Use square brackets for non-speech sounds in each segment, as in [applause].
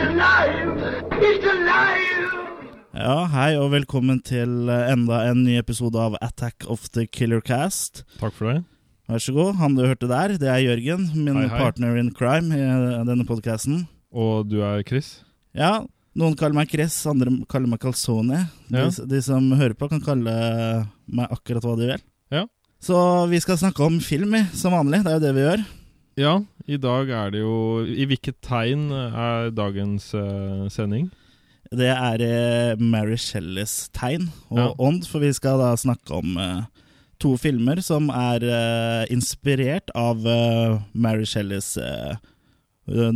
alive! He's alive! Ja, hei og velkommen til eh, enda en ny episode av Attack of the Killer Cast. Takk for det. Vær så god. Han du hørte der, det er Jørgen, min Hei, hei. partner in crime i eh, denne podkasten. Og du er Chris? Ja, noen kaller meg Chris, andre kaller meg Calzone. De, Ja. de som hører på, kan kalle meg akkurat hva de vil. Ja. Så vi skal snakke om film, vi, som vanlig. Det er jo det vi gjør. Ja, i dag er det jo I hvilket tegn er dagens eh, sending? Det er eh, Mary Shelleys tegn og Ja. ånd, for vi skal da snakke om eh, to filmer som er eh, inspirert av eh, Mary Shelleys eh,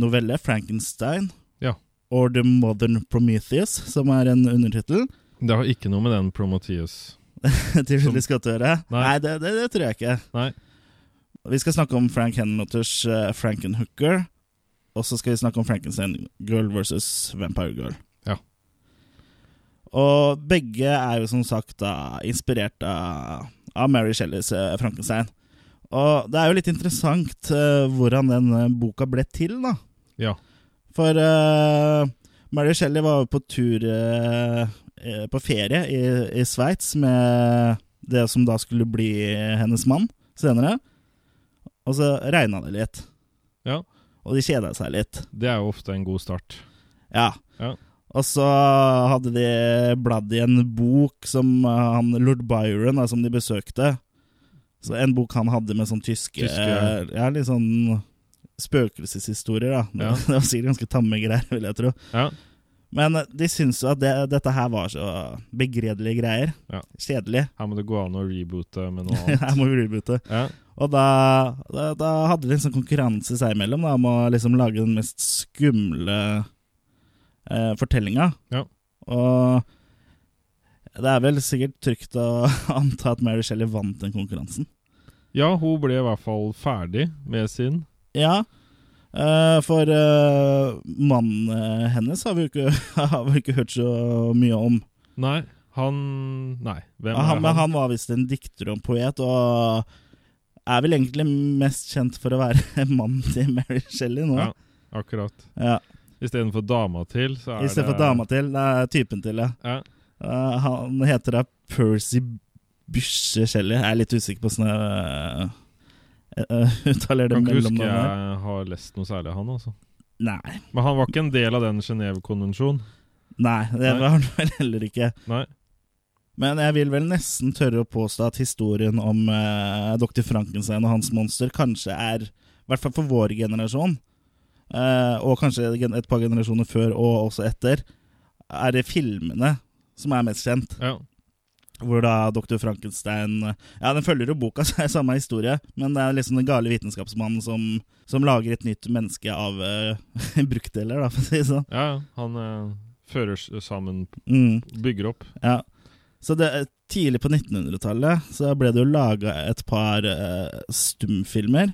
novelle 'Frankenstein' Ja. og 'The Modern Prometheus', som er en undertittel. Det har ikke noe med den Promotheus [laughs] til Som- Ridley Scott å gjøre. Nei, Nei. det, det, det tror jeg ikke. Nei. Vi skal snakke om Frank Henlotters uh, Frankenhooker. Og så skal vi snakke om Frankenstein Girl versus Vampire Girl. Ja. Og begge er jo som sagt da inspirert av, av Mary Shelleys eh, Frankenstein. Og det er jo litt interessant eh, hvordan den eh, boka ble til, da. Ja. For eh, Mary Shelley var jo på tur eh, eh, på ferie i, i Sveits med det som da skulle bli hennes mann senere. Og så regna det litt, Ja, og de kjeda seg litt. det er jo ofte en god start. Ja. Ja. Og så hadde de bladd i en bok som eh, han, lord Byron, da, som de besøkte. Så en bok han hadde med sånn tyske, Tyske, ja. Ja, litt sånn spøkelseshistorier, da. Ja. [laughs] Det var sikkert ganske tamme greier, vil jeg tro. Ja, Men de syntes jo at det, dette her var så begredelige greier. Ja. Kjedelig. [laughs] Her må det gå an å reboote med [laughs] noe annet. Her må vi reboote. Ja, Og da, da, da hadde de en sånn konkurranse seg imellom da, om å liksom lage den mest skumle eh, fortellinga. Ja. Og det er vel sikkert trygt å [laughs] anta at Mary Shelley vant den konkurransen. ja hun ble i hvert fall ferdig med sin. Ja, eh, for eh, mannen eh, hennes har vi jo ikke, [laughs] har vi ikke hørt så mye om. Nei, han Nei, hvem Ja, han, er men han? han var visst en dikter og en poet, og er vel egentlig mest kjent for å være [laughs] mannen til Mary Shelley nå. Ja. Akkurat. Ja. Istedenfor dama til, så er I stedet for det dama til. Det er typen til, ja. Ja. Eh, han heter da Percy Bysje Shelley. Jeg er litt usikker på hvordan jeg eh, eh, uttaler det Kan ikke huske mellomnavnet. jeg har lest noe særlig av han, altså. Nei, Men han var ikke en del av den Genéve-konvensjonen. nei, det Nei. var han vel heller ikke. Nei. Men jeg vil vel nesten tørre å påstå at historien om eh, Dr. Frankenstein og hans monster kanskje er, i hvert fall for vår generasjon, eh, og kanskje gen- et par generasjoner før og også etter, er det filmene som er mest kjent. Ja. Hvor da Dr. Frankenstein eh, Ja, den følger jo boka, [laughs] så er det samme historie, men det er liksom den gale vitenskapsmannen som, som lager et nytt menneske av eh, [laughs] brukdeler, da, for å si det sånn. Ja, ja. han eh, fører s- sammen, Mm. bygger opp. Ja. Så det, tidlig på 1900-tallet så ble det jo laga et par eh, stumfilmer.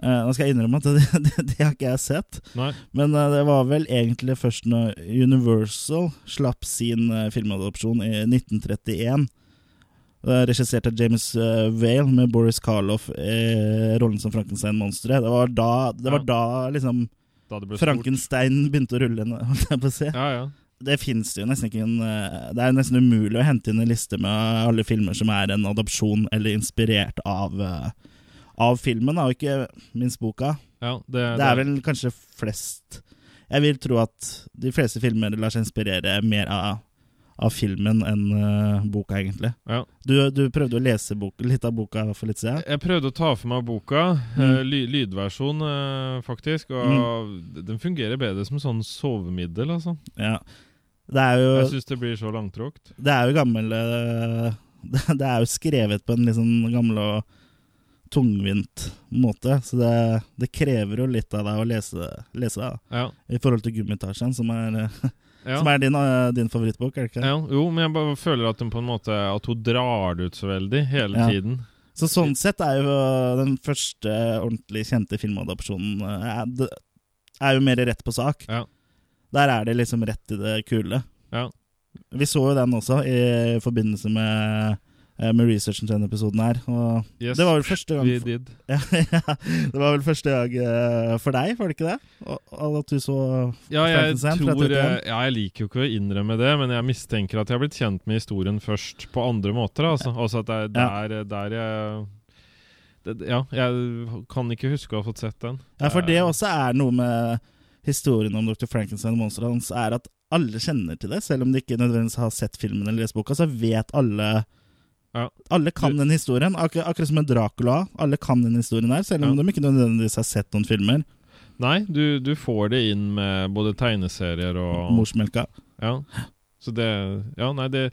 Eh, nå skal jeg innrømme at [laughs] det, det, det har ikke jeg sett, Nei, men eh, det var vel egentlig først når Universal slapp sin eh, filmadopsjon i 1931. Eh, Regissert av James eh, Vale med Boris Karloff i rollen som Frankenstein-monsteret. Det var da, det var da liksom da det ble Frankenstein begynte å rulle, holdt jeg på å si. stort. Ja, ja. Det finnes jo nesten ikke en eh, Det er jo nesten umulig å hente inn en liste med alle filmer som er en adopsjon eller inspirert av, eh, av filmen, da, og ikke minst boka. ja det, Det er vel kanskje flest Jeg vil tro at de fleste filmer lar seg inspirere mer av, av filmen enn eh, boka, egentlig. Ja. Du, du prøvde å lese bok, litt av boka for litt siden? Jeg prøvde å ta for meg boka, eh, Mm. ly lydversjon eh, faktisk, og den fungerer bedre som sånn sovemiddel, altså. Ja. Det er jo Jeg syns det blir så langtråkt. Det er jo gammel eh, [laughs] Det det er jo skrevet på en litt sånn gammel og tungvint måte, så det, det krever jo litt av deg å lese, lese det, Ja. da, i forhold til Gummitasjen, som er, eh, Ja. som er din, eh, din favorittbok, er det ikke? ja. Jo, men jeg bare føler at hun på en måte At hun drar det ut så veldig hele Ja. tiden. Så sånn sett er jo den første ordentlig kjente filmadopsjonen eh, er- det er jo mer rett på sak. Ja. Der er det liksom rett i det kule. Ja. Vi så jo den også i forbindelse med eh, med researchen til denne episoden her. Og Yes, det var vel første gang we did. [laughs] ja, ja, Det var vel første gang eh, for deg, var det ikke det? Og, og at du så Ja, jeg Frankenstein fra tror eh, 31. Ja, jeg liker jo ikke å innrømme det, men jeg mistenker at jeg har blitt kjent med historien først på andre måter. Altså, altså at det er Ja. der, der jeg det, Ja, jeg kan ikke huske å ha fått sett den. Eh, Ja, for det også er noe med historien om Dr. Frankenstein og monsteret hans, er at alle kjenner til det, selv om de ikke nødvendigvis har sett filmen eller lest boka, så vet alle Ja. Alle kan den historien, akkur akkurat som med Dracula. Alle kan den historien der, selv om Ja. de ikke nødvendigvis har sett noen filmer. Nei, du, du får det inn med både tegneserier og Morsmelka. Ja. Så det Ja, nei, det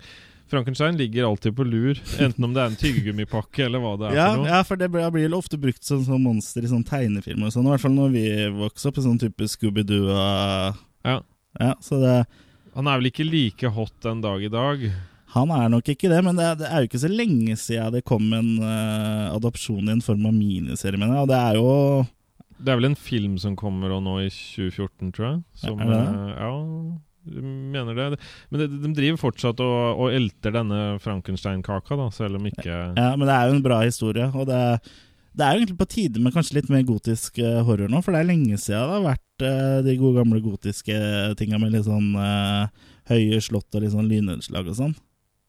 Frankenstein ligger alltid på lur, enten om det er en tyggegummipakke eller hva det er. Ja, for noe. ja, for det blir blir jo ofte brukt som, som monster i sånne tegnefilmer og sånn, i hvert fall når vi vokste opp i sånn type Scooby-Doo og Ja. Ja, så det Han er vel ikke like hot den dag i dag. Han er nok ikke det, men det er, det er jo ikke så lenge siden det kom en eh, adopsjon i en form av miniserie, mener jeg. Og det er jo Det er vel en film som kommer og nå i 2014, tror jeg. Som, Er det det? eh, Ja, jeg mener det. Men de, de driver fortsatt og, og elter denne Frankenstein-kaka, da, selv om ikke Ja, men det er jo en bra historie. Og det, det er jo egentlig på tide med kanskje litt mer gotisk eh, horror nå, for det er lenge siden det har vært eh, de gode gamle gotiske tinga med litt sånn eh, høye slott og litt sånn lynnedslag og sånn.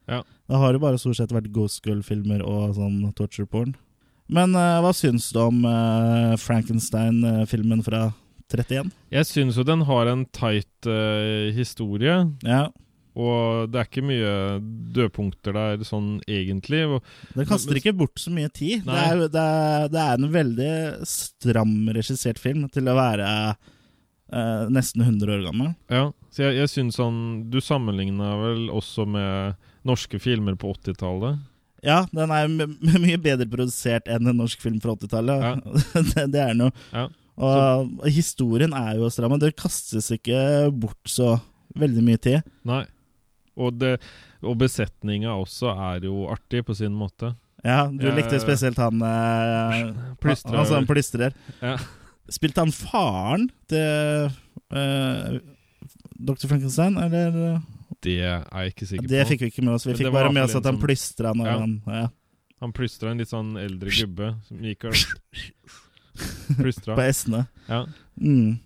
Ja. Det har jo bare stort sett vært Ghost Girl-filmer og sånn torture porn. Men eh, hva syns du om eh, Frankenstein-filmen fra 31? Jeg syns jo den har en tight eh, historie, Ja, og det er ikke mye dødpunkter der sånn egentlig. Og, Den kaster Men- ikke bort så mye tid. Det Nei. er, jo- det, er, det er en veldig stram regissert film til å være eh, nesten 100 år gammel. ja, så jeg, jeg syns han Du sammenligna vel også med norske filmer på 80-tallet? Ja, den er my my- [laughs] mye bedre produsert enn en norsk film fra 80-tallet. Ja. [laughs] det, det er den jo. Ja. Og, og historien er jo stram, og det kastes ikke bort så veldig mye tid. Nei. Og, det- og besetninga også er jo artig på sin måte. Ja, du Ja, likte ja, ja. spesielt han eh, [laughs] Plystrer. Altså, han plystrer. Ja. Spilte han faren til eh, Dr. Frankenstein, eller? Det er jeg ikke sikker Det på. fikk vi ikke med oss. Vi Men fikk det var bare med i oss hvert at fall han en plystra når Ja. han ja, Han plystra en litt sånn eldre gubbe som gikk [laughs] og på plystra. S-ene. Ja. Mm.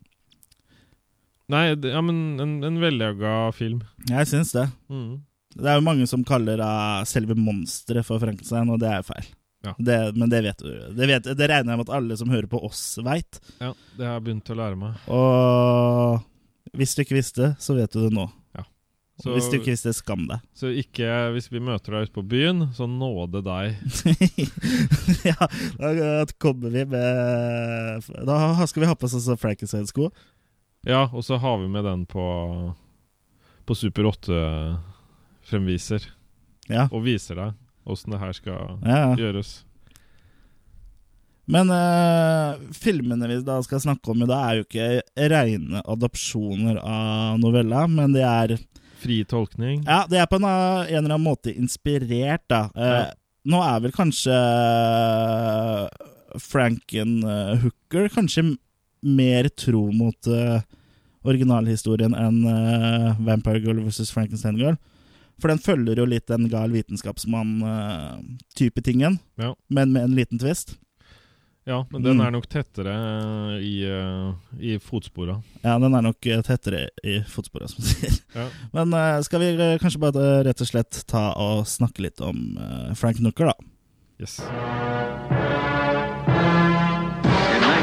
Nei, det, ja, men en, en velløga film. Jeg syns det. Mm. Det er jo mange som kaller ah, selve monsteret for Frankenstein, og det er jo feil. Ja. Det, men det vet du. Det, vet, det regner jeg med at alle som hører på oss, veit. Ja, det har jeg begynt å lære meg. Og hvis du ikke visste, så vet du det nå. Så, Hvis du ikke visste, skam deg. [laughs] så ikke hvis vi møter deg ute på byen, så nåde deg. ja, da kommer vi med Da skal vi ha på oss også Frankenstein-sko. Ja, og så har vi med den på, på Super 8-fremviser. Ja. Og viser deg åssen det her skal Ja, ja. gjøres. Men eh, filmene vi da skal snakke om i dag, er jo ikke rene adopsjoner av novella, men de er, Fri tolkning. ja, de er på en, eh, en eller annen måte inspirert, da. Eh, Ja. Nå er vel eh, kanskje Frankenhooker eh, kanskje m- mer tro mot eh, originalhistorien enn eh, Vampire Girl versus Frankenstein Girl. For den følger jo litt den gal vitenskapsmann-type tingen, Ja. men med en liten twist. Ja, men den Mm. er nok tettere eh, i, eh, i fotspora. Ja, den er nok eh, tettere i fotsporet, som du sier. [laughs] Ja. Men eh, skal vi eh, kanskje bare eh, rett og slett ta og snakke litt om eh, Frank Nooker, da? Yes. In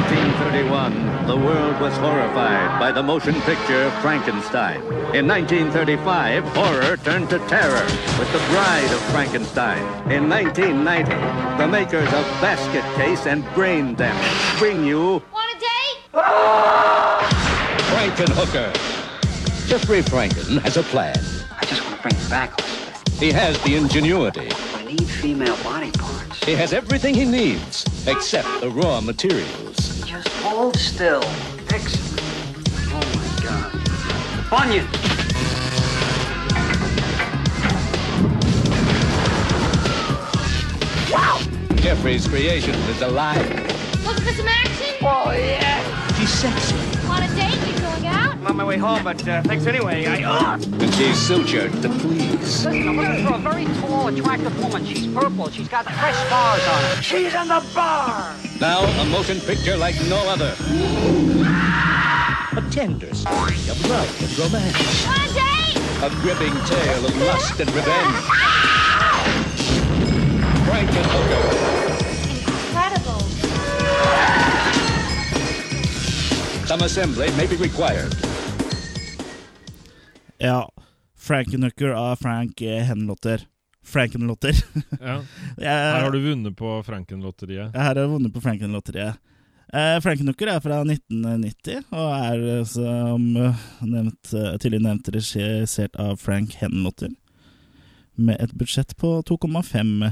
1931, the world was horrified by the motion picture Frankenstein. In 1935, horror turned to terror with The Bride of Frankenstein. In 1990, the makers of Basket Case and Brain Damage bring you Want a date? Frankenhooker. Jeffrey Franken has a plan. I just want to bring it back, Elizabeth. He has the ingenuity. I need female body parts. He has everything he needs except the raw materials. Just hold still. Excellent. Oh my God. Bunyan. Jeffrey's creation is alive. Looking for some action? Oh, yeah. He's sexy. Want a date? You going out? I'm on my way home, but uh, thanks anyway. I. Ah! And she's sutured to please. Listen, I'm looking for a very tall, attractive woman. She's purple. She's got fresh scars on her. She's in the bar! Now a motion picture like no other. A tender story of love and romance. A gripping tale of lust and revenge. Frank and Hooker, Incredible. some assembly may be required. Ja. Frankenhooker av Frank eh, Henlotter. Frankenlotter. Ja. [laughs] Jeg- Her har du vunnet på Franken-lotteriet. Jeg har vunnet på Franken-lotteriet. Eh, Franken-Hooker er fra 1990 og er, eh, som eh, nevnt, eh, tidligere nevnt, regissert av Frank Henlotter. Med et budsjett på 2,5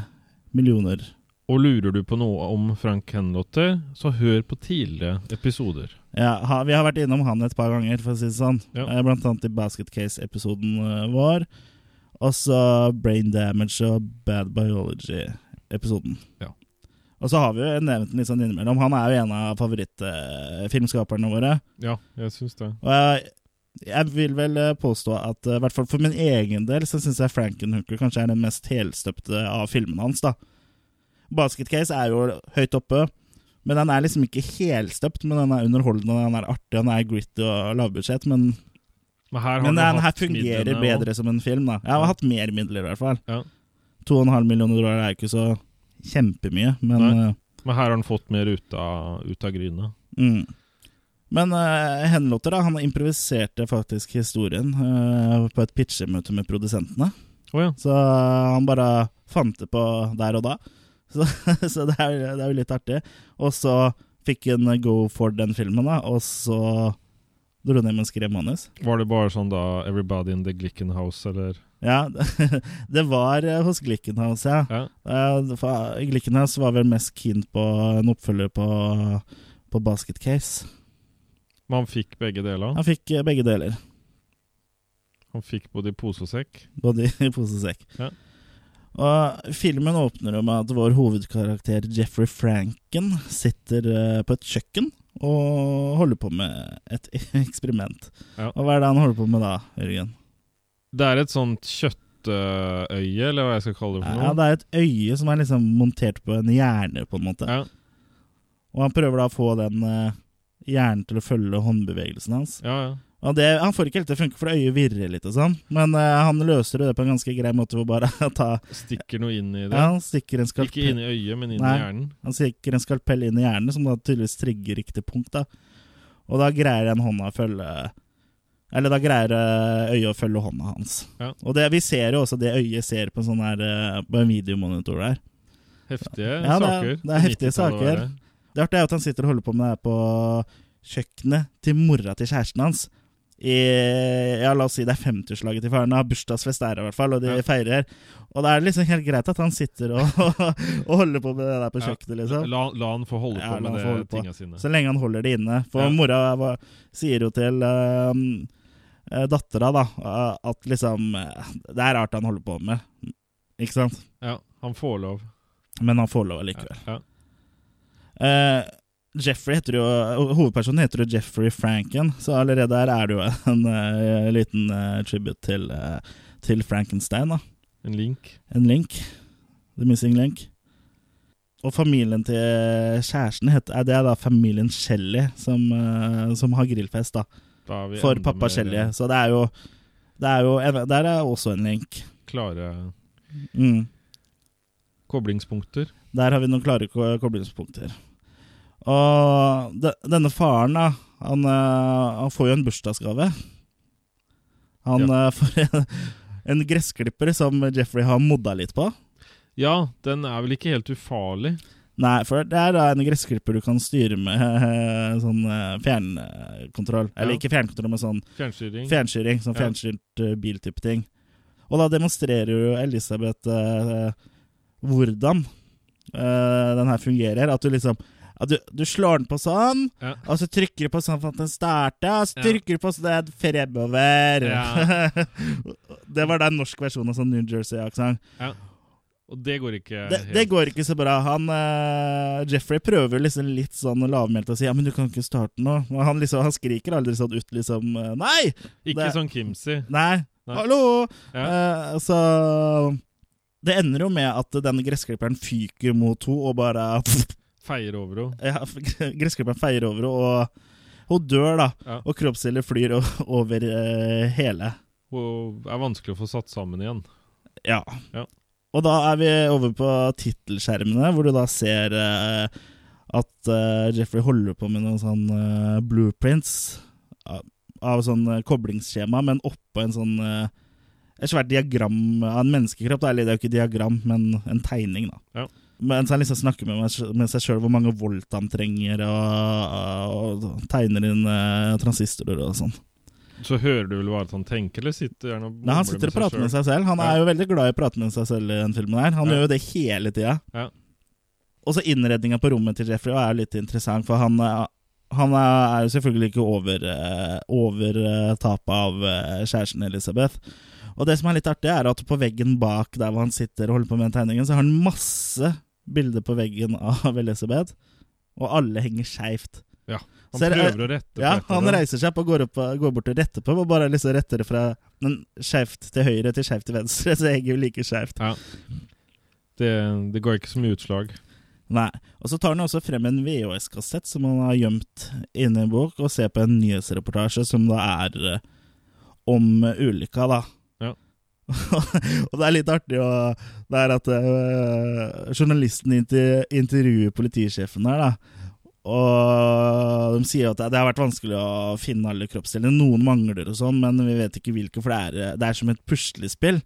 millioner. Og lurer du på noe om Frank Henlotter, så hør på tidligere episoder. Ja, ha, vi har vært innom han et par ganger, for å si det sånn. Ja. Eh, Blant annet i Basket Case-episoden eh, vår. Og så Brain Damage og Bad Biology-episoden. Ja. Og så har vi jo nevnt den litt sånn innimellom. Han er jo en av favorittfilmskaperne våre. Ja, jeg syns det. Og jeg, jeg vil vel eh, påstå at eh, i hvert fall for min egen del så syns jeg Frankenhooker kanskje er den mest helstøpte av filmene hans. da Basket Case er jo høyt oppe, men den er liksom ikke helstøpt. Men den er underholdende, den er artig, den er gritty og lavbudsjett. Men, Men her, har men du den hatt her fungerer midlene bedre som en film. da Jeg har hatt mer midler, i hvert fall. Ja. 2,5 millioner dollar er jo ikke så kjempemye, men Nei. eh, og- Men her har han fått mer ut av, ut av gryna. Mm. Men uh, Henlotter da, han improviserte faktisk historien eh, på et pitchemøte med produsentene. Å ja. Så eh, han bare fant det på der og da. [laughs] Så, så det, er, det er jo litt artig. Og så fikk han go for den filmen, da, og så dro han hjem og skrev manus. Var det bare sånn da 'Everybody in the Glickenhouse', eller? Ja, [laughs] det var eh, hos Glickenhaus, ja. Ja. Eh, for Glickenhaus var vel mest keen på en oppfølger på, på Basket Case. Men han fikk begge deler. Han fikk eh, begge deler. Han fikk både i pose og sekk. Både i pose og sekk. Ja. Og filmen åpner jo med at vår hovedkarakter Jeffrey Franken sitter eh, på et kjøkken og holder på med et [laughs] eksperiment. Ja. Og hva er det han holder på med da, Jørgen? Det er et sånt kjøttøye, eller hva jeg skal kalle det for noe. Ja, det er et øye som er liksom montert på en hjerne, på en måte. Ja. Og han prøver da å få den eh, hjernen til å følge håndbevegelsen hans. Ja, ja. Og det, han får ikke helt til å funke, for øyet virrer litt og sånn. Men eh, han løser det på en ganske grei måte ved bare [laughs] å ta Stikker noe inn i det. ja, Han stikker en Ikke skalpell inn i øyet, men inn Nei. i hjernen. Han stikker en skalpell inn i hjernen, som da tydeligvis trigger riktig punkt. da. Og da greier den hånda å følge Eller da greier eh, øyet å følge hånda hans. Ja. Og det, vi ser jo også det øyet ser på en sånn her, eh, på en videomonitor der. Heftige Ja, det er- saker. det er heftige 90-tallet var saker. det. Det artige er jo at han sitter og holder på med det her på kjøkkenet til mora til kjæresten hans. I, ja, la oss si det er 50-årslaget til faren. da. Bursdagsfest er det i hvert fall, og de Ja. feirer. Og da er det liksom helt greit at han sitter og, [laughs] og holder på med det der på Ja. kjøkkenet, liksom. La, la han få holde Ja, på la med han få det holde på. tinga sine. Så lenge han holder det inne. For Ja. mora var, sier jo til uh, dattera da, eh, at liksom eh, Det er rart han holder på med, ikke sant? Ja, han får lov. Men han får lov Ja, allikevel. ja. Eh, Jeffrey heter jo, eh, Hovedpersonen heter jo Jeffrey Franken, så allerede her er det jo en eh, liten eh, tribute til, eh, til Frankenstein. da En link. En link. The missing link. Og familien til kjæresten heter, er det er da familien Shelly, som, eh, som har grillfest. da Da er vi For enda pappa mer eh, Shelly. Så det er jo, det er jo en, Der er også en link. Klare Mm. koblingspunkter. Der har vi noen klare ko- koblingspunkter. Og de, denne faren, da, han, eh, han får jo en bursdagsgave. Han eh, får en, en gressklipper som Jeffrey har modda litt på. Ja, den er vel ikke helt ufarlig. Nei, for det er da en gressklipper du kan styre med eh, sånn eh, fjernkontroll. Eller Ja. ikke fjernkontroll, men sånn Fjernstyring. Fjernstyring, sånn Ja. fjernstyrt eh, biltype ting. Og da demonstrerer jo Elisabeth eh, hvordan eh, den her fungerer. At du liksom at du, du slår den på sånn, Ja. og så trykker du på sånn for at den starter, og så Ja. trykker du på sånn det er fremover. Ja. [laughs] det var da en norsk versjon av sånn New Jersey-aksent. Ja. Og det går ikke Det, det går ikke så bra. Han, eh, Jeffrey prøver liksom litt sånn lavmælt å si ja, men du kan ikke starte nå. Og han, liksom, han skriker aldri sånn ut liksom eh, Nei! Ikke det- sånn Kimsey. Nei! Nei. Hallo! Ja. Eh, så det ender jo med at denne gressklipperen fyker mot henne og bare [laughs] Feier over henne. ja, Gressklipperen feier over henne, og hun dør, da. Ja. Og kroppsdeler flyr o- over eh, hele. Hun er vanskelig å få satt sammen igjen. Ja. Ja. Og da er vi over på tittelskjermene, hvor du da ser eh, at eh, Jeffrey holder på med noen sånn eh, blueprints av, av sånn eh, koblingsskjema, men oppå en sånn eh, et svært diagram av en menneskekropp. Da. Eller det er jo ikke diagram, men en tegning, da. Ja. Mens han liksom snakker med, meg- med seg sjøl hvor mange volt han trenger, og, og tegner inn eh, transistorer og sånn. Så hører du vel bare at han tenker, eller sitter han og Nei, han mumler sitter og prater med selv? seg selv. Han Ja. er jo veldig glad i å prate med seg selv i den filmen her. Han Ja. gjør jo det hele tida. Ja. Og så innredninga på rommet til Jeffrey er jo litt interessant, for han, eh, han er jo selvfølgelig ikke over, eh, over eh, tapet av eh, kjæresten Elisabeth. Og det som er litt artig, er at på veggen bak der hvor han sitter og holder på med den tegningen, så har han masse bilder på veggen av [laughs] Elisabeth, og alle henger skeivt. Han Ser- prøver å rette på Ja, et eller han annet. reiser seg opp og går, opp, går bort og retter på, og bare liksom retter det fra men skjevt til høyre til skjevt til venstre, [laughs] så henger jo like skjevt. Det, det ga ikke så mye utslag. Nei. Og så tar han jo også frem en VHS-kassett som han har gjemt inne i en bok, og ser på en nyhetsreportasje som da er eh, om eh, ulykka, da. Ja. [laughs] og det er litt artig å Det er at eh, journalisten inter intervjuer politisjefen her, da. Og de sier at det har vært vanskelig å finne alle kroppsdelene. Noen mangler og sånn, men vi vet ikke hvilke, for det er, eh, det er som et puslespill.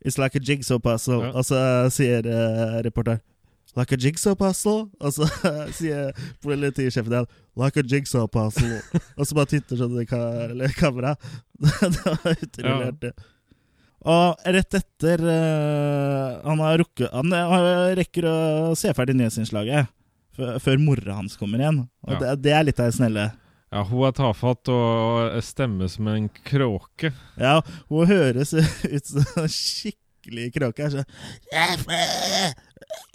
It's like a jigsaw puzzle. Ja. Og så sier uh, reporteren Like a jigsaw puzzle. Og så [laughs] sier politisjefen igjen Like a jigsaw [laughs] puzzle. og så bare titter sånn i ka- eller kamera. [laughs] det var utrolig Ja. artig. Og rett etter eh, han, har rukket, han eh, rekker å se ferdig nyhetsinnslaget før, før mora hans kommer igjen. Og Ja. det, det er litt av det snelle. Ja, hun er tafatt og stemmer som en kråke. Ja, hun høres ut som en skikkelig kråke. her, Så, "Jeffrey,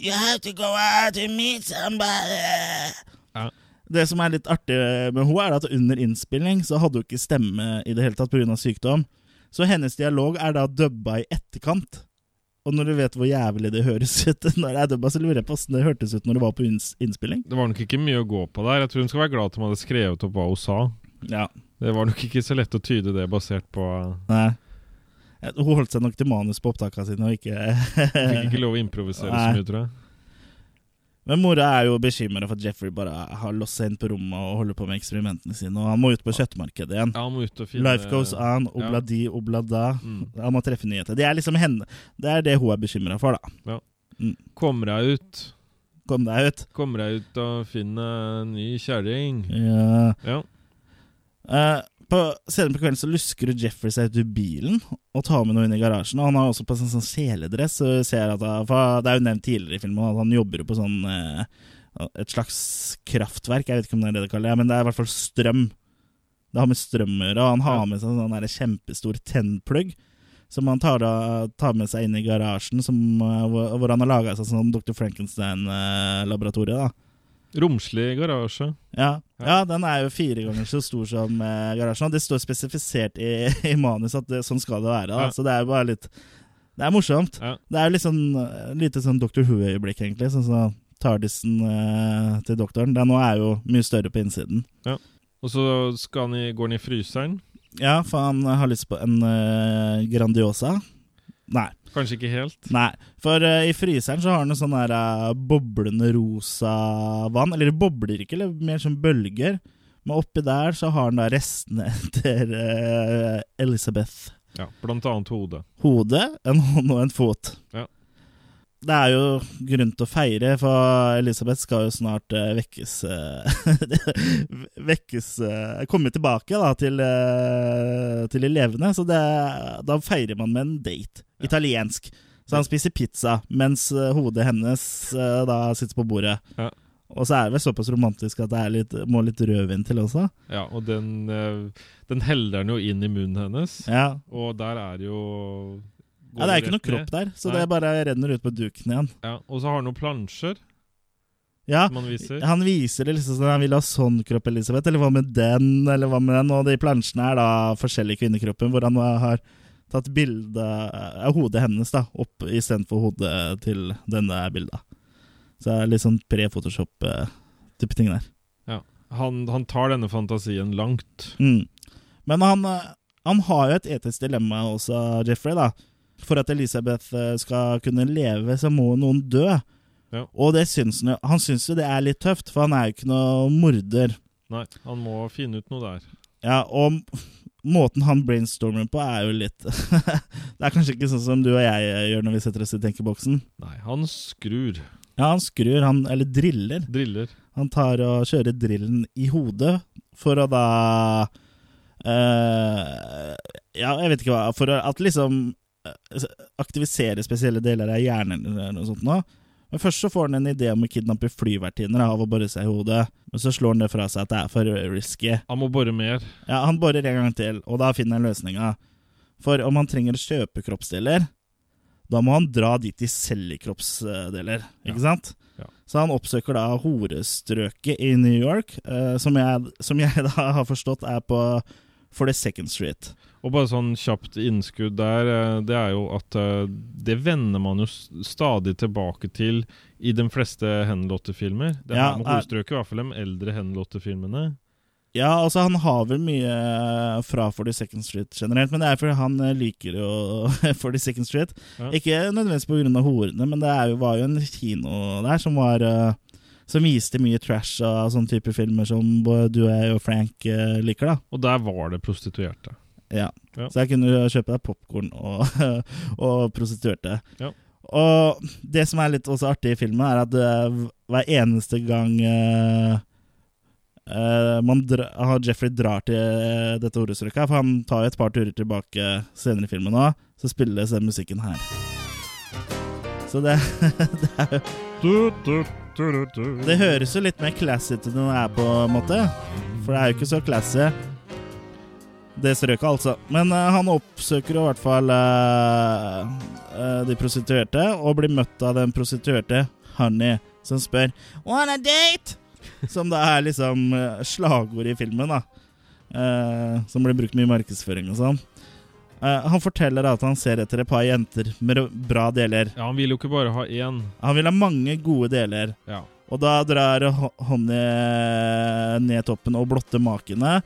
you have to go out and meet somebody. Ja. Det som er litt artig med hun er at under innspilling så hadde hun ikke stemme i det hele tatt pga. sykdom. Så hennes dialog er da dubba i etterkant. Og når du vet hvor jævlig det høres ut [laughs] når det er dubba, så lurer jeg på åssen det hørtes ut når det var på inns- innspilling. Det var nok ikke mye å gå på der. Jeg tror hun skal være glad at hun hadde skrevet opp hva hun sa. Ja, Det var nok ikke så lett å tyde det basert på nei. Hun holdt seg nok til manus på opptakene sine og Hun Fikk ikke lov å improvisere så Nei. mye, tror jeg. Men mora er jo bekymra for at Jeffrey bare har låst seg inn på rommet og holder på med eksperimentene sine, og han må ut på kjøttmarkedet igjen. Ja, han må ut og finne Life goes on, obla Ja. di, obla da. Mm. Han må treffe nyheter. Det er liksom henne. Det er det hun er bekymra for, da. Kommer jeg ut? Kom deg ut. Kommer jeg ut og finner en ny kjerring? Ja. Ja. Eh, på, senere på kvelden så lusker Jeffrey seg ut i bilen og tar med noe inn i garasjen. Og han har også på seg en sånn seledress. Så ser jeg at han, for Det er jo nevnt tidligere i filmen at han jobber jo på sånn eh, et slags kraftverk. Jeg vet ikke om det er det det kaller det, men det er i hvert fall strøm. Det har med strøm å gjøre. og Han har med seg en sånn der kjempestor tennplugg som han tar, da, tar med seg inn i garasjen, som, eh, hvor, hvor han har laga seg sånn Dr. Frankenstein-laboratoriet. eh, da Romslig garasje. ja. Ja. ja, den er jo fire ganger så stor som eh, garasjen. Og det står spesifisert i, [laughs] i manus at det, sånn skal det være. Da. Ja. Så det er jo bare litt Det er morsomt. Ja. Det er jo litt sånn eh, lite sånn Dr. Who-øyeblikk, egentlig. Sånn som Tardisen eh, til doktoren. Den nå er jo mye større på innsiden. Og så skal han i, går han i fryseren. Ja, for han eh, har lyst på en eh, Grandiosa. Nei. Kanskje ikke helt. Nei, for eh, i fryseren så har den sånn der eh, boblende rosa vann. Eller det bobler ikke, eller mer som bølger. Men oppi der så har den da restene [laughs] etter eh, Elizabeth. Ja, Blant annet hodet. Hodet, en hånd og en fot. Ja. Det er jo grunn til å feire, for Elisabeth skal jo snart eh, vekkes eh, [laughs] Vekkes eh, Komme tilbake da til, eh, til de levende. Så det, da feirer man med en date. Italiensk. Så han spiser pizza, mens eh, hodet hennes eh, da sitter på bordet. Ja. Og så er det vel såpass romantisk at det er litt, må litt rødvin til også. Ja, Og den, eh, den heller han jo inn i munnen hennes. Ja, Og der er jo Ja, det er ikke noe kropp der, så det Nei. er bare renner ut på duken igjen. Ja, og så har han noen plansjer Ja, som han viser. Han viser det liksom sånn, han vil ha sånn kropp, Elisabeth, eller hva med den, eller hva med den? Og de plansjene er da forskjellige kvinnekroppen, hvor han har tatt bilde av hodet hennes da, opp istedenfor hodet til denne bildet. Så det er litt sånn pre-Photoshop-type ting der. Ja. Han, han tar denne fantasien langt. Mm. Men han, eh, han har jo et etisk dilemma også, Jeffrey, da. For at Elisabeth eh, skal kunne leve, så må noen dø. Ja. Og det syns han jo. Han syns jo det er litt tøft, for han er jo ikke noe morder. Nei, han må finne ut noe der. Ja, og måten han brainstormer på er jo litt [laughs] Det er kanskje ikke sånn som du og jeg gjør når vi setter oss i tenkeboksen. Nei, han skrur. Ja, han skrur, han eller driller. Driller. Han tar og kjører drillen i hodet for å da eh, Ja, jeg vet ikke hva For å- at liksom eh, aktivisere spesielle deler av hjernen eller noe sånt nå. Men først så får han en idé om å kidnappe flyvertinner av å bore seg i hodet. Men så slår han det fra seg at det er for risky. Han må bore mer. Ja, Han borer en gang til, og da finner han løsninga. For om han trenger å kjøpe kroppsdeler, da må han dra dit de selger kroppsdeler, ikke sant? Ja. Så han oppsøker da horestrøket i New York, eh, som, jeg, som jeg [laughs] da har forstått er på 42nd Street. Og bare sånn kjapt innskudd der, eh, det er jo at eh, det vender man jo s- stadig tilbake til i de fleste Henlotte-filmer. Det her Ja, med er- hovedstrøket, i hvert fall de eldre Henlotte-filmene. Ja, altså han har vel mye eh, fra 42nd Street generelt, men det er fordi han eh, liker jo [laughs] 42nd Street. Ja. Ikke nødvendigvis på grunn av horene, men det er jo, var jo en kino der som var eh, Som viste mye trash og sånne type filmer som både du og jeg og Frank eh, liker, da. Og der var det prostituerte. Ja. Ja. Så jeg kunne kjøpe deg popkorn og, [laughs] og prostituerte. Ja. Og det som er litt også artig i filmen, er at eh, hver eneste gang eh, eh, man dra, han- Jeffrey drar til eh, dette horestrøket, for han tar jo et par turer tilbake senere i filmen òg, så spilles den musikken her. Så det, Du, du, du, du, du. det høres jo litt mer classy ut enn det er, på en måte. For det er jo ikke så classy. Det strøket, altså. Men eh, han oppsøker jo i hvert fall eh, eh, de prostituerte, og blir møtt av den prostituerte Honey, som spør Wanna date? Som da er liksom eh, slagord i filmen, da. Eh, som blir brukt mye i markedsføring og sånn. Eh, han forteller at han ser etter et par jenter med bra deler. Ja, han vil jo ikke bare ha én. Han vil ha mange gode deler. Ja. Og da drar Ho- Honey ned toppen og blotter makene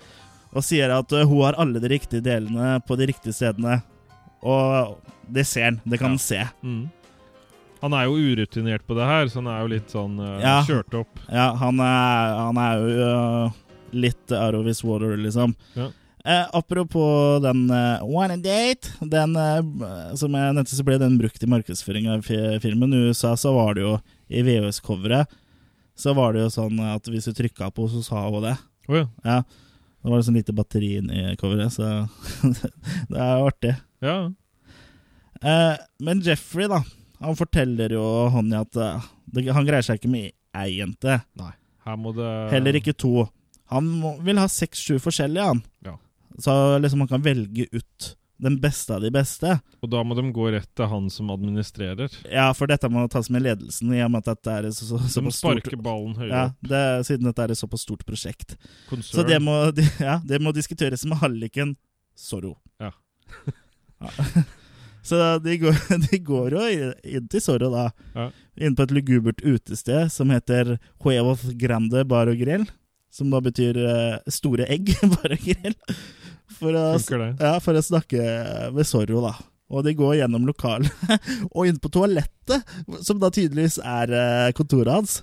og sier at eh, hun har alle de riktige delene på de riktige stedene. Og det ser han. Det kan han se. Mm. Han er jo urutinert på det her, så han er jo litt sånn eh, Ja. kjørt opp. Ja, han er, han er jo eh, litt out of his water, liksom. Ja. Eh, apropos den eh, One Date den, eh, Som jeg nevnte, så ble den brukt i markedsføring av fi- filmen. I USA så var det jo i VHS-coveret Så var det jo sånn at hvis du trykka på, så sa hun det. Å ja. Ja. Det var det sånn lite batteri inni coveret, så [laughs] det er jo artig. ja. Eh, men Jeffrey, da, han forteller jo Honey at eh, det, han greier seg ikke med ei jente. Nei. Her må det Heller ikke to. Han må, vil ha seks-sju forskjellige, han. Ja. Så liksom han kan velge ut den beste av de beste. Og da må de gå rett til han som administrerer. Ja, for dette må tas med ledelsen, i og med at dette er så, så, Som såpass stort sparker ballen høyere ja, opp. det, Siden dette er et såpass stort prosjekt. Konsern. Så det må, [laughs] ja, det må diskuteres med halliken Zorro. Ja. [laughs] Ja. Så de går, [laughs] de går jo inn til Zorro, da. Ja. Inn på et lugubert utested som heter Huevos Grande Bar og Grill. Som da betyr eh, store egg, [laughs] bar og grill. For å, Funker det? ja, for å snakke med Zorro, da. Og de går gjennom lokalet [laughs] og inn på toalettet, som da tydeligvis er eh, kontoret hans.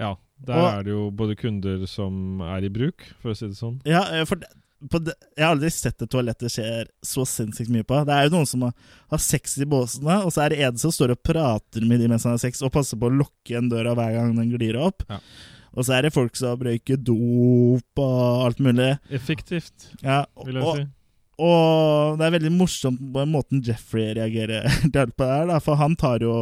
Ja. Der Og- er det jo både kunder som er i bruk, for å si det sånn. Ja, eh, for det- på det, jeg har aldri sett et toalett det skjer så sinnssykt mye på. Det er jo noen som har, har sex i båsene, og så er det en som står og prater med de mens han har sex, og passer på å lukke en døra hver gang den glir opp. Ja. Og så er det folk som røyker dop og alt mulig. Effektivt, Ja, og, vil jeg si. og det er veldig morsomt på måten Jeffrey reagerer [laughs] der på det her, da, for han tar jo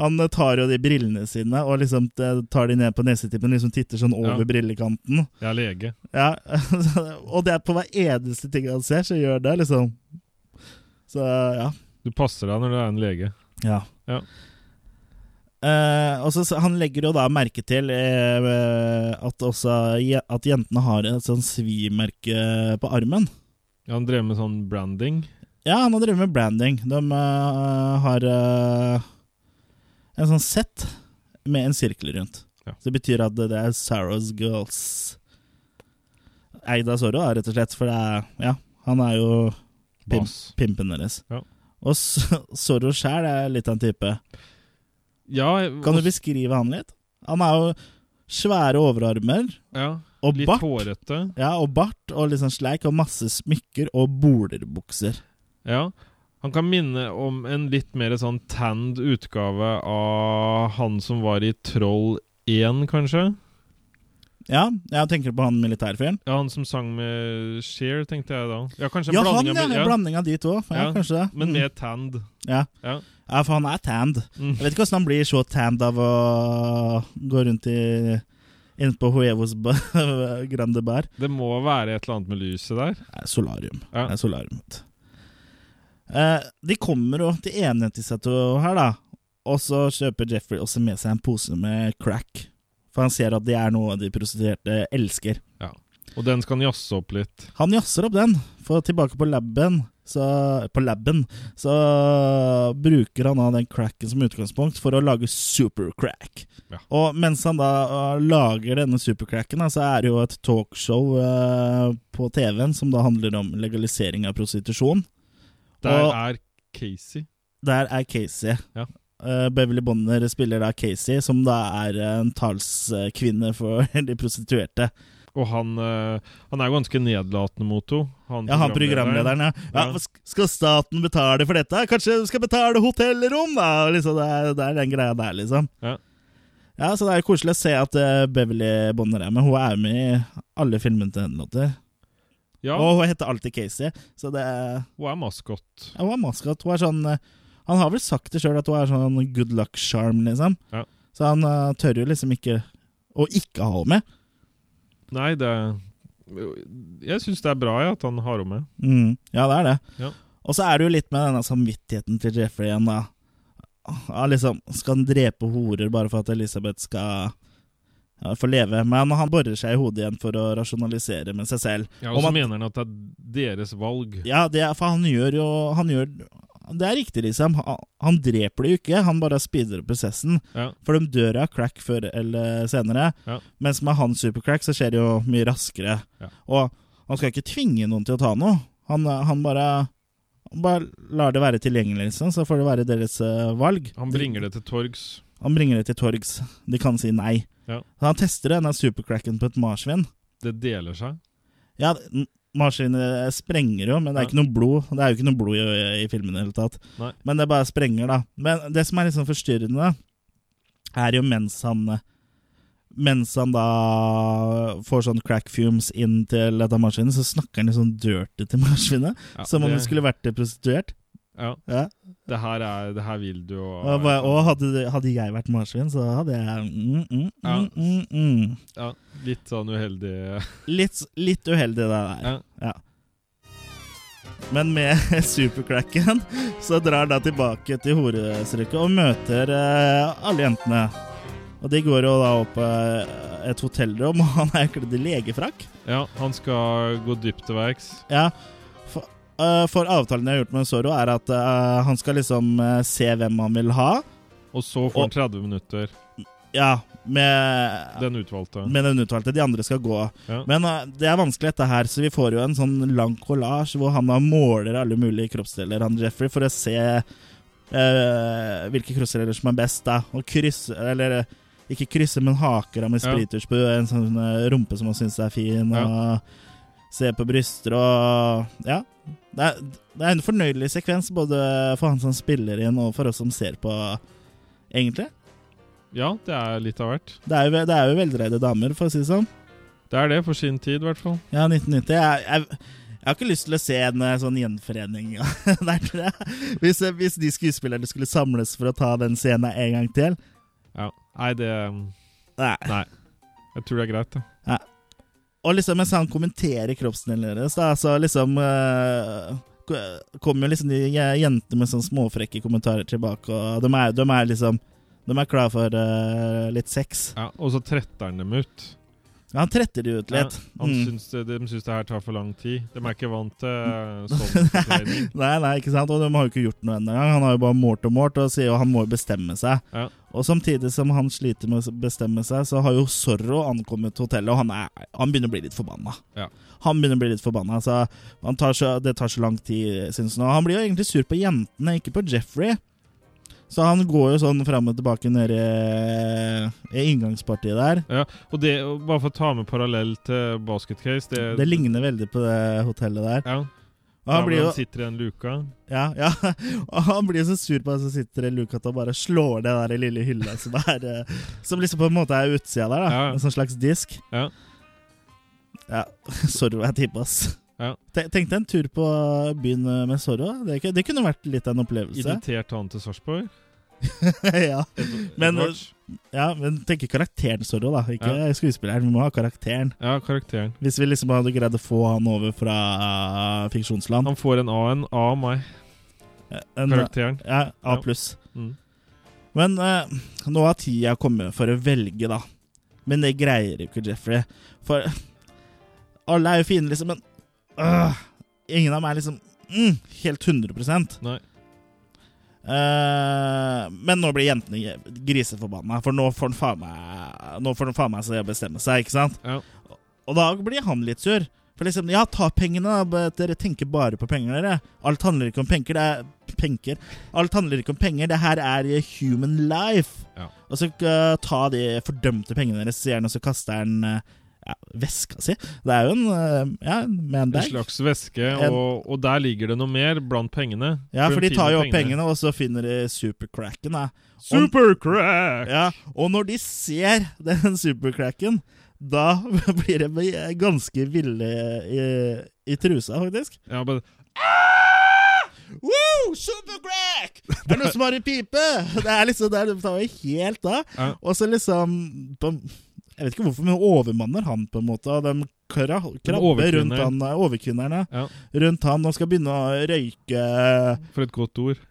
han tar jo de brillene sine og liksom eh, tar de ned på nesetippen liksom titter sånn over Ja. brillekanten. Jeg er lege. Ja, [laughs] og det er på hver eneste ting han ser, så gjør det liksom. Så ja. Du passer deg når det er en lege. Ja. Ja. Eh, og så, så han legger jo da merke til eh, at også je- at jentene har et sånn svimerke på armen. Han drev med sånn branding. Ja, han har drevet med branding. De eh, har eh, en sånn sett med en sirkel rundt. Ja. Så det betyr at det, det er Sarah's Girls. Eid av Zorro, da, rett og slett, for det er Ja, han er jo pimp, Bass. pimpen deres. Ja. Og S- [laughs] Zorro sjæl er litt av en type. Ja, Kan du beskrive han litt? Han er jo svære overarmer ja. og Litt bart. hårete. Ja, og bart og litt sånn sleik og masse smykker og bolerbukser. Ja. Han kan minne om en litt mer sånn tanned utgave av han som var i Troll 1, kanskje? Ja, jeg tenker på han militærfyren. Ja, han som sang med Sheer, tenkte jeg da. Ja, kanskje en Ja, han, blanding ja. av En blanding av de to. Ja, Ja, kanskje det. Men Mm. mer tanned. ja. Ja. ja, for han er tanned. Mm. Jeg vet ikke hvordan han blir så tanned av å gå rundt i Inne på Huevos ba- [laughs] Grande Bar. Det må være et eller annet med lyset der. Det er solarium. Ja. Det er solarium vet du. Eh, de kommer jo til enighet i seg to her, da. Og så kjøper Jeffrey også med seg en pose med crack. For han ser at det er noe de prostituerte elsker. Og den skal han jazze opp litt. Han jazzer opp den, for tilbake på laben så, på labben, så bruker han da den cracken som utgangspunkt for å lage supercrack. Ja. Og mens han da øh, lager denne supercracken, da, så er det jo et talkshow øh, på TV-en som da handler om legalisering av prostitusjon. Der Og- er Casey. Der er Casey. Ja. Eh, Beverly Bonner spiller da Casey, som da er en talskvinne for [laughs] de prostituerte. Og han, eh, han er jo ganske nedlatende mot henne. Han Ja, han programlederen, ja. ja. Ja. hva sk- Skal staten betale for dette? Kanskje du skal betale hotellrom, da? Liksom, det, er, det er den greia der, liksom. Ja. Ja, Så det er jo koselig å se at eh, Beverly Bonner er med. Hun er jo med i alle filmene til henne. Lotte. Ja, Og hun heter alltid Casey, så det er hun er maskot. Ja, hun er maskot. Hun er sånn eh, Han har vel sagt det sjøl at hun er sånn good luck charm, liksom. Ja. Så han eh, tør jo liksom ikke å ikke ha henne med. Nei, det Jeg syns det er bra ja, at han har henne med. Mm. Ja, det er det. Ja. Og så er det jo litt med denne samvittigheten til Jeffrey igjen, da. Ja, liksom, skal han drepe horer bare for at Elisabeth skal ja, få leve? Men han borer seg i hodet igjen for å rasjonalisere med seg selv. Ja, Om og så at- mener han at det er deres valg. Ja, det er, for han gjør jo Han gjør Det er riktig, liksom. Han, han dreper det jo ikke, han bare speeder opp prosessen. Ja. For de dør av crack før eller senere. Ja. Mens med hans supercrack så skjer det jo mye raskere. Ja. Og han skal ikke tvinge noen til å ta noe. Han, han bare han bare lar det være tilgjengelig, liksom, så får det være deres eh, valg. Han bringer det til torgs. han bringer det til torgs. De kan si nei. Ja. Så han tester denne supercracken på et marsvin. Det deler seg. Ja, n- marsvinet sprenger jo, men det er Ja. ikke noe blod. Det er jo ikke noe blod i, i filmen i det hele tatt. Nei. Men det bare sprenger, da. Men det som er litt sånn forstyrrende, er jo mens han Mens han da får sånn crack fumes inn til dette marsvinet, så snakker han litt sånn dirty til marsvinet. Ja, som om det- det skulle vært en prostituert. Ja, Ja. det her, er, det her vil du og Og, bare, og hadde, det- hadde jeg vært marsvin, så hadde jeg mm, mm, Ja. mm, mm, mm. ja, Litt sånn uheldig Litt, litt uheldig, det der. Ja. Ja. Men med [laughs] supercracken så drar han da tilbake til horestrøket og møter eh, alle jentene. Og de går jo da opp eh, et hotellrom, [laughs] og han er kledd i legefrakk. Ja, han skal gå dypt til verks. Ja, for, eh, for avtalen jeg har gjort med Zorro, er at eh, han skal liksom eh, se hvem han vil ha. Og så får han Og- 30 minutter, Ja, med den utvalgte. med den utvalgte. De andre skal gå. Ja. Men eh, det er vanskelig, dette her, så vi får jo en sånn lang kollasj hvor han da måler alle mulige kroppsdeler, han Jeffrey, for å se eh, hvilke kroppsdeler som er best, da. Og krysse Eller eh, ikke krysse, men haker han med Ja. spriters på en sånn eh, rumpe som han syns er fin, Ja. og se på bryster og Ja. Det er, det er en fornøyelig sekvens, både for han som spiller inn, og for oss som ser på, egentlig. Ja, det er litt av hvert. Det er jo, det er jo veldreide damer, for å si det sånn. Det er det for sin tid, i hvert fall. Ja, 1990. Jeg, jeg, jeg har ikke lyst til å se en eh, sånn gjenforening [laughs] der, tror jeg. Hvis, eh, hvis de skuespillerne skulle samles for å ta den scenen en gang til. Ja. Nei, det Nei. Nei. Jeg tror det er greit, det. Og liksom mens han kommenterer kroppsdelen deres, da, så liksom eh, k- kommer jo liksom de je- jenter med sånn småfrekke kommentarer tilbake, og de er, de er liksom De er klar for eh, litt sex. Ja, og så tretter han dem ut. Ja, han tretter de ut litt. Ja, han Mm. syns det, de syns det her tar for lang tid. De er ikke vant Mm. til sånn [laughs] forklaring. Nei, nei, ikke sant? Og de har jo ikke gjort noe ennå engang. Han har jo bare målt og målt og sier jo han må jo bestemme seg. Ja. Og samtidig som han sliter med å bestemme seg, så har jo Zorro ankommet hotellet, og han, er, han begynner å bli litt forbanna. Ja. Han begynner å bli litt forbanna, så han tar så, det tar så lang tid, syns han. Og han blir jo egentlig sur på jentene, ikke på Jeffrey. Så han går jo sånn fram og tilbake nede i- i inngangspartiet der. Ja, og det, og bare for å ta med parallell til basketcase det, Det ligner veldig på det hotellet der. Eh, ja, Og han der blir hvor jo han sitter i en luka. Ja, ja. [laughs] Og han blir så sur på at han sitter i luka og bare slår det der i lille hylla som, er, eh, som liksom på en måte er utsida der. da Ja. En sånn slags disk. Ja. Ja, [laughs] Zorro er type, ass. Ja. Te- Tenk deg en tur på byen eh, med Zorro. Det, ku- det kunne vært litt av en opplevelse. Irritert han til Sarpsborg. [laughs] ja. Men, eh, Edwards. ja, men tenk karakteren Zorro, da. Ikke skuespilleren. Vi må ha karakteren. Ja, karakteren. Hvis vi liksom hadde greid å få han over fra eh, fiksjonsland. Eh, Han får en A, en A av meg. En, Karakteren. ja, A Ja. pluss. Mm. Men eh, nå har tida kommet for å velge, da. Men det greier ikke Jeffrey. For alle er jo fine, liksom, men øh, ingen av dem er liksom mm, helt 100 Nei. Eh, Men nå blir jentene griseforbanna, for nå får han faen meg Nå får han faen meg seg bestemme seg, ikke sant? Ja. Og da blir han litt sur. For liksom, ja, ta pengene, da. men Dere tenker bare på penger, dere. Alt handler ikke om penger. Det er penker. Alt handler ikke om penger. Det her er human life. Ja. Og så eh, ta de fordømte pengene deres, sier han, og så kaster han eh, ja, veska si. Det er jo en eh, ja, en En manbag. slags væske, En- og, og der ligger det noe mer blant pengene. Ja, for de tar jo opp finner pengene, og så finner de supercracken. Da. Og, Supercrack! ja, og når de ser den supercracken, da [laughs] blir de ganske ville i, i trusa, faktisk. Ja, bare, Woo, supercrack! Er [laughs] det noen som har en pipe? Det er liksom der de tar jo helt av. Ja. Og så liksom på, Jeg vet ikke hvorfor, men overmanner han på en måte. Og de kra, krabber overkvinner. rundt han, overkvinnerne ja, rundt han og skal begynne å røyke for et godt ord.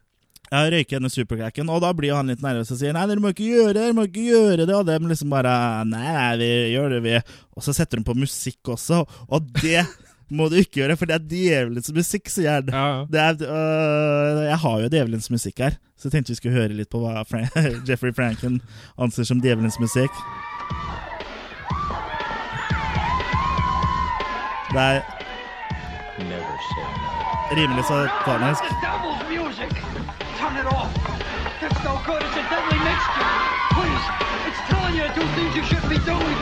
ja, røyke denne supercracken. Og da blir han litt nervøs og sier nei, dere må ikke gjøre det, dere må ikke gjøre det. Og dem liksom bare nei, nei, vi gjør det, vi. Og så setter de på musikk også, og det må du ikke gjøre, for det er djevelens musikk, sier han. Ja, ja. Det er, øh, jeg har jo djevelens musikk her, så jeg tenkte vi skulle høre litt på hva Frank, [laughs] Jeffrey Franken anser som djevelens musikk. Det er rimelig satanisk. The devil's music! Turn it off! That's no good. It's a deadly mixture. Please, it's telling you to do things you shouldn't be doing.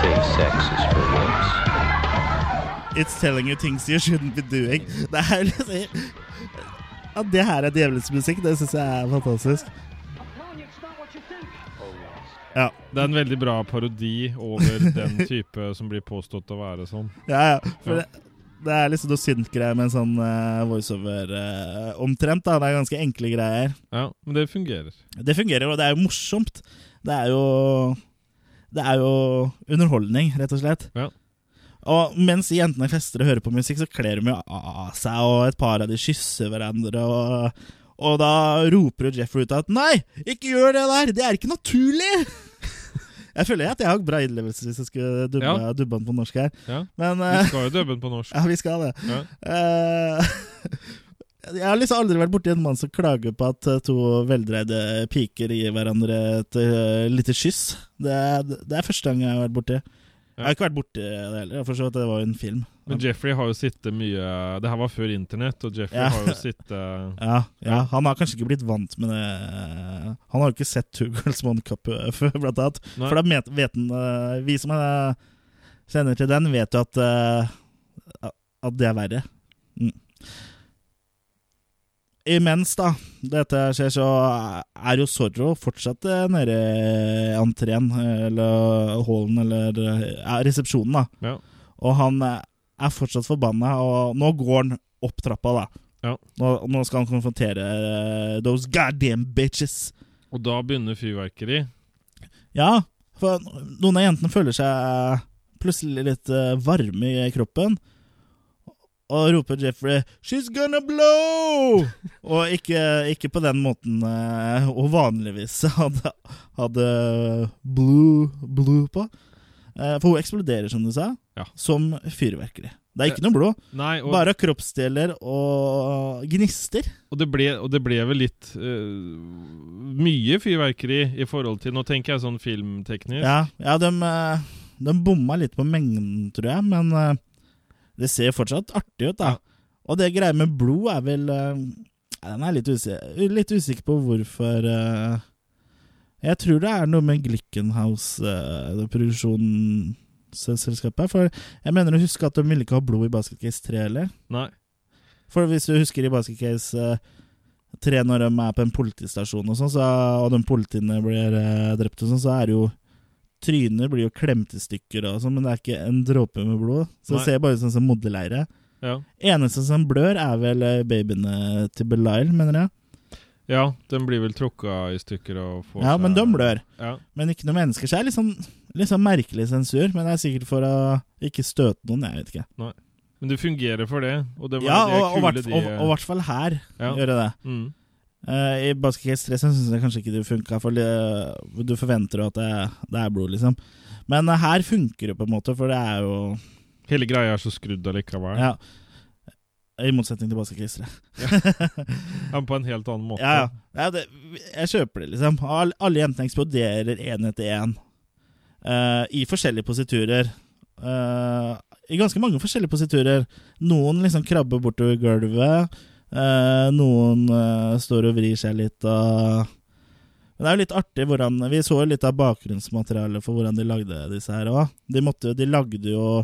Safe sex is for wimps. It's telling you things you shouldn't be doing. Det er jo liksom ja, Det her er djevelens musikk. Det syns jeg er fantastisk. telling you it's not what you think. Ja, Det er en veldig bra parodi over den [laughs] type som blir påstått å være sånn. ja, ja. For det, det er liksom noe synt-greier med en sånn eh, voiceover eh, omtrent. da Det er ganske enkle greier. Ja, men det fungerer. Det fungerer, og det er jo morsomt. Det er jo Det er jo underholdning, rett og slett. Ja. Og mens jentene fester og hører på musikk, så kler de jo av seg, og et par av de kysser hverandre, og, og da roper jo Jeffrey ut at 'Nei, ikke gjør det der! Det er ikke naturlig!' [laughs] Jeg føler at jeg har bra innlevelse hvis jeg skulle dubbe, Ja. dubbe den på norsk her. Ja. Men Vi eh, [laughs] skal jo dubbe den på norsk. ja, vi skal det. Ja. Eh, [laughs] jeg har liksom aldri vært borti en mann som klager på at eh, to veldreide piker gir hverandre et eh, lite kyss. Det er, det er første gang jeg har vært borti. Jeg har ikke vært borti det heller, for så vidt det var jo en film. Men Jeffrey har jo sittet mye Det her var før internett, og Jeffrey Ja. har jo sittet Ja, ja, Han har kanskje ikke blitt vant med det. Han har jo ikke sett Two Girls One Cup eh, [laughs] før, blant annet. Nei. For da met- vet han eh, Vi som eh, sender til den, vet jo at, eh, at det er verre. Mm. Imens, da, dette skjer, så er jo Zorro fortsatt eh, nede i entreen, eh, eller hallen, eller eh, resepsjonen, da. Ja. Og han eh, er fortsatt forbanna, og nå går han opp trappa, da. Ja. Nå, nå skal han konfrontere eh, those goddamn bitches. Og da begynner fyrverkeri. Ja, for eh, noen av jentene føler seg plutselig litt eh, varme i kroppen. Og roper Jeffrey 'She's gonna [laughs] blow!' Og ikke, ikke på den måten eh, hun vanligvis [laughs] hadde, hadde blue, blue på. Eh, For hun eksploderer, som du sa, Ja. Eh, som fyrverkeri. Det er ikke noe blod, Nei, og, bare kroppsdeler og gnister. og, det ble, og det ble vel litt eh, mye fyrverkeri i forhold til Nå tenker jeg sånn filmteknisk. Ja, ja de, eh, de bomma litt på mengden, tror jeg, men eh, det ser fortsatt artig ut, da. Og det greia med blod er vel eh, ja, Den er litt, usi litt usikker på hvorfor eh, Jeg tror det er noe med Glickenhaus-produksjonsselskapet. For jeg mener å huske at de ville ikke ha blod i Basket Case 3 heller. Nei. For hvis du husker i Basket Case eh, 3, når de er på en politistasjon og sånn, så, og de politiene blir eh, drept og sånn, så er det jo Tryner blir jo klemt i stykker og sånn, men det er ikke en dråpe med blod. Så Nei. det ser bare ut som en sånn modeleire. Ja. Eneste som blør, er vel eh, babyene til Belial, mener jeg. ja, den blir vel tråkka i stykker og får Ja, seg- men de blør. Ja. Men ikke noen mennesker. Så det er litt sånn, litt sånn merkelig sensur, men det er sikkert for å ikke støte noen, jeg vet ikke. Men det fungerer for det. Og det var Ja, det og og kule hvert- de eh, og og i hvert fall her Ja. gjør det det. mm. Eh, I Basket Case 3 syns jeg kanskje ikke det funka, for det- du forventer jo at det, det er blod, liksom. Men eh, her funker det på en måte, for det er jo Hele greia er så skrudd allikevel. Ja. I motsetning til Basket Case 3. Men på en helt annen [laughs] måte. Ja, ja. ja det, jeg kjøper det, liksom. All, alle jentene eksploderer én etter én. eh, I forskjellige positurer. Eh, I ganske mange forskjellige positurer. Noen liksom krabber bortover gulvet. eh, noen eh, står og vrir seg litt og Men det er jo litt artig hvordan Vi så jo litt av bakgrunnsmaterialet for hvordan de lagde disse her òg. De, måtte jo- de lagde jo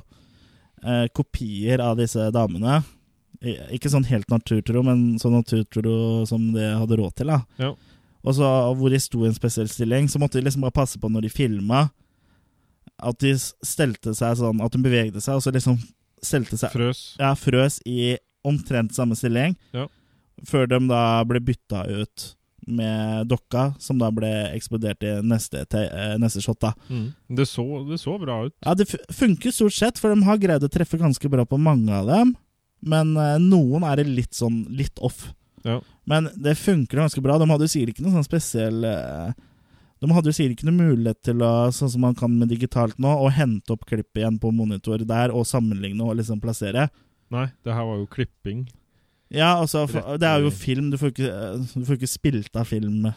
eh, kopier av disse damene. I- Ikke sånn helt naturtro, men sånn naturtro som de hadde råd til. da. Ja. Og så Hvor de sto i en spesiell stilling, så måtte de liksom bare passe på når de filma, at de s- stelte seg sånn at de bevegde seg, og så liksom stelte seg Frøs. ja, frøs i omtrent samme stilling, Ja. før de da ble bytta ut med dokka, som da ble eksplodert i neste, te eh, neste shot. da. Mm. Det, så, det så bra ut. Ja, det fu- funker stort sett, for de har greid å treffe ganske bra på mange av dem. Men eh, noen er det litt sånn litt off. Ja. Men det funker ganske bra. De hadde jo sikkert ikke noe sånn spesiell eh, De hadde jo sikkert ikke noe mulighet til å, sånn som man kan med digitalt nå, å hente opp klippet igjen på monitor der og sammenligne og liksom plassere. Nei, det her var jo klipping. Ja, altså, Rett for, det er i- jo film. Du får ikke, eh, du får ikke spilt av film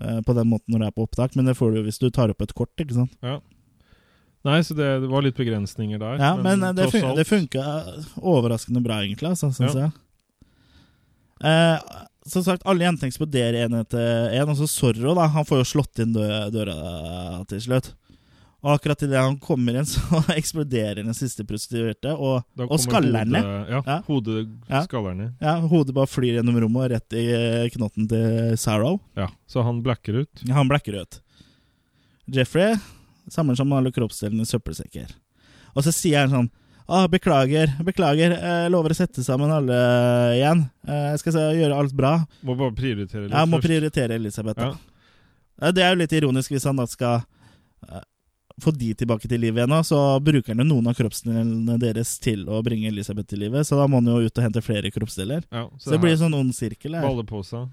eh, på den måten når det er på opptak, men det får du jo hvis du tar opp et kort, ikke sant. Nei, så det, det var litt begrensninger der. Ja, men, eh, det, tross fun alt- det funka overraskende bra, egentlig, altså, syns Ja. jeg. Eh, som sagt, alle jentene eksploderer én etter én. Også Zorro, da. Han får jo slått inn dø døra til slutt. Og akkurat idet han kommer inn, [laughs] så eksploderer den siste prostituerte, og, Da og kommer skalleren ned. hodet- Ja, Ja. hodet Ja. skaller ned. Ja, hodet bare flyr gjennom rommet og rett i eh, knotten til Sarrow. Ja, så han blacker ut. Ja, Han blekker ut. Jeffrey samler sammen alle kroppsdelene i søppelsekker. Og så sier han sånn ah, 'Beklager, beklager. Jeg lover å sette sammen alle igjen. Eh, Jeg skal se- gjøre alt bra. Må bare prioritere litt Jeg må først. prioritere Elisabeth.' da. Ja. Eh, Det er jo litt ironisk hvis han da skal eh, få de tilbake til livet igjen, nå, så bruker han jo noen av kroppsdelene deres til å bringe Elisabeth til livet, så da må han jo ut og hente flere kroppsdeler. Ja, Så det blir en sånn ond sirkel. her. Baller på seg.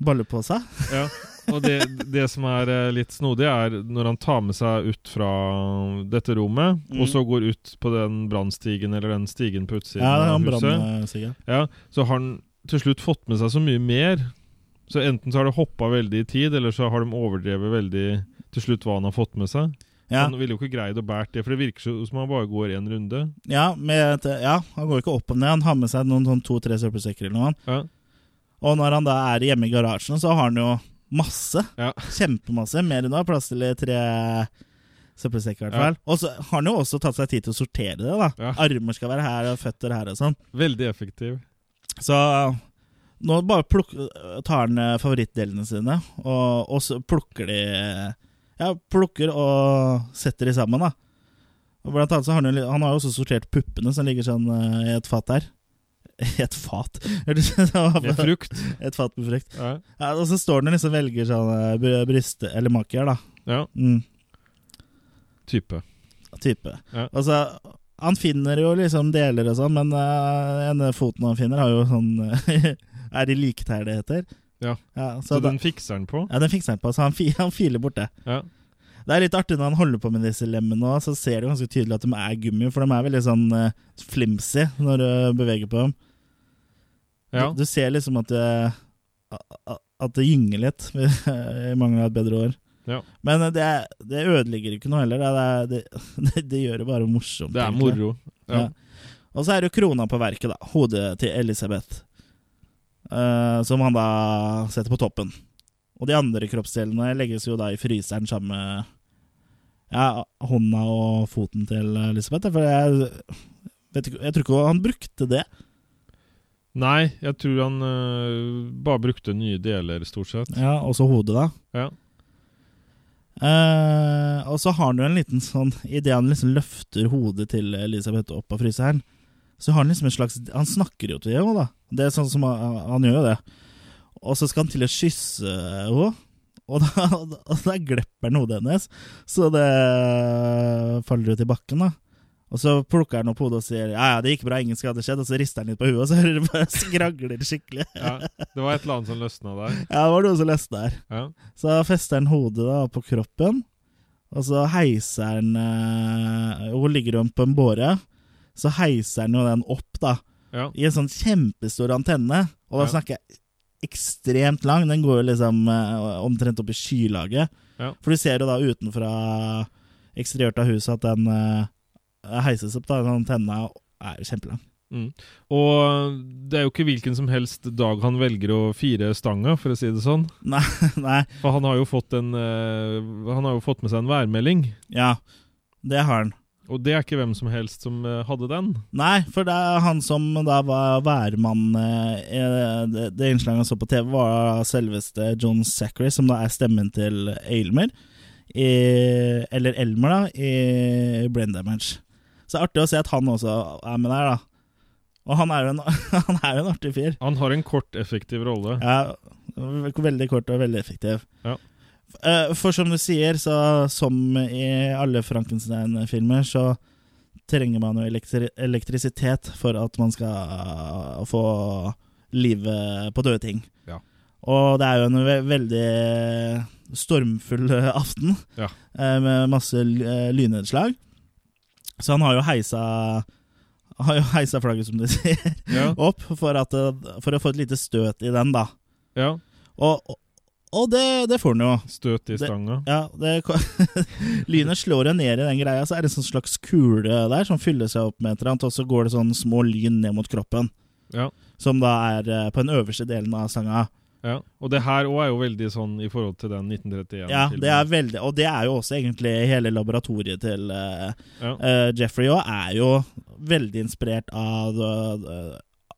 Balle på seg. Ja. Og det, det som er eh, litt snodig, er når han tar med seg ut fra dette rommet, Mm. og så går ut på den brannstigen eller den stigen på utsiden Ja, av han huset, brann seg. ja, så har han til slutt fått med seg så mye mer. Så enten så har det hoppa veldig i tid, eller så har de overdrevet veldig til slutt hva han har fått med seg. Ja. Han ville jo ikke greid å bære det, for det virker så- som han bare går én runde. Ja, med, et- ja, han går ikke opp og ned. Han har med seg noen sånn to-tre søppelsekker eller noe. Ja. Og når han da er hjemme i garasjen, så har han jo masse. Ja. Kjempemasse. Mer enn å ha plass til i tre søppelsekker, i hvert Ja. fall. Og så har han jo også tatt seg tid til å sortere det. da Ja. Armer skal være her, og føtter her og sånn. Veldig effektiv. Så nå bare plukk, tar han eh, favorittdelene sine, og, og så plukker de Ja, plukker og setter de sammen, da. Og blant annet så har han, jo li- han har jo også sortert puppene som ligger sånn eh, i et fat her. [laughs] I et fat? Med [laughs] et frukt. fat med frukt. Ja. Ja, og så står han og liksom velger sånn eh, bry- bryste... Eller maker, da. ja. Mm, Type. type. Ja. Og så Han finner jo liksom deler og sånn, men eh, ene foten han finner, har jo sånn [laughs] Er det liktær det heter? Ja. Ja, så Så da, den fikser den på. ja, den fikser han på, så han, fi, han filer bort det. Ja. Det er litt artig når han holder på med disse lemmene òg, så ser du ganske tydelig at de er gummi, for de er veldig sånn eh, flimsy når du beveger på dem. ja. Du, du ser liksom at det, at det gynger litt, [laughs] i mangel av et bedre ord. Ja. Men eh, det, er- det ødelegger ikke noe heller. Det, er- det, [laughs] det, det gjør det bare morsomt. Det er egentlig. moro. Ja. Ja. Og så er det jo krona på verket, da. Hodet til Elisabeth. Eh, som han da setter på toppen. Og de andre kroppsdelene legges jo da i fryseren sammen med ja, hånda og foten til Elisabeth. da, For jeg, vet ikke, jeg tror ikke han brukte det. Nei, jeg tror han øh, bare brukte nye deler, stort sett. Ja, Også hodet, da. Ja. Eh, og så har han jo en liten sånn Idet han liksom løfter hodet til Elisabeth opp av fryseren, så har han liksom en slags Han snakker jo til henne, da. Det er sånn som Han, han gjør jo det. Og så skal han til å kysse henne, [laughs] og da, og da glepper han hodet hennes. Så det faller jo til bakken, da. Og så plukker han opp hodet og sier ja, ja, det gikk bra, ingen skade skjedd. Og så rister han litt på huet, og så hører du bare [laughs] skragler skikkelig. ja. Det var et eller annet som løsna der. Ja, det var noe som løsna her. Ja. Så fester han hodet da på kroppen, og så heiser han eh, Hun ligger hun på en båre, så heiser han jo den opp, da, Ja. i en sånn kjempestor antenne. Og da Ja. snakker jeg ekstremt lang, den går jo liksom eh, omtrent opp i skylaget. Ja. For du ser jo da utenfra eksteriørt av huset at den eh, heises opp, da. Den antenna er jo kjempelang. [laughs] Mm. Og det er jo ikke hvilken som helst dag han velger å fire stanga, for å si det sånn. Nei, nei, For han har jo fått, en, øh, han har jo fått med seg en værmelding, ja. Det har han. og det er ikke hvem som helst som øh, hadde den. Nei, for det er han som da var værmann eh, i det, det innslaget han så på TV, var selveste John Zachary, som da er stemmen til Aylmer. I, eller Elmer, da, i Brain Damage. Så det er artig å se at han også er med der, da. Og han er jo en, [laughs] han er jo en artig fyr. Han har en kort, effektiv rolle. Ja, veldig kort og veldig effektiv. Ja. Eh, For som du sier, så som i alle Frankenstein-filmer, så trenger man jo elektri elektrisitet for at man skal eh, få livet på døde ting. Ja. Og det er jo en ve veldig stormfull eh, aften, Ja. eh, med masse l- eh, lynnedslag. Så han har jo heisa, har jo heisa flagget, som du sier Ja. opp for, at, det- for å få et lite støt i den, da. ja. Og, og- og det, det får den jo. Støt i Det- stanga. Ja, det, ko- [laughs] lynet slår jo ned i den greia, så er det en sånn slags kule der som fyller seg opp med et eller annet, og så går det sånn små lyn ned mot kroppen, Ja. som da er eh, på den øverste delen av stanga. Ja, og det her òg er jo veldig sånn i forhold til den 1931-filmen. Ja, det er veldig, og det er jo også egentlig hele laboratoriet til eh, Ja. eh, Jeffrey òg, er jo veldig inspirert av eh,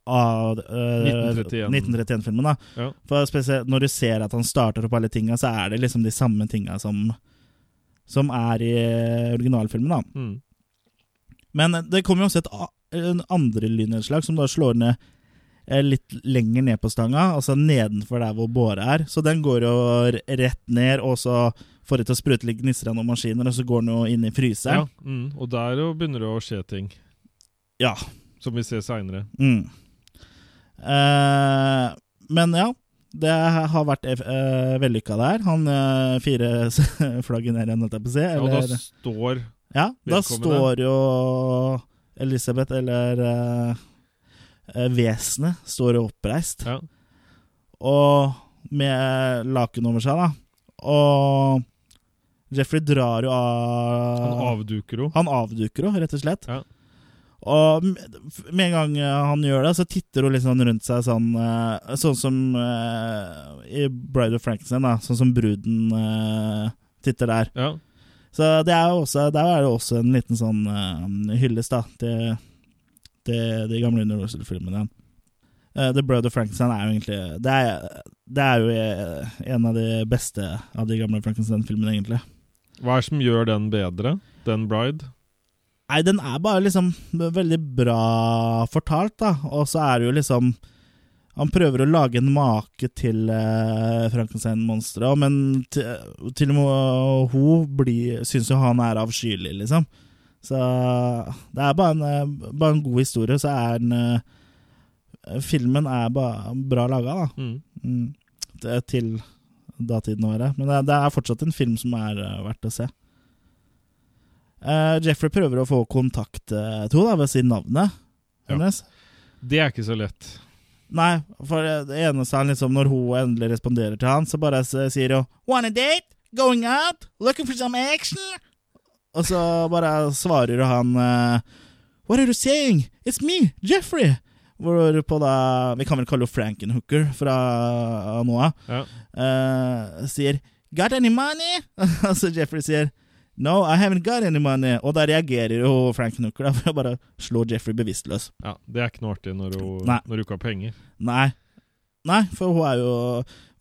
av eh, 1931. 1931-filmen. da Ja. For spesielt Når du ser at han starter opp alle tinga, så er det liksom de samme tinga som Som er i eh, originalfilmen. da Mm. Men eh, det kommer jo også et a- en andre lynnedslag som da slår ned eh, litt lenger ned på stanga, altså nedenfor der hvor båret er. Så den går jo r- rett ned, og så får det til å sprute litt gnisser av noen maskiner, og så går den jo inn i ja fryseren. mm. Og der jo begynner det å skje ting, Ja. som vi ser seinere. Mm. Eh, men ja, det har vært eh, vellykka der. Han uh, fire [laughs] flagget ned igjen, holdt jeg på å si. Ja, og da Eller, står Ja, da Velkommen, står jo Elisabeth, eller eh, eh, vesenet, står jo oppreist. ja. Og med laken over seg, da. Og Jeffrey drar jo av Han avduker henne. Han avduker henne, rett og slett. Ja. Og med med en gang eh, han gjør det, så titter hun litt sånn rundt seg sånn eh, Sånn som eh, i Bride of Frankenstein, da. Sånn som bruden eh, titter der. Ja. Så det er jo også, der er det også en liten sånn eh, hyllest da, til, til de gamle Universal-filmene. Eh, The Brother Frankenstein er jo egentlig Det er, det er jo eh, en av de beste av de gamle Frankenstein-filmene, egentlig. Hva er det som gjør den bedre? Den Bride? Nei, den er bare liksom veldig bra fortalt, da. Og så er det jo liksom Han prøver å lage en make til eh, Frankenstein-monsteret, men til, til og med hun blir, syns jo han er avskyelig, liksom. Så det er bare en, eh, bare en god historie, så er den eh, Filmen er ba, bra laga, da. Mm. Mm. Det er til datidene våre. Men det, det er fortsatt en film som er eh, verdt å se. Eh, Jeffrey prøver å få kontakt uh, to da, ved å si navnet Ja. hennes. Det er ikke så lett. Nei, for eh, det eneste han liksom Når hun endelig responderer til han, så bare s- eh, sier hun Wanna date? Going out? Looking for some action? Og så bare svarer han eh, What are you saying? It's me, Jeffrey! Hvorpå da Vi kan vel kalle henne Frankenhooker fra nå av. Ja. eh, sier Got any money? [laughs] Og så Jeffrey sier No, I haven't got any money. Og da reagerer jo Frankenhooker da, for å bare slå Jeffrey bevisstløs. Ja, det er ikke noe artig når hun, Nei. når hun ikke har penger. Nei. Nei, for hun er jo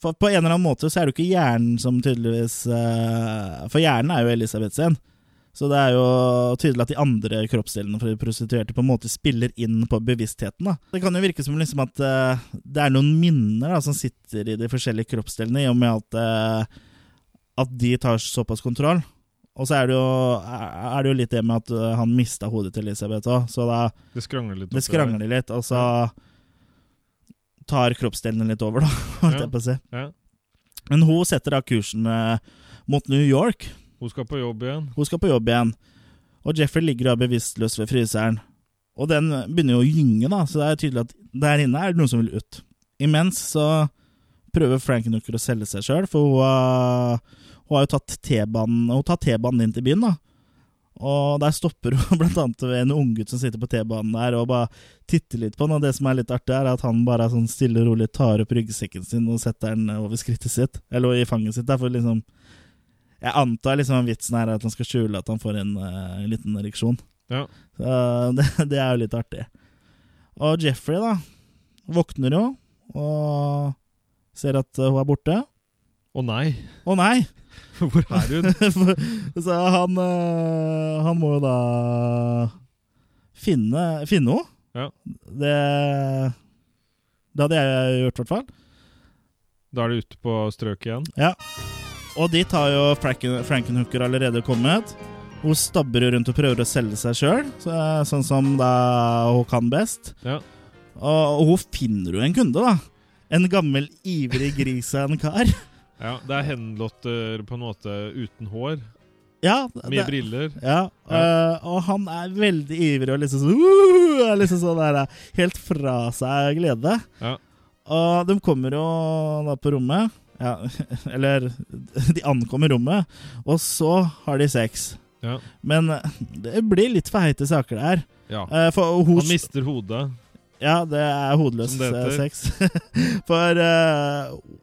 For på en eller annen måte så er det jo ikke hjernen som tydeligvis eh, For hjernen er jo Elisabeth sin. Så det er jo tydelig at de andre kroppsdelene for de prostituerte på en måte spiller inn på bevisstheten. da. Det kan jo virke som liksom at eh, det er noen minner da, som sitter i de forskjellige kroppsdelene, i og med at, eh, at de tar såpass kontroll. Og så er det jo, er det jo litt det med at eh, han mista hodet til Elisabeth òg, så da Det skrangler litt. det oppi der. skrangler litt, og så tar kroppsdelene litt over, da. [laughs] holdt jeg på å si. Ja. Men hun setter da kursen eh, mot New York. Hun skal på jobb igjen. Hun skal på jobb igjen. Og Jeffrey ligger da bevisstløs ved fryseren. Og den begynner jo å gynge, da, så det er tydelig at der inne er det noen som vil ut. Imens så prøver Frankenhooker å selge seg sjøl, for hun, har- hun har jo tatt T-banen Hun tar T-banen inn til byen, da. Og der stopper hun [laughs] blant annet ved en unggutt som sitter på T-banen der og bare titter litt på han. Og det som er litt artig, er at han bare sånn stille og rolig tar opp ryggsekken sin og setter den over skrittet sitt, eller i fanget sitt. Der, for liksom Jeg antar liksom vitsen her er at han skal skjule at han får en eh, liten ereksjon. Ja. Så [laughs] det, det er jo litt artig. Og Jeffrey, da, våkner jo og ser at eh, hun er borte. Å nei, [laughs] Å nei! [laughs] hvor er hun? Så han, eh, han må jo da finne, finne henne. Ja. Det, det hadde jeg gjort, i hvert fall. Da er du ute på strøket igjen. Ja. Og dit har jo Franken, Frankenhooker allerede kommet. Hun stabber jo rundt og prøver å selge seg sjøl, så, sånn som da hun kan best. Ja. Og, og hun finner jo en kunde, da. En gammel, ivrig gris av en kar. Ja, det er henlotter på en måte uten hår, Ja, med det, briller. ja, øh, og han er veldig ivrig og liksom sånn «Woo!» er liksom sånn der, Helt fra seg av glede. Ja. Og de kommer jo da på rommet. Ja, [laughs] eller De ankommer rommet, og så har de sex. Ja. Men det blir litt for heite saker der. ja. Eh, For hun Han mister hodet. Ja, det er hodeløs Som det eh, heter. sex. [laughs] For eh,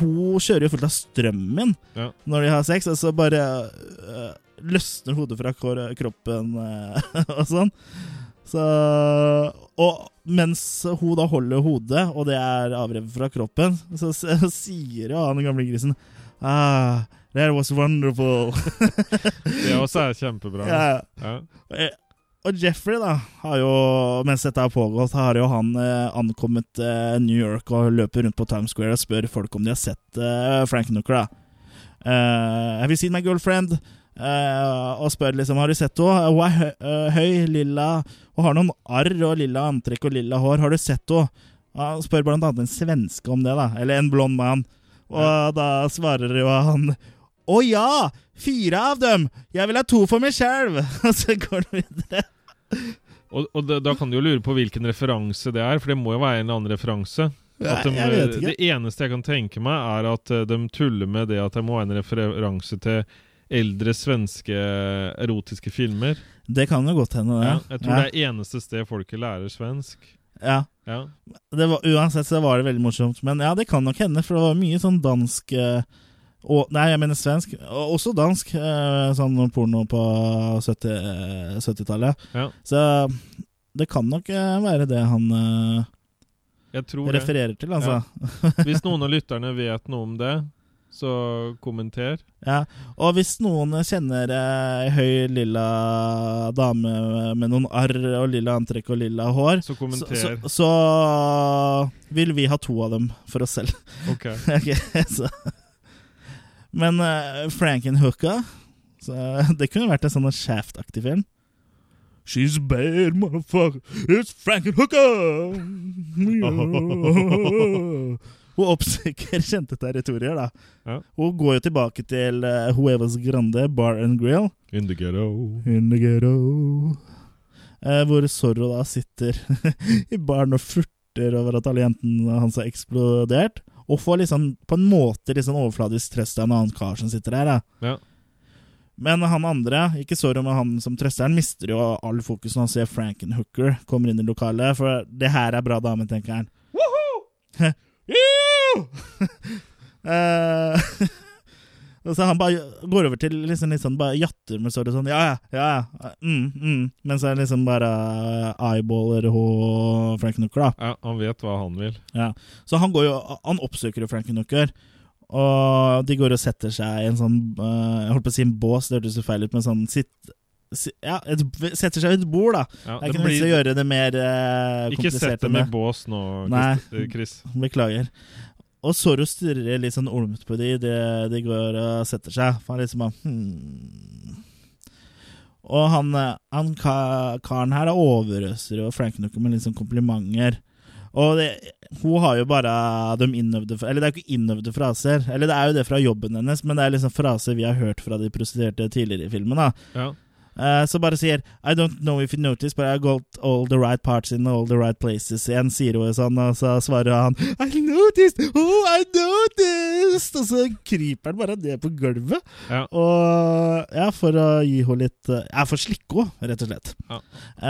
hun kjører jo fullt av strømmen Ja. når de har sex, og så bare eh, løsner hodet fra kor- kroppen eh, [laughs] og sånn. Så Og mens hun da holder hodet, og det er avrevet fra kroppen, så s- [laughs] sier jo han gamle grisen ah, That was wonderful. Det også er kjempebra. Ja. [laughs] Ja. Eh, Og Jeffrey, da, har jo, mens dette har pågått, har jo han eh, ankommet eh, New York og løper rundt på Times Square og spør folk om de har sett eh, Frank Nooker, da. Eh, have you seen my girlfriend? Eh, og spør liksom har du sett henne. Hun er hø eh, høy, lilla Hun har noen arr og lilla antrekk og lilla hår. Har du sett henne? Ja, Han spør blant annet en svenske om det, da. Eller en blond mann. Og da svarer jo han Å ja! Fire av dem! Jeg vil ha to for meg sjøl! [laughs] Og så går det videre. Og, og det, da kan du jo lure på hvilken referanse det er, for det må jo være en eller annen referanse. At de, Nei, jeg vet ikke. Det eneste jeg kan tenke meg, er at eh, de tuller med det at det må være en referanse til eldre svenske erotiske filmer. Det kan jo godt hende, det. Ja, jeg tror ja. det er eneste sted folket lærer svensk. ja. Ja. Det var, uansett så var det veldig morsomt. Men ja, det kan nok hende, for det var mye sånn dansk eh, og, Nei, jeg mener svensk. Og også dansk. eh, Sånn porno på 70, eh, 70-tallet. Ja. Så det kan nok eh, være det han eh, Jeg tror det. refererer til, altså. Hvis noen av lytterne vet noe om det, så kommenter. Ja. Og hvis noen kjenner ei høy, lilla dame med noen arr og lilla antrekk og lilla hår, Så så, kommenter. så, så vil vi ha to av dem for oss selv. Ok. [laughs] Ok, så. Men uh, Frankenhooka eh, Så [laughs] eh, det kunne vært en sånn Shaft-aktig film. She's a bad motherfucker, it's Frankenhooker! [laughs] Hun oppsøker kjente territorier, da. Ja. Hun går jo tilbake til eh, Huevas Grande Bar and Grill. In the ghetto. In the ghetto. Eh, hvor Zorro da sitter [laughs] i baren og furter over at alle jentene hans har eksplodert. Og får liksom på en måte litt sånn overfladisk trøst av en annen kar som sitter der. Da. Ja. Men han andre, ikke Zorro, men han som trøsteren, mister jo all fokus når han ser Frankenhooker kommer inn i lokalet. For det her er bra dame, tenker han. [laughs] Woohoo! Eh, [laughs] Og så han bare går over til liksom litt sånn bare jatter med såret sånn Ja, ja, ja, ja. Mm, mm. Mens han liksom bare eyeballer og Frankenhooker, da. Ja, han vet hva han vil. Ja. Så han går jo Han oppsøker jo Frankenhooker. Og de går og setter seg i en sånn eh, Jeg holdt på å si en bås, det hørtes jo feil ut, men sånn sitt, si- ja, et, setter seg ved et bord, da. Ja, det er det ikke noe vits i å blir- gjøre det mer eh, Ikke komplisert. sett enn dem i bås nå, Nei. Chris. eh, Chris. Beklager. Og Zorro stirrer litt sånn olmt på de idet de går og setter seg. For han liksom bare hmm. Og han, eh, han ka- karen her da overøser jo Frankenhooker med litt sånn komplimenter. Og det, hun har jo bare de innøvde Eller det er jo ikke innøvde fraser. Eller det er jo det fra jobben hennes, men det er liksom fraser vi har hørt fra de prostituerte tidligere i filmen. da Ja. Eh, Så bare sier I don't know if you noticed, but I got all the right parts in all the right places. Igjen sier hun sånn, og så svarer han I noticed! Oh, I noticed! Og så kryper han bare ned på gulvet. Ja. Og ja, for å gi henne litt eh, Ja, for å slikke henne, rett og slett. Ja.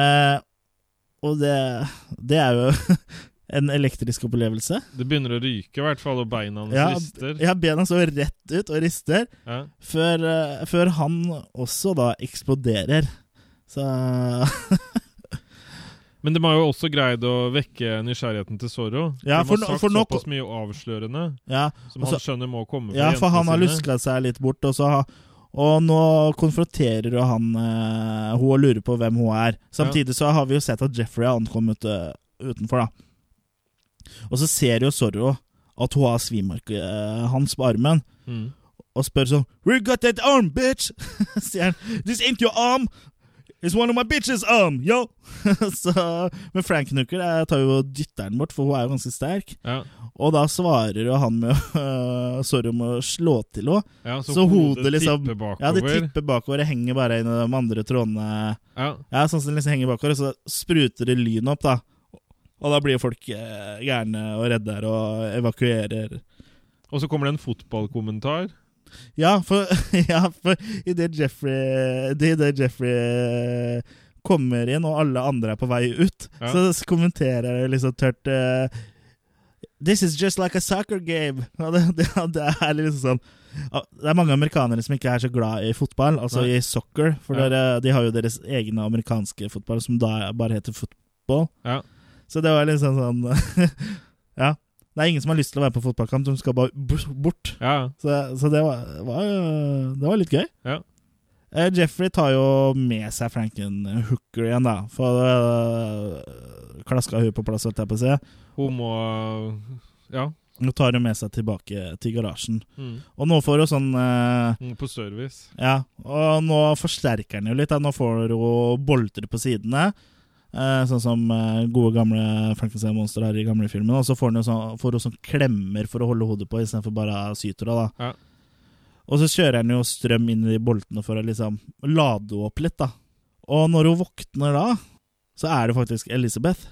Eh, og det Det er jo [laughs] en elektrisk opplevelse. Det begynner å ryke, i hvert fall, og beina hans Ja, rister. ja, bena så rett ut og rister. Ja. Før, eh, før han også da eksploderer. Så Men de har jo også greid å vekke nysgjerrigheten til Zorro. Ja, de for har nå- sagt for nå- såpass mye avslørende Ja, som og så- han skjønner må komme fra ja for han har sine. luska seg litt bort, og, så, har- og nå konfronterer jo han eh, hun og lurer på hvem hun er. Samtidig så har vi jo sett at Jeffrey har ankommet eh, utenfor, da. Og så ser jo Zorro at hun har svimerket eh, hans på armen, Mm. og spør sånn We got that arm, bitch! [laughs] sier han. This ain't your arm! It's one of my bitches arm, yo! [laughs] så, men Frankenhooker eh, tar jo dytteren bort, for hun er jo ganske sterk. Ja. Og da svarer jo han med å- [laughs] Sorry om å slå til henne. ja, Så, hodet liksom Altså, tipper bakover. Ja, det tipper bakover. Det henger bare inn i de andre trådene. Ja. Ja, sånn som det liksom henger bakover, og så spruter det lyn opp, da. Og da blir folk eh, gærne og redde her og evakuerer. Og så kommer det en fotballkommentar. Ja, for, [laughs] ja, for idet Jeffrey, det, det Jeffrey kommer inn, og alle andre er på vei ut, Ja. så s- kommenterer jeg liksom tørt eh, This is just like a soccer game. [laughs] Og det, det, det er liksom sånn ah, Det er mange amerikanere som ikke er så glad i fotball, altså i Nei. soccer. For Ja. dere, de har jo deres egne amerikanske fotball, som da bare heter fotball. Ja. Så det var liksom sånn [laughs] Ja. Det er ingen som har lyst til å være på fotballkamp, de skal bare b- bort. Ja, Så, så det, var, var, jo- det var litt gøy. Ja. Eh, Jeffrey tar jo med seg Franken Hooker igjen, da. For uh, klaska hun på plass, holdt jeg på å si. hun må Ja. Nå tar hun med seg tilbake til garasjen. Mm. Og nå får hun sånn eh, Hun på service. Ja, og nå forsterker han jo litt. Da. Nå får hun bolter på sidene. eh, sånn som eh, gode, gamle Frankenstein-monstre har i gamle filmer. Og så får hun jo sånn, får hun sånn klemmer for å holde hodet på, istedenfor bare syter henne. da. Ja. Og så kjører han jo strøm inn i de boltene for å liksom lade henne opp litt. da. Og når hun våkner da, så er det faktisk Elizabeth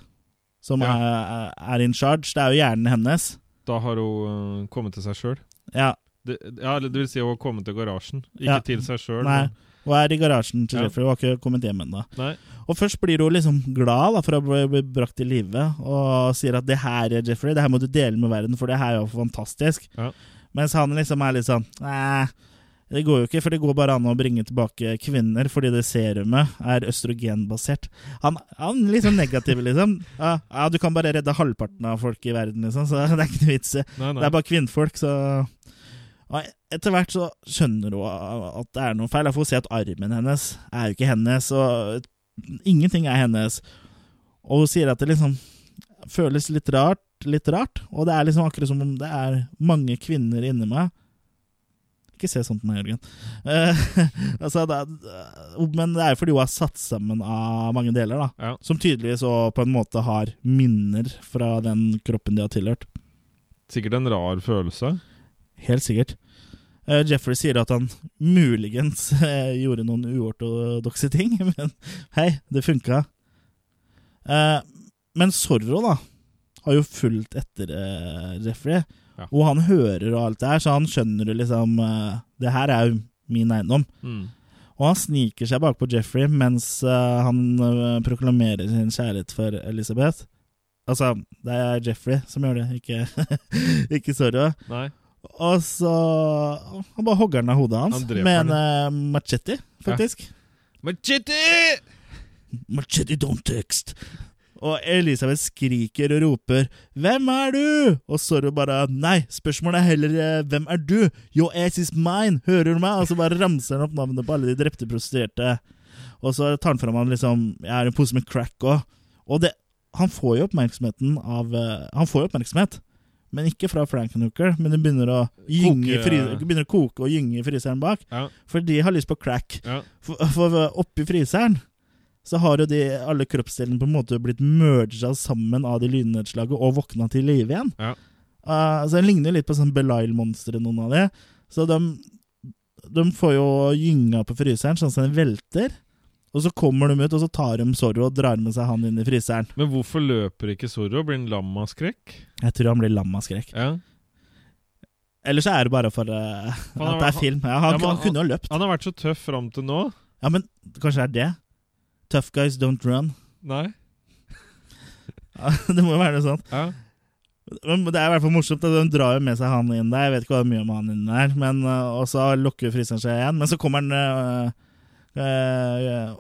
som er, er in charge. Det er jo hjernen hennes. Da har hun øh, kommet til seg sjøl. Ja, Ja, eller det vil si hun har kommet til garasjen, ikke Ja. til seg sjøl. nei. Hun er i garasjen til Ja. Jeffrey, hun har ikke kommet hjem ennå. Nei. Og først blir hun liksom glad da, for å bli bli brakt til live, og sier at det her, Jeffrey, det her må du dele med verden, for det her er jo fantastisk. Ja. Mens han liksom er litt sånn Nei, det går jo ikke, for det går bare an å bringe tilbake kvinner fordi det serumet er østrogenbasert. Han, han er litt sånn negativ, liksom. Ja, ja, du kan bare redde halvparten av folk i verden, liksom, så [laughs] det er ikke noe vits i. Nei, Det nei. er bare kvinnfolk, så og Etter hvert så skjønner hun at det er noe feil. Jeg får se at armen hennes er jo ikke hennes, og ingenting er hennes. Og hun sier at det liksom føles litt rart, litt rart. Og det er liksom akkurat som om det er mange kvinner inni meg. Ikke se sånt på meg, Jørgen. Eh, [laughs] altså, det er, men det er jo fordi hun er satt sammen av mange deler, da. Ja. Som tydeligvis også på en måte har minner fra den kroppen de har tilhørt. Sikkert en rar følelse. Helt sikkert. Eh, Jeffrey sier at han muligens eh, gjorde noen uortodokse ting, [laughs] men hei, det funka. Eh, men Zorro, da, har jo fulgt etter eh, Jeffrey, Ja. og han hører og alt det her, så han skjønner jo liksom eh, Det her er jo min eiendom. Mm. Og han sniker seg bakpå Jeffrey mens eh, han eh, proklamerer sin kjærlighet for Elizabeth. Altså, det er Jeffrey som gjør det, ikke, ikke [laughs] Zorro. Nei. Og så Han bare hogger den av hodet hans Han dreper med en eh, machete, faktisk. Machete! Machete don't text. Og Elisabeth skriker og roper 'Hvem er du?' Og Zorro bare 'Nei, spørsmålet er heller eh, 'Hvem er du?' 'Your ass is mine', hører du meg? Og så bare ramser han opp navnet på alle de drepte prostituerte. Og så tar han fram han liksom 'Jeg er en pose med crack' òg. Og det, han får jo oppmerksomheten av eh, Han får jo oppmerksomhet, men ikke fra Frankenhooker. Men det begynner å, gynge, i Koke. fry- begynner å koke og gynge i fryseren bak, Ja, for de har lyst på crack. ja. For, for oppi fryseren så har jo de alle kroppsdelene på en måte blitt merga sammen av det lynnedslaget og våkna til live igjen. Ja. Eh, så Den ligner jo litt på sånn Belial-monstre, noen av de. Så de, de får jo gynga på fryseren, sånn at den velter. Og så kommer de ut, og så tar de Zorro og drar med seg han inn i fryseren. Men hvorfor løper ikke Zorro? Blir han lam av skrekk? Jeg tror han blir lam av skrekk. Ja. Eller så er det bare for eh, at det er film. Ja, han, Ja, men han kunne jo løpt. Han har vært så tøff fram til nå. Ja, men kanskje det er det? Tough guys don't run. [laughs] Nei. Ja, det må jo være noe sånt. Ja. Men det er i hvert fall morsomt at de drar jo med seg han inn der. Jeg vet ikke hva det er mye om han inn der, men, øh, og så lukker fryseren seg igjen. Men så kommer han øh, øh,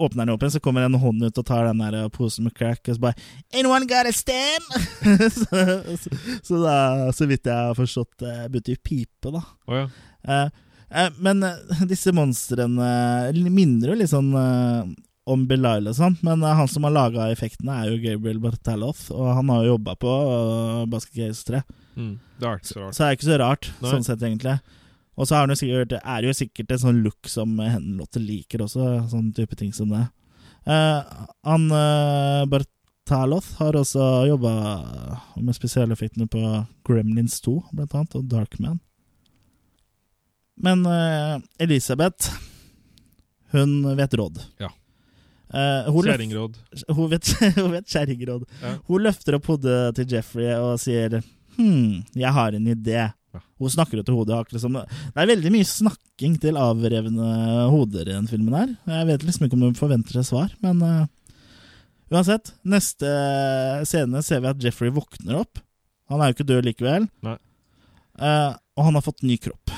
Åpner den opp igjen, så kommer en hånd ut og tar den der øh, posen med crack. Og så bare Anyone got a stem? [laughs] så, så, så da, så vidt jeg har forstått, øh, begynte jo pipe, da. Å ja. Eh, eh, men eh, [laughs] disse monstrene eh, minner jo litt sånn eh, om Belial og sånt, men eh, han som har laga effektene, er jo Gabriel Bartaloff, og han har jo jobba på eh, Basket Case 3, Mm. Det er ikke så rart. så det er ikke så rart, Nei. sånn sett, egentlig. Og så er det jo sikkert, er det jo sikkert en sånn look som eh, Henlotte liker også, sånn type ting som det. Eh, han eh, Bartaloff har også jobba med spesialeffektene på Gremlins 2, blant annet, og Darkman. Men eh, Elisabeth, hun vet råd. Ja. Eh, hun, løf, Kjerringråd. hun vet, [laughs] hun vet kjerringråd. Ja. Hun løfter opp hodet til Jeffrey og sier Hm, jeg har en idé. Ja. Hun snakker jo til hodet. akkurat som- Det er veldig mye snakking til avrevne hoder i den filmen her. Jeg vet liksom ikke om hun forventer seg svar, men eh, Uansett, neste eh, scene ser vi at Jeffrey våkner opp. Han er jo ikke død likevel. Nei. Eh, og han har fått ny kropp.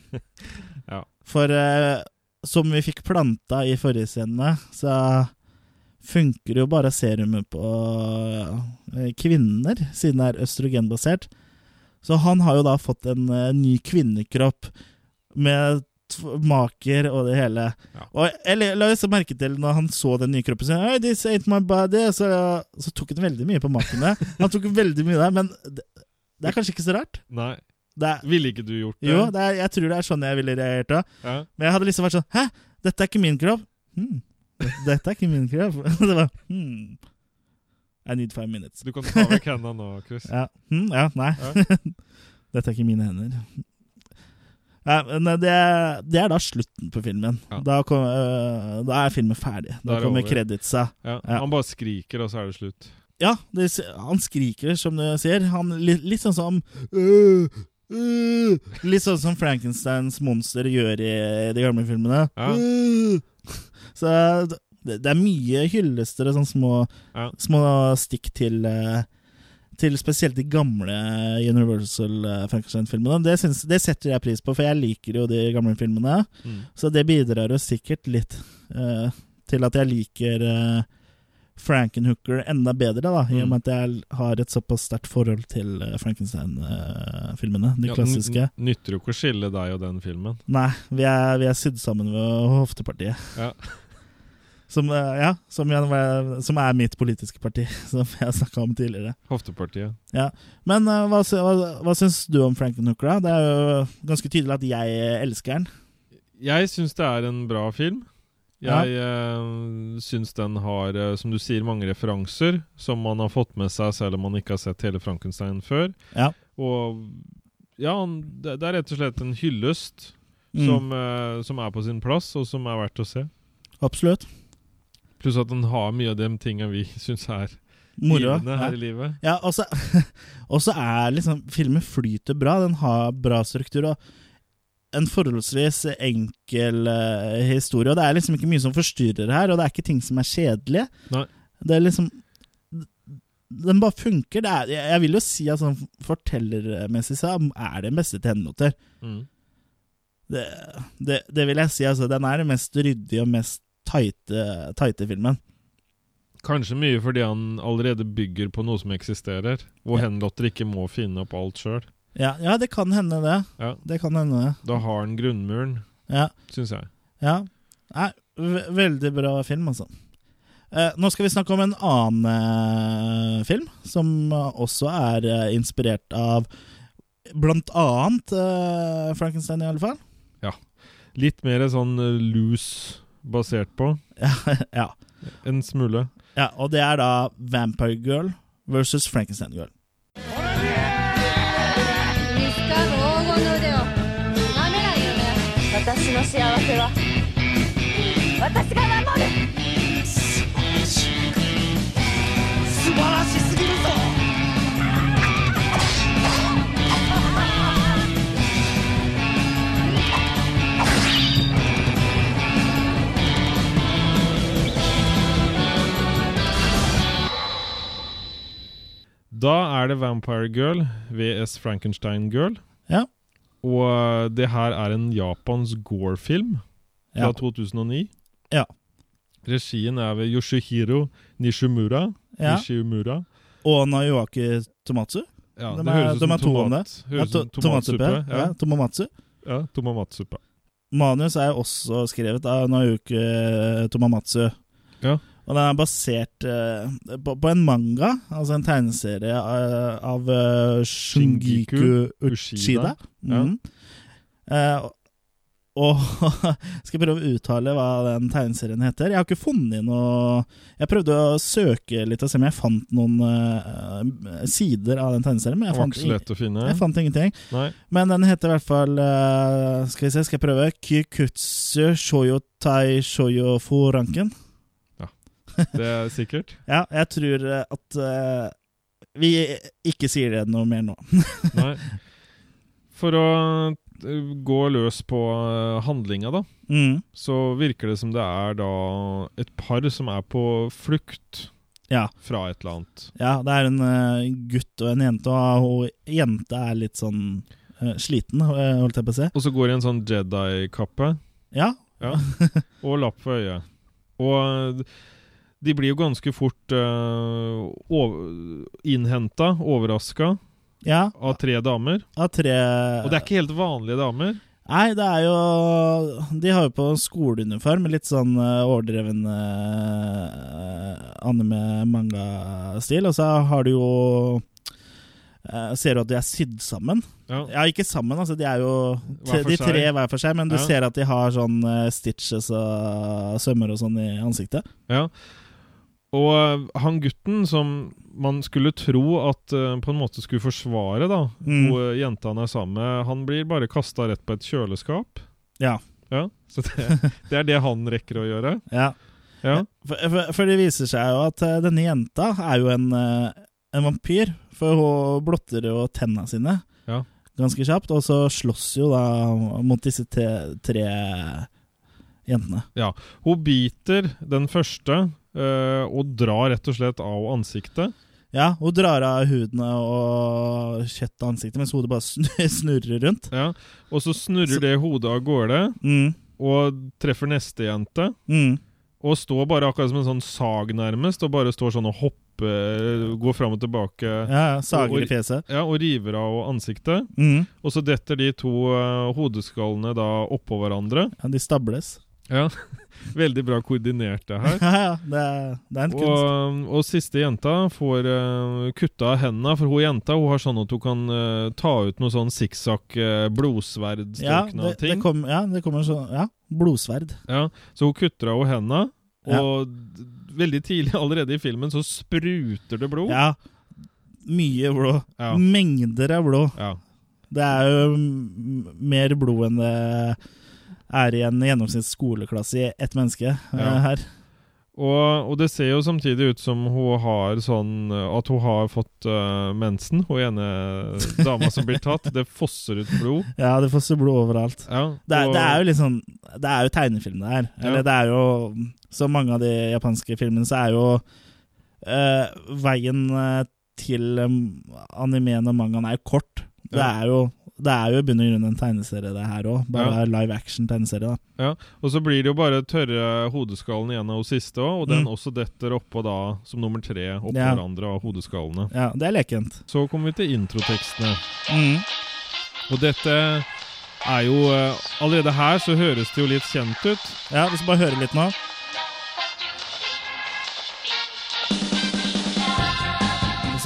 [laughs] Ja. For eh, som vi fikk planta i forrige scene, så funker jo bare serumet på eh, kvinner, siden det er østrogenbasert. Så han har jo da fått en eh, ny kvinnekropp med t- maker og det hele. Ja. Og eller, la oss merke til når han så den nye kroppen sin «Hey, this ain't my body, så, så tok han veldig mye på makene. Han tok veldig mye der, men det, det er kanskje ikke så rart? Nei. Det er, Ville ikke du gjort det? jo, det er, jeg tror det er sånn jeg ville reagert da. Ja. Men jeg hadde liksom vært sånn Hæ, dette er ikke min kropp. Hmm. Dette er ikke min kropp. [laughs] det var hmm. I need five minutes. Du kan ta vekk henda nå, Chris. Ja, hmm, ja nei. [laughs] dette er ikke mine hender. Ja, men eh, det, det er da slutten på filmen. Ja. Da, kom, øh, da er filmen ferdig. Da Da er det kommer over. kreditsa. Ja. Ja. Han bare skriker, og så er det slutt. Ja, det, han skriker, som du ser. Han, litt, litt sånn som øh, øh, Litt sånn som Frankensteins monster gjør i de gamle filmene. Ja. Øh. Så det, det er mye hyllester og sånne små, Ja. små stikk til eh, til spesielt de gamle Universal eh, Frankenstein-filmene. Det, syns- det setter jeg pris på, for jeg liker jo de gamle filmene. Mm. Så det bidrar jo sikkert litt eh, til at jeg liker eh, Frankenhooker enda bedre, da, i og Mm. med at jeg har et såpass sterkt forhold til eh, Frankenstein-filmene. De Ja, klassiske. n- Nytter jo ikke å skille deg og den filmen. Nei, vi er, vi er sydd sammen ved hoftepartiet. Ja. Som, eh, ja, som, jeg, som er mitt politiske parti, [laughs] som jeg snakka om tidligere. Hoftepartiet. Ja. Men eh, hva, sy- hva, hva syns du om Frankenhooker? da? Det er jo ganske tydelig at jeg elsker den. Jeg syns det er en bra film. Ja. Jeg ja. syns den har, eh, som du sier, mange referanser som man har fått med seg selv om man ikke har sett hele Frankenstein før. Ja. Og ja, han- det det er rett og slett en hyllest Mm. som, eh, som er på sin plass, og som er verdt å se. Absolutt. Pluss at den har mye av de tinga vi [laughs] syns er Moro. givende Ja. her i livet. Ja, og så [laughs] og så er liksom Filmen flyter bra. Den har bra struktur og en forholdsvis enkel eh, historie. Og det er liksom ikke mye som forstyrrer her, og det er ikke ting som er kjedelige. Nei. Det er liksom Den bare funker. Det er, jeg jeg vil jo si at sånn fortellermessig så er det den beste til hendelser. Mm. Det, det, det vil jeg si. Altså, den er den mest ryddige og mest tighte, tighte filmen. Kanskje mye fordi han allerede bygger på noe som eksisterer, og henlotter ikke må finne opp alt sjøl. Ja, ja, det kan hende, det. Ja. Det kan hende, det. Da har han grunnmuren, Ja. syns jeg. Ja. Nei, ve- veldig bra film, altså. Eh, nå skal vi snakke om en annen eh, film, som eh, også er eh, inspirert av blant annet eh, Frankenstein, i alle fall. [laughs] Litt mer sånn eh, loose basert på. ja. En smule. ja, og det er da Vampire Girl versus Frankenstein Girl. Da er det Vampire Girl VS Frankenstein Girl. Ja. Og eh, det her er en japansk gore-film fra Ja. 2009. Ja. Regien er ved Yoshihiro Nishimura. ja. Nishimura. Og Nayuaki Tomatsu. Ja, De det er- høres de ut som er to om tomat. Ja, Høres to ut som tomatsuppe. Ja. Ja, tomatsu. ja tomatsuppe. Manus er jo også skrevet av Nayuki Tomamatsu. Ja. Og den er basert eh, på, på en manga, altså en tegneserie eh, av eh, Shungiku Shingiku Uchida. Uchida. Mhm. Eh, og [laughs] skal jeg prøve å uttale hva den tegneserien heter. Jeg har ikke funnet noe Jeg prøvde å søke litt og se om jeg fant noen eh, sider av den tegneserien, men Det jeg var fant, ikke så lett å finne. jeg fant ingenting. Nei. Men den heter i hvert fall eh, Skal vi se, skal jeg prøve? Kikutsu Shoyotai Shoyofu Ranken. Det er sikkert. Ja, jeg tror eh, at eh, vi ikke sier det noe mer nå. Nei. For å eh, gå løs på eh, handlinga, da, Mm, så virker det som det er da et par som er på flukt Ja. fra et eller annet. ja, det er en eh, gutt og en jente, og hun jenta er litt sånn eh, sliten, eh, holdt jeg på å si. Og så går de i en sånn Jedi-kappe Ja, og lapp for øyet. Og eh, de blir jo ganske fort uh, innhenta, overraska, ja, av tre damer. av tre Og det er ikke helt vanlige damer. Nei, det er jo De har jo på skoleuniform, litt sånn eh, overdreven eh, anime-manga-stil, og så har du jo eh, Ser du at de er sydd sammen? Ja. Ja, ikke sammen, altså. De er jo Hver for de tre seg. hver for seg, men du Ja. ser at de har sånn eh, stitches og sømmer og sånn i ansiktet. Ja. Og eh, han gutten som man skulle tro at eh, på en måte skulle forsvare da, Mm. hvor eh, jenta han er sammen med, han blir bare kasta rett på et kjøleskap. Ja. Ja, Så [laughs] det, det er det han rekker å gjøre. Ja. Ja. For, for, for det viser seg jo at eh, denne jenta er jo en, eh, en vampyr, for hun blotter jo tenna sine Ja. ganske kjapt, og så slåss jo da mot disse te, tre jentene. Hun biter den første eh, og drar rett og slett av ansiktet. Ja, hun drar av hudene og kjøttet av ansiktet, mens hodet bare snu- [laughs] snurrer rundt. Ja. Og så Så- snurrer det hodet av gårde Mm, og treffer neste jente. mm. Og står bare akkurat som en sånn sag, nærmest, og bare står sånn og hopper, går fram og tilbake. Ja, ja, sager i fjeset. Ja, og river av ansiktet. Mm. Og så detter de to eh, hodeskallene da oppå hverandre. Ja, de stables. Ja. Veldig bra koordinert det her. [laughs] Ja, ja, det er, det er en kunst. Og, eh, og siste jenta får eh, kutta av henda, for hun jenta hun har sånn at hun kan eh, ta ut noe sånn sikksakk uh, Ja, blodsverdstrøkne det, det ting. kom, ja, det kommer sånn Ja, blodsverd. Ja, så hun kutter av henne henda, Ja. og d- veldig tidlig [laughs] allerede i filmen så spruter det blod. Ja. Mye blå. Ja. Mengder av blå. Ja. Det er jo m- mer blod enn det er i en gjennomsnitts skoleklasse i ett menneske eh, Ja. her. Og, og det ser jo samtidig ut som hun har sånn eh, At hun har fått eh, mensen, hun ene dama som blir tatt. Det fosser ut blod. Ja, det fosser blod overalt. Ja, Det er, og, det er jo litt sånn Det er jo tegnefilm, det her. Eller Ja. det er jo Som mange av de japanske filmene, så er jo eh, veien eh, til um, animeen og mangaen er jo kort. Det Ja. er jo Det er jo i bunn og grunn en tegneserie, det her òg. Bare Ja. live action-tegneserie, da. Og så blir det jo bare tørre hodeskallen igjen av henne siste òg, og den Mm. også detter oppå da som nummer tre oppå Ja. hverandre av hodeskallene. Ja, det er lekent. Så kommer vi til introtekstene. Mm. Og dette er jo eh, Allerede her så høres det jo litt kjent ut. Ja, vi skal bare høre litt nå.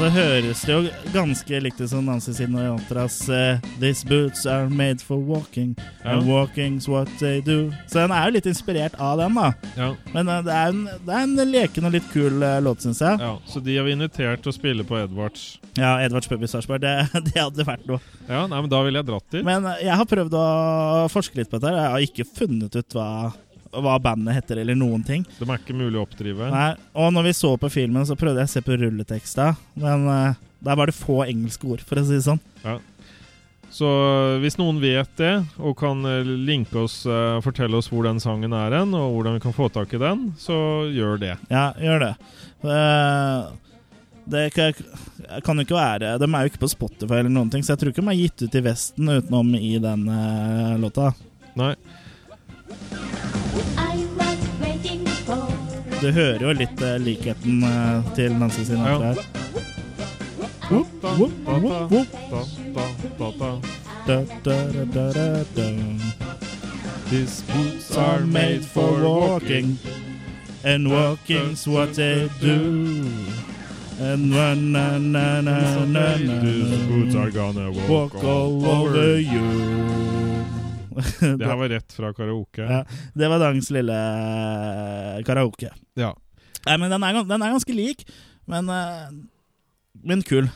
Og så høres det jo ganske likt ut som Nancy Sinojantras uh, These boots are made for walking, and Ja. walking's what they do. Så den er jo litt inspirert av den, da. Ja, Men eh, det, er en, det er en leken og litt kul eh, låt, syns jeg. ja. Så de har vi invitert til å spille på Edvards. Ja, Edvards Pub i Sarpsborg, det, [laughs] det hadde vært noe. Ja, nei, men da ville jeg dratt dit. Men eh, jeg har prøvd å forske litt på dette. her. Jeg har ikke funnet ut hva, hva bandet heter, eller noen ting. De er ikke mulig å oppdrive. Nei, og når vi så på filmen, så prøvde jeg å se på rulleteksta, men eh, der var det få engelske ord, for å si det sånn. Så eh, hvis noen vet det, og kan eh, linke oss, eh, fortelle oss hvor den sangen er hen, og hvordan vi kan få tak i den, så gjør det. Ja, gjør det. Eh, det kan, kan jo ikke være De er jo ikke på Spotify eller noen ting, så jeg tror ikke de er gitt ut i Vesten utenom i den eh, låta. Nei. I was waiting for Du hører jo litt eh, likheten eh, til Nancy sin Ja. her. Da, da, da, da, da, da, da. Da, da, da, da, da, da. These boots Are made for walking, and walking's what they do. And run, na, na, na, na, na, These boots [laughs] are gonna walk, Walk all over you. Det her var rett fra karaoke. Ja. Det var dagens lille eh, karaoke. Ja. Nei, men den er, gans- den er ganske lik, men, eh, men kul.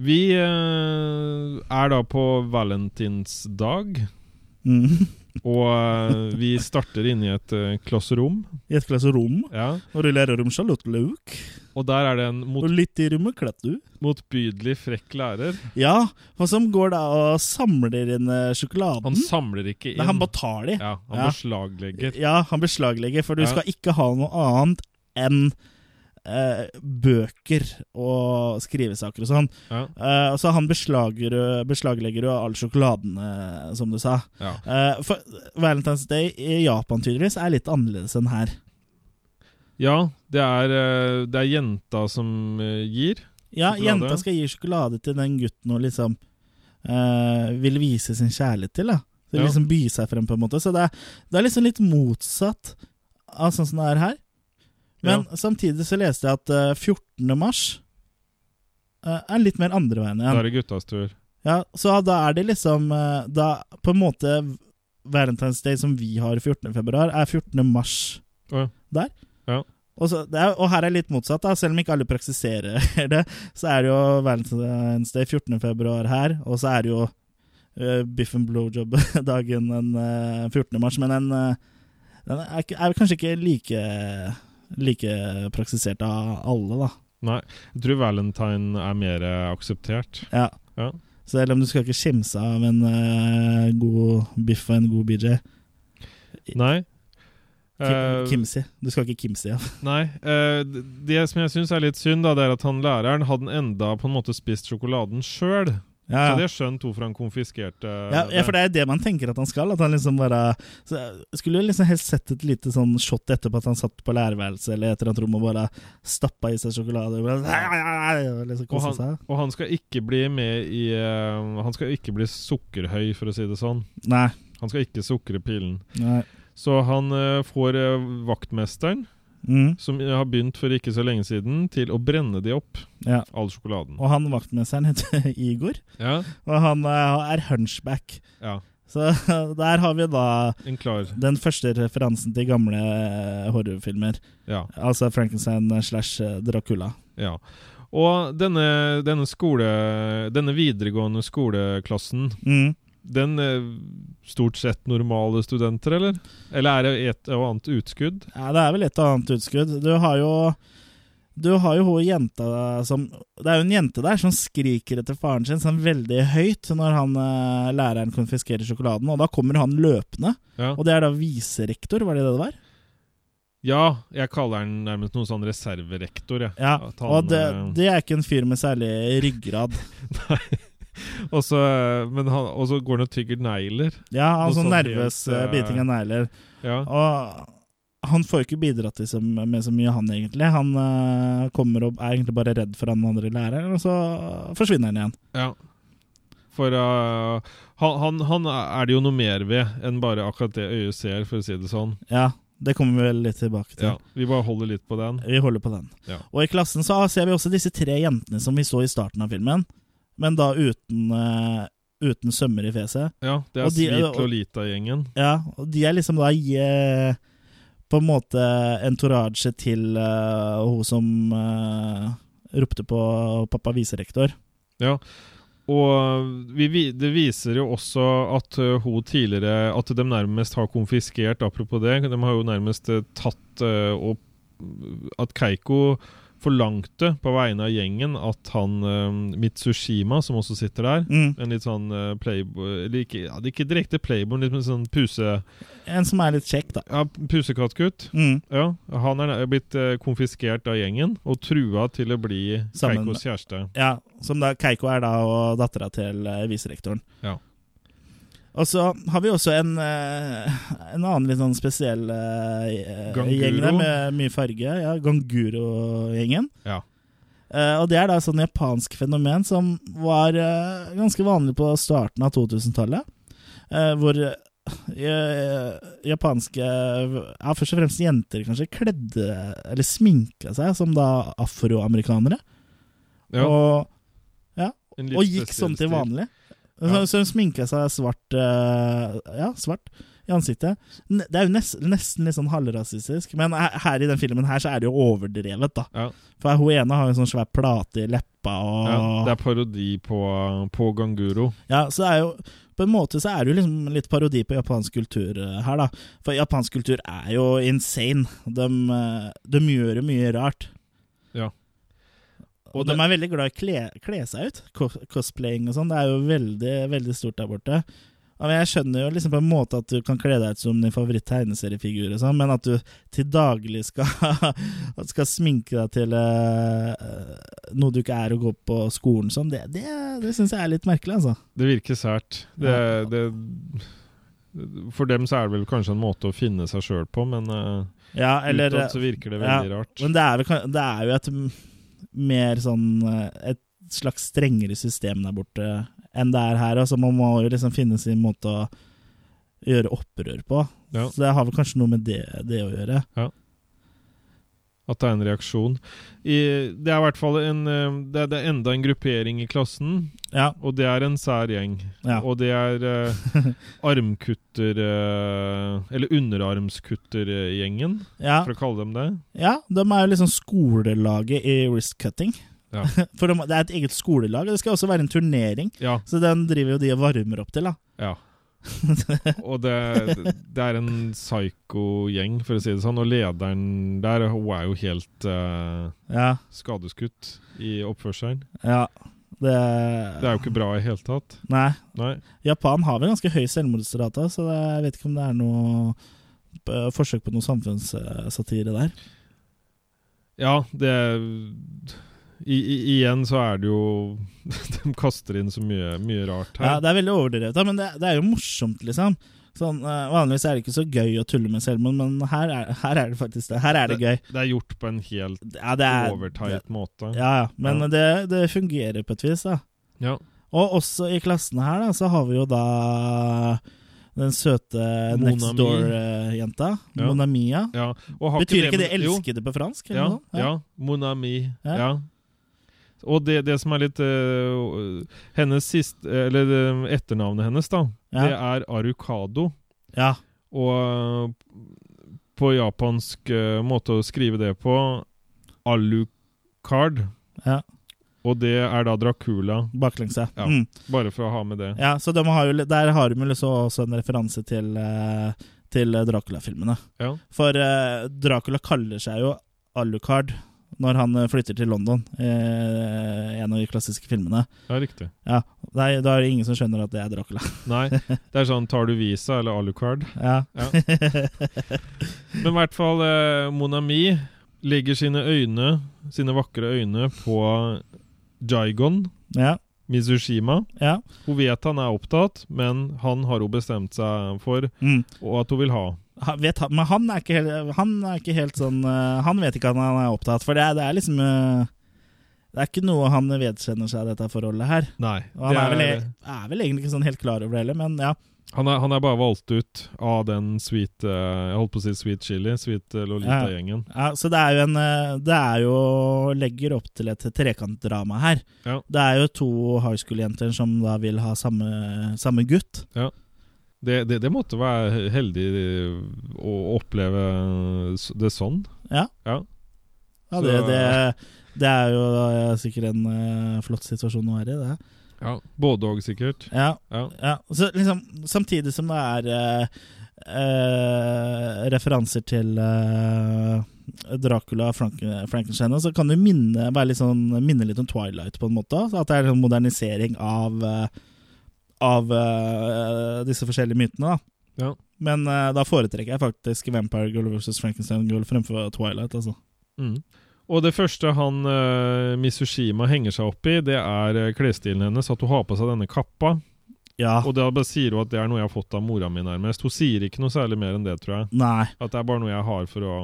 Vi eh, er da på valentinsdag, Mm. og eh, vi starter inne i et eh, klasserom. I et glass rom, Ja. og ruller rom sjalottløk, Og der er det en mot, og litt i rommet klett du. motbydelig frekk lærer. Ja, og som går da og samler inn eh, sjokoladen. Han samler ikke inn. Nei, han bare tar de. ja, han Ja. beslaglegger. Ja, han beslaglegger, for du Ja. skal ikke ha noe annet enn eh, bøker og skrivesaker og sånn. Ja. Eh, og så han beslager, beslaglegger jo all sjokoladen, eh, som du sa. Ja. Eh, for Valentine's Day i Japan tydeligvis er litt annerledes enn her. ja, det er, eh, det er jenta som eh, gir. Ja, Sjokolade. jenta skal gi sjokolade til den gutten hun liksom eh, vil vise sin kjærlighet til. da Så Ja. liksom by seg frem, på en måte. Så det er, det er liksom litt motsatt av sånn som det er her. Men samtidig så leste jeg at eh, 14. mars eh, er litt mer andre veien Da igjen. er det guttas tur. Ja, så da er det liksom eh, Da på en måte Valentine's Day som vi har 14. februar, er 14. mars Å, ja. der. Ja. Og, så, det er, og her er det litt motsatt, da. Selv om ikke alle praksiserer [laughs] det, så er det jo Valentine's Day 14. februar her, og så er det jo eh, biff and blowjob-dagen den eh, 14. mars, men den, eh, den er, ikke- er kanskje ikke like Like praksisert av alle, da. Nei, jeg tror valentine er mer eh, akseptert. Ja. Ja. Selv om du skal ikke skimse av en eh, god biff og en god BJ. Nei. Kim, Eh, kimsi. Du skal ikke kimsi av. Nei. eh, d- det som jeg syns er litt synd, da, det er at han læreren hadde enda på en måte spist sjokoladen sjøl. Så Ja. hadde jeg skjønt hvorfor han konfiskerte Ja, ja, for det er det man tenker at han skal. At han liksom bare så jeg Skulle jo liksom helst sett et lite sånn shot etterpå at han satt på lærerværelset eller et eller annet rom og bare stappa i seg sjokolade og bare og liksom Og kosa han, seg. og han skal ikke bli med i eh, Han skal ikke bli sukkerhøy, for å si det sånn. Nei. Han skal ikke sukre pilen. nei. Så han eh, får eh, vaktmesteren, Mm, som eh, har begynt for ikke så lenge siden, til å brenne de opp, ja. all sjokoladen. Og han vaktmesteren heter [laughs] Igor, Ja, og han eh, er hunchback. ja. Så [laughs] der har vi da En klar den første referansen til gamle eh, horrorfilmer. Ja. Altså Frankenstein slash eh, Dracula. ja. Og denne, denne skole... Denne videregående skoleklassen, Mm. den eh, stort sett normale studenter, eller? Eller er det et og annet utskudd? Ja, det er vel et og annet utskudd. Du har jo Du har jo hun jenta som Det er jo en jente der som skriker etter faren sin sånn veldig høyt når han, eh, læreren konfiskerer sjokoladen, og da kommer han løpende. Ja. Og det er da viserektor, var det det det var? ja, jeg kaller den nærmest noen sånn reserverektor, jeg. Ja, At han, Og det, eh, det er ikke en fyr med særlig ryggrad. Og så, eh, men han, og så går han og tygger negler. Ja, han Noe sånn sånn nervøs helt, eh, eh, biting av negler. Ja. Og han får jo ikke bidratt til så, med så mye, han egentlig. Han eh, kommer og er egentlig bare redd for han andre læreren, og så forsvinner han igjen. ja. For eh, han, han, han er det jo noe mer ved enn bare akkurat det øyet ser, for å si det sånn. Ja, det kommer vi vel litt tilbake til. Ja. Vi bare holder litt på den. Vi holder på den. Ja. Og i klassen så ser vi også disse tre jentene som vi så i starten av filmen, men da uten, eh, uten sømmer i fjeset. Ja, det er Og de- Svitl og- og Lita-gjengen. Ja, og de er liksom da i, eh, på en måte entourage til eh, hun som eh, ropte på pappa viserektor. Ja. Og vi, vi- det viser jo også at eh, hun tidligere At de nærmest har konfiskert, apropos det. De har jo nærmest eh, tatt eh, og At Keiko forlangte på vegne av gjengen at han eh, Mitsushima, som også sitter der Mm. En litt sånn eh, playboy eller ikke, ja, det er ikke direkte playboy, men litt med sånn puse, En som er litt kjekk, da. ja, pusekattgutt. Mm. Ja, han er blitt eh, konfiskert av gjengen og trua til å bli Sammen med- Keikos kjæreste. Ja, som da Keiko er da, og dattera til eh, viserektoren. Ja. Og så har vi også en, eh, en annen litt sånn spesiell eh, Ganguro. gjeng der, med mye farge. Ja, Ganguro-gjengen. Ja. Eh, og det er da et sånn japansk fenomen som var eh, ganske vanlig på starten av 2000-tallet. eh, hvor eh, japanske Ja, først og fremst jenter kanskje kledde eller sminka seg som da afroamerikanere. Ja, Og en litt og gikk spesiell sånn til stil. vanlig. Ja. Så, så hun sminka seg svart eh, Ja, svart i ansiktet. N- Det er jo nes, nesten litt sånn halvrasistisk, men her, her i den filmen her så er det jo overdrevet, da. Ja. For hun ene har jo en sånn svær plate i leppa og Ja, det ja, er parodi på, på Ganguro. Så det er jo på en måte så er det jo liksom litt parodi på japansk kultur eh, her, da. For japansk kultur er jo insane. De, eh, de gjør jo mye rart. Og de er veldig glad i å kle, kle seg ut. Co- Cosplaying og sånn. Det er jo veldig, veldig stort der borte. Ja, men jeg skjønner jo liksom på en måte at du kan kle deg ut som din favoritt-tegneseriefigur, og sånn, men at du til daglig skal, [laughs] at du skal sminke deg til eh, noe du ikke er og gå på skolen sånn, det, det, det syns jeg er litt merkelig, altså. Det virker sært. Det, Ja. det, for dem så er det vel kanskje en måte å finne seg sjøl på, men eh, Ja, eller utad så virker det veldig rart. Men det er, vel, kan- det er jo et m- mer sånn eh, Et slags strengere system der borte enn det er her. Altså, man må jo liksom finne sin måte å gjøre opprør på. Ja. Så det har vel kanskje noe med det, det å gjøre. At det er en reaksjon. I, det er i hvert fall en eh, det, er- det er enda en gruppering i klassen, Ja, og det er en sær gjeng. ja. Og det er [laughs] eh, armkutter... eh, eller underarmskuttergjengen, ja. for å kalle dem det. ja de er jo liksom skolelaget i wrist cutting. Ja. [laughs] For de, det er et eget skolelag, og det skal også være en turnering. Ja. Så den driver jo de og varmer opp til, da. [laughs] Ja. og det, det er en psyko-gjeng, for å si det sånn. Og lederen der, hun er jo helt eh, Ja. skadeskutt i oppførselen. ja. Det, Det er jo ikke bra i hele tatt. Nei. Nei. Japan har vel ganske høy selvmordsrate, så det, jeg vet ikke om det er noe eh, forsøk på noe samfunnssatire der. Ja, det i, i, Igjen så er det jo [laughs] De kaster inn så mye, mye rart Ja, her. det er veldig overdrevet, da, men det, det er jo morsomt, liksom. Sånn, eh, vanligvis er det ikke så gøy å tulle med selvmord, men her er, her er det faktisk det. Her er det gøy. det er gjort på en helt Ja, det er, overteit måte. ja, ja. Men Ja. Det, det fungerer på et vis, da. Ja. Og også i klassene her da, så har vi jo da Den søte Mona next Mi. door-jenta. Ja. Mona Mia. Ja. Og har Betyr ikke det men- jo. 'elskede' på fransk? eller Ja, noe? ja. Monami. Ja. Ja. Og det, det som er litt eh, Hennes siste Eller eh, etternavnet hennes, da, Ja. det er Arukado. ja. Og eh, på japansk eh, måte å skrive det på Alucard. Ja. Og det er da Dracula, Baklengs, ja. Ja. Mm. bare for å ha med det. ja så de har jo, li- der har de jo liksom også en referanse til, eh, til Dracula-filmene. Ja. For eh, Dracula kaller seg jo Alucard når han eh, flytter til London, eh, en av de klassiske filmene. ja, riktig. Ja, det er, da er det ingen som skjønner at det er Dracula. [laughs] Nei, det er sånn Tar du visa eller Alucard? Ja, Men i hvert fall eh, Monami legger sine øyne, sine vakre øyne, på Jaigon ja, Mizushima. ja. Hun vet han er opptatt, men han har hun bestemt seg for, Mm. og at hun vil ha. Ha- Vet, han- men han er, ikke, helt- han er ikke helt sånn eh, Han vet ikke at han er opptatt, for det er, det er liksom eh, Det er ikke noe han vedkjenner seg dette forholdet her. Nei. Og han det er vel, e- er vel egentlig ikke sånn helt klar over det heller, men ja. han, er, han er bare valgt ut av den sweet eh, Jeg holdt på å si sweet chili, sweet eh, Lolita-gjengen. ja. Så det er jo en eh, Det er jo legger opp til et trekantdrama her. Ja. Det er jo to high school-jenter som da vil ha samme, samme gutt. Det, det, det måtte være heldig eh, å oppleve det sånn. Ja. Ja. Ja, Så- det, det, det er jo eh, sikkert en eh, flott situasjon å være i, det. ja. Både og, sikkert. Ja, Ja. Ja, så liksom, samtidig som det er eh, eh, referanser til eh, Dracula og Frank Frankenstein, så kan det minne, være litt sånn, minne litt om Twilight, på en måte. Så at det er en sånn modernisering av, eh, av eh, disse forskjellige mytene. da. Ja. Men eh, da foretrekker jeg faktisk Vampire Girl versus Frankenstein Girl fremfor Twilight. altså. Mm. Og det første han uh, Misushima henger seg opp i, det er eh, klesstilen hennes. At hun har på seg denne kappa. Ja. Og da bare sier hun at det er noe jeg har fått av mora mi, nærmest. Hun sier ikke noe særlig mer enn det, tror jeg. Nei. At det er bare noe jeg har for å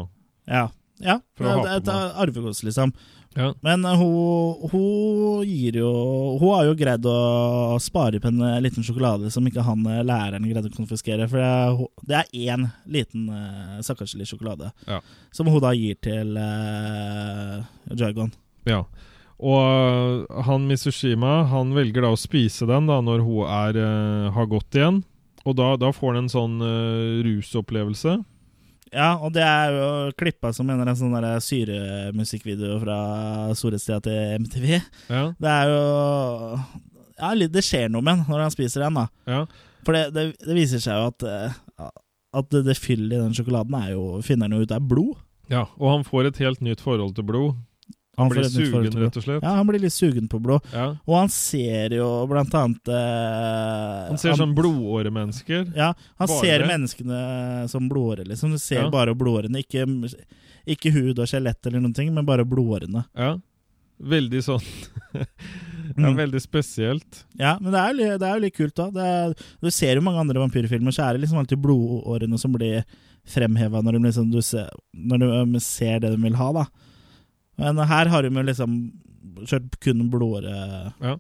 Ja. ja. For å ha det er et på arvegods, liksom. Ja. Men eh, hun, hun gir jo Hun har jo greid å spare opp en eh, liten sjokolade som ikke han eh, læreren greide å konfiskere. For det er, hun- det er én liten uh, stakkarslig sjokolade Ja. som hun da gir til uh, Jargon. Ja. Og eh, han Misushima han velger da å spise den da når hun er, eh, har gått igjen. Og da, da får han en sånn eh, rusopplevelse. Ja, og det er jo klippa som en eller annen sånn der syremusikkvideo fra storhetstida til MTV. Ja, Det er jo ja, litt- Det skjer noe med den når han spiser den, da. ja. For det, det, det viser seg jo at eh, At det, det fyllet i den sjokoladen er jo finner han jo ut er blod. ja. Og han får et helt nytt forhold til blod. Han, får blir et nytt forhold sugen, til rett og slett. Ja, han blir litt sugen på blod. Ja. Og han ser jo blant annet eh, Han ser sånn blodåremennesker. Ja, han Bare ser det. menneskene som blodårer, liksom. Du ser Ja. bare blodårene. Ikke, ikke hud og skjelett eller noen ting, men bare blodårene. Ja. Veldig sånn [laughs] ja, Mm. Veldig spesielt. Ja, men det er jo, li- det er jo litt kult, da. Det er, du ser jo mange andre vampyrfilmer, så er det liksom alltid blodårene som blir fremheva når, de liksom, du ser- når du um, ser det de vil ha, da. Men her har de jo liksom kjørt kun blodåre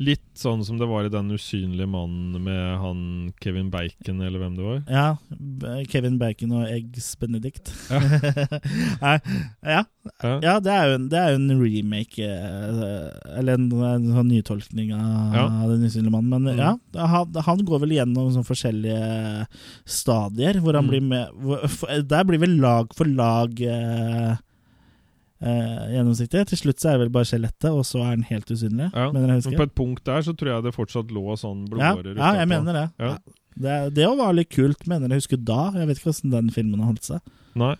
Litt sånn som det var i Den usynlige mannen med han Kevin Bacon, eller hvem det var. Ja. B- Kevin Bacon og Eggs Benedict. [laughs] Nei, ja. Ja. ja, det er jo en, det er jo en remake eh, Eller en, en sånn nytolkning av Ja. Den usynlige mannen. Men Mm. ja, han, han går vel gjennom sånn forskjellige stadier, hvor han Mm. blir med hvor, for, Der blir vel lag for lag eh, eh, gjennomsiktig. Til slutt så er det vel bare skjelettet, og så er han helt usynlig. Ja. Mener jeg Men husker. på et punkt der så tror jeg det fortsatt lå sånn Ja, blodårer ja, jeg mener det. Ja. Det, det var litt kult, mener jeg husker da. Jeg vet ikke hvordan den filmen har holdt seg. Nei.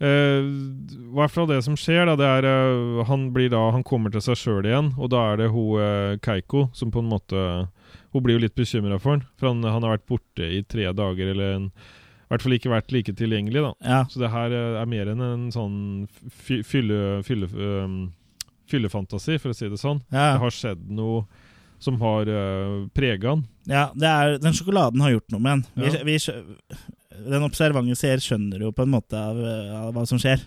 Eh, I hvert fall det som skjer, da, det er eh, han blir da Han kommer til seg sjøl igjen, og da er det hun eh, Keiko som på en måte Hun blir jo litt bekymra for han, for han, han har vært borte i tre dager, eller en, i hvert fall ikke vært like tilgjengelig, da. Ja, Så det her eh, er mer enn en sånn fy- fylle, fylle, øhm, fyllefantasi, for å si det sånn. ja, Det har skjedd noe som har uh, prega han. ja det er, den sjokoladen har gjort noe med den. Vi, Ja. vi, skjø- den observante seer skjønner jo på en måte av, eh, av hva som skjer.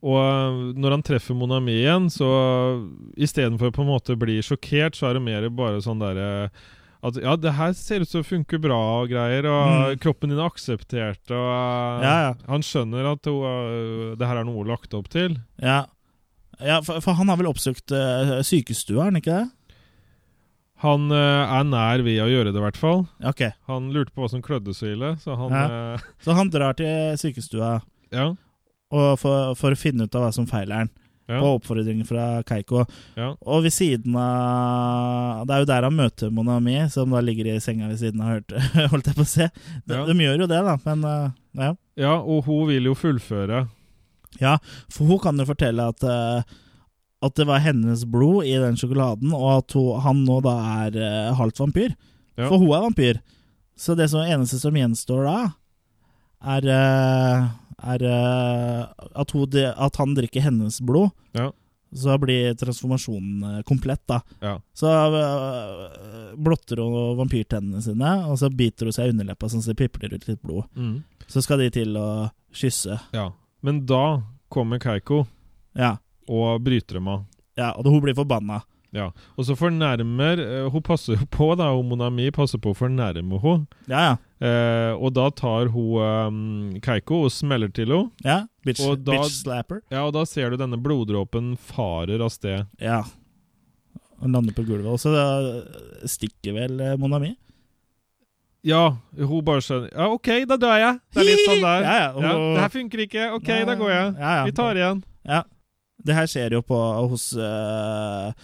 Og eh, når han treffer Monami igjen, så istedenfor på en måte å bli sjokkert, så er det mer bare sånn derre At ja, det her ser ut som det funker bra og greier, og kroppen din har akseptert og eh, Mm. Ja, ja. Han skjønner at hun, eh, det her er noe hun har lagt opp til. Ja, ja for, for han har vel oppsøkt uh, sykestua, har han ikke det? Han eh, er nær ved å gjøre det, i hvert fall. Ok, Han lurte på hva som klødde så ille, så han Ja. eh, [laughs] Så han drar til sykestua ja. og for, for å finne ut av hva som feiler han, Ja. på oppfordring fra Keiko. Ja. Og ved siden av Det er jo der han møter Monami, som da ligger i senga ved siden av, hørt, [laughs] holdt jeg på å se. De, Ja. de gjør jo det, da, men eh, ja. ja, og hun vil jo fullføre. ja. For hun kan jo fortelle at eh, at det var hennes blod i den sjokoladen, og at hun, han nå da er eh, halvt vampyr. Ja. For hun er vampyr. Så det som eneste som gjenstår da, er, eh, er eh, at, hun, de- at han drikker hennes blod. Ja. Så blir transformasjonen eh, komplett, da. Ja. Så øh, blotter hun vampyrtennene sine, og så biter hun seg i underleppa sånn at det pipler ut litt blod. Mm. Så skal de til å kysse. ja. Men da kommer Keiko Ja, og bryter dem av. ja og hun blir forbanna. Ja, og så fornærmer eh, Hun passer jo på, da. Hun Monami passer på å fornærme henne. Ja, ja. Eh, og da tar hun eh, Keiko og smeller til henne. ja. Bitch, Og da- bitch slapper. Ja, og da ser du denne bloddråpen farer av sted. Ja. Hun lander på gulvet, og så øh, stikker vel øh, Monami. Ja, hun bare skjønner Ja, OK, da dør jeg! Det er litt sånn der. [laughs] Ja, ja, og- det her funker ikke. OK, Ja, da går jeg. ja, ja. Vi tar igjen. Ja. Det her skjer jo på, hos øh,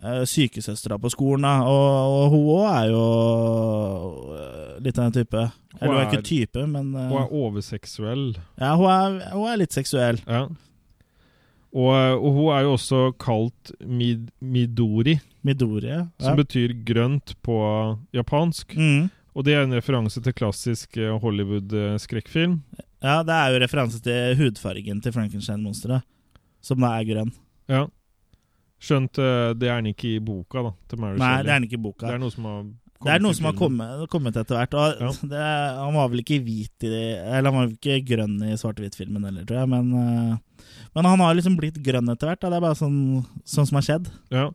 øh, sykesøstera på skolen, da. Og, og hun òg er jo øh, litt av en type. Eller hun er er- ikke type, men øh, Hun er overseksuell. ja, hun, er, hun er litt seksuell. Ja. Og, og hun er jo også kalt mid Midori, Midori. Ja. som betyr grønt på japansk. Mm. Og det er en referanse til klassisk eh, Hollywood-skrekkfilm. Ja, det er jo referanse til hudfargen til Frankenstein-monsteret, som da er grønn. Ja. Skjønt eh, det er den ikke i boka, da, til Mary Nei, Shelley. det er den ikke i boka. Det er noe som har kommet, Det er noe i som har filmen. kommet, kommet etter hvert. Og Ja. [laughs] det, han var vel ikke hvit i Eller han var vel ikke grønn i svart-hvitt-filmen heller, tror jeg. Men, eh, men han har liksom blitt grønn etter hvert. Da. Det er bare sånn, sånn som har skjedd. Ja.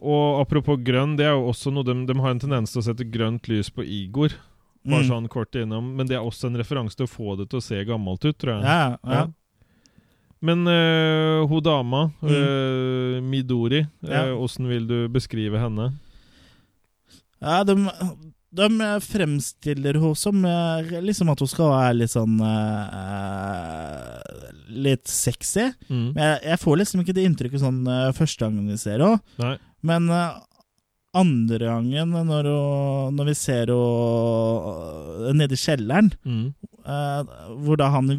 Og apropos grønn, det er jo også noe de, de har en tendens til å sette grønt lys på Igor. Bare Mm. sånn kort innom. Men det er også en referanse til å få det til å se gammelt ut, tror jeg. Ja, ja. Ja. Men øh, hun dama, Mm. øh, Midori, Ja. åssen vil du beskrive henne? ja de, de fremstiller henne som eh, liksom at hun skal være litt sånn eh, Litt sexy. Mm. Men jeg, jeg får liksom ikke det inntrykket sånn eh, første gangen vi ser henne. Nei. Men eh, andre gangen, når, hun- når vi ser henne nede i kjelleren, Mm. eh, hvor da han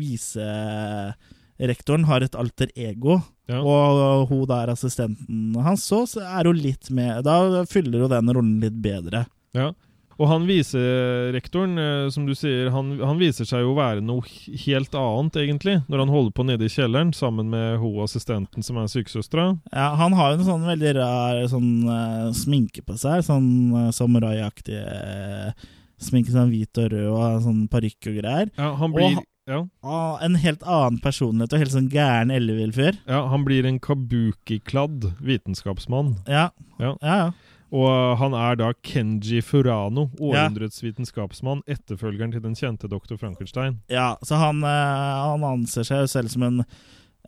viserektoren har et alter ego, Ja. og hun da er assistenten hans, så så er hun litt med Da fyller hun den rollen litt bedre. ja. Og han viserektoren, øh, som du sier, han, han viser seg jo å være noe he- helt annet, egentlig, når han holder på nede i kjelleren sammen med hun assistenten som er sykesøstera. Ja, han har jo en sånn veldig rar sånn, eh, sminke på seg, sånn uh, samurai-aktig eh, sminke, sånn hvit og rød og sånn parykk og greier. Ja, han Og blir, han- ja, Ah, en helt annen personlighet og helt sånn gæren ellevill fyr. ja, han blir en kabuki-kladd vitenskapsmann. Ja. Ja. ja, ja. Og øh, han er da Kenji Furano, Ja. århundrets vitenskapsmann, etterfølgeren til den kjente doktor Frankenstein. Ja, så han, eh, han anser seg jo selv som en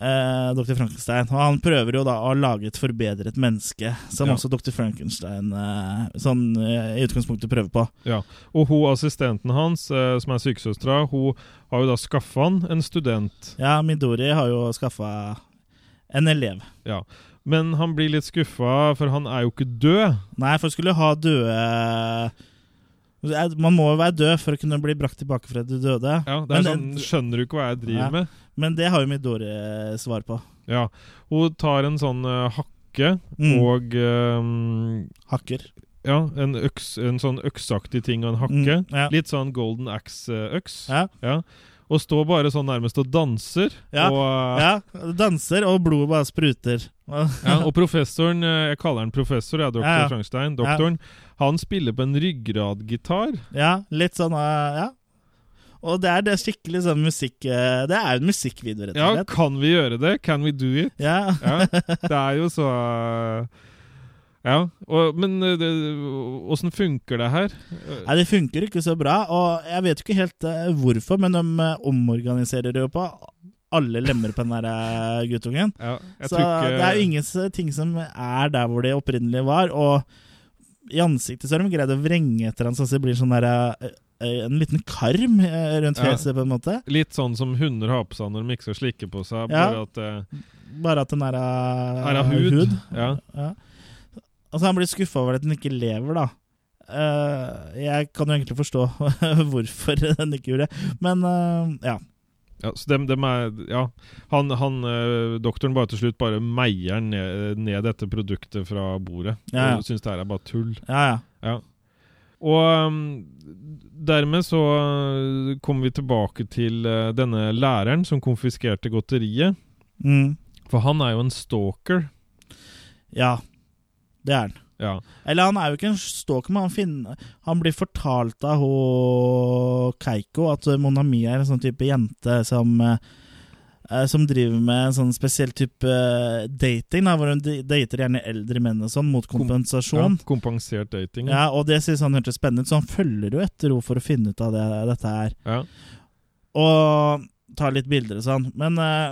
eh, Dr. Frankenstein. Og han prøver jo da å lage et forbedret menneske, som Ja. også Dr. Frankenstein eh, sånn eh, i utgangspunktet prøver på. Ja, og hun assistenten hans, eh, som er sykesøstera, hun har jo da skaffa han en student. Ja, Midori har jo skaffa en elev. Ja. Men han blir litt skuffa, for han er jo ikke død. Nei, for skulle ha døde eh, Man må jo være død for å kunne bli brakt tilbake fra de døde. Ja, det er sånn, men, Skjønner du ikke hva jeg driver Ja. med? men det har jo Midori eh, svar på. Ja. Hun tar en sånn eh, hakke Mm. og eh, Hakker. Ja, en, øks, en sånn øksaktig ting og en hakke. Mm, ja. Litt sånn Golden Axe-øks. Ja. Og står bare sånn nærmest og danser. Ja. Og, eh, Ja, danser, og blodet bare spruter. Ja, og professoren, eh, jeg kaller han professor, ja, doktor Ja, ja. Frankenstein, doktoren, han spiller på en ryggradgitar. Ja, litt sånn eh, Ja. Og det er det skikkelig sånn musikk eh, Det er jo en musikkvideo, rett Ja, og slett. [laughs] kan vi gjøre det? Can we do it? Ja. Ja, det er jo så eh, Ja, og, men eh, det, åssen funker det her? Eh, Nei, Det funker ikke så bra, og jeg vet jo ikke helt eh, hvorfor, men de eh, omorganiserer det jo på alle lemmer på den der eh, guttungen. Ja, jeg Så tror ikke det er jo ingen s- ting som er der hvor det opprinnelig var, og i ansiktet så har de greid å vrenge etter han, sånn at det blir sånn der, eh, eh, en liten karm eh, rundt Ja. fjeset, på en måte. Litt sånn som hunder har på seg når de ikke skal slikke på seg. Bare Ja. at eh, Bare at den eh, er av her er hud. Ja. Ja. Altså, han blir skuffa over at den ikke lever, da. Eh, jeg kan jo egentlig forstå [laughs] hvorfor den ikke gjorde det, men eh, ja. Ja, så dem, dem er, ja. Han, han eh, doktoren bare til slutt bare meier ned, ned dette produktet fra bordet. Ja, ja. Og syns det her er bare tull. Ja, ja. Ja. Og um, dermed så uh, kommer vi tilbake til uh, denne læreren som konfiskerte godteriet. Mm. For han er jo en stalker. Ja, det er han. Ja. Eller han er jo ikke en stalker, men han, finner, han blir fortalt av ho Keiko at Monami er en sånn type jente som eh, eh, som driver med en sånn spesiell type eh, dating, da, hvor hun d- dater gjerne eldre menn og sånn, mot ja. kompensasjon. Kompensert dating. Ja, og det synes han hørtes spennende ut, så han følger jo etter henne for å finne ut av det, dette her. Ja. Og tar litt bilder og sånn. Men eh,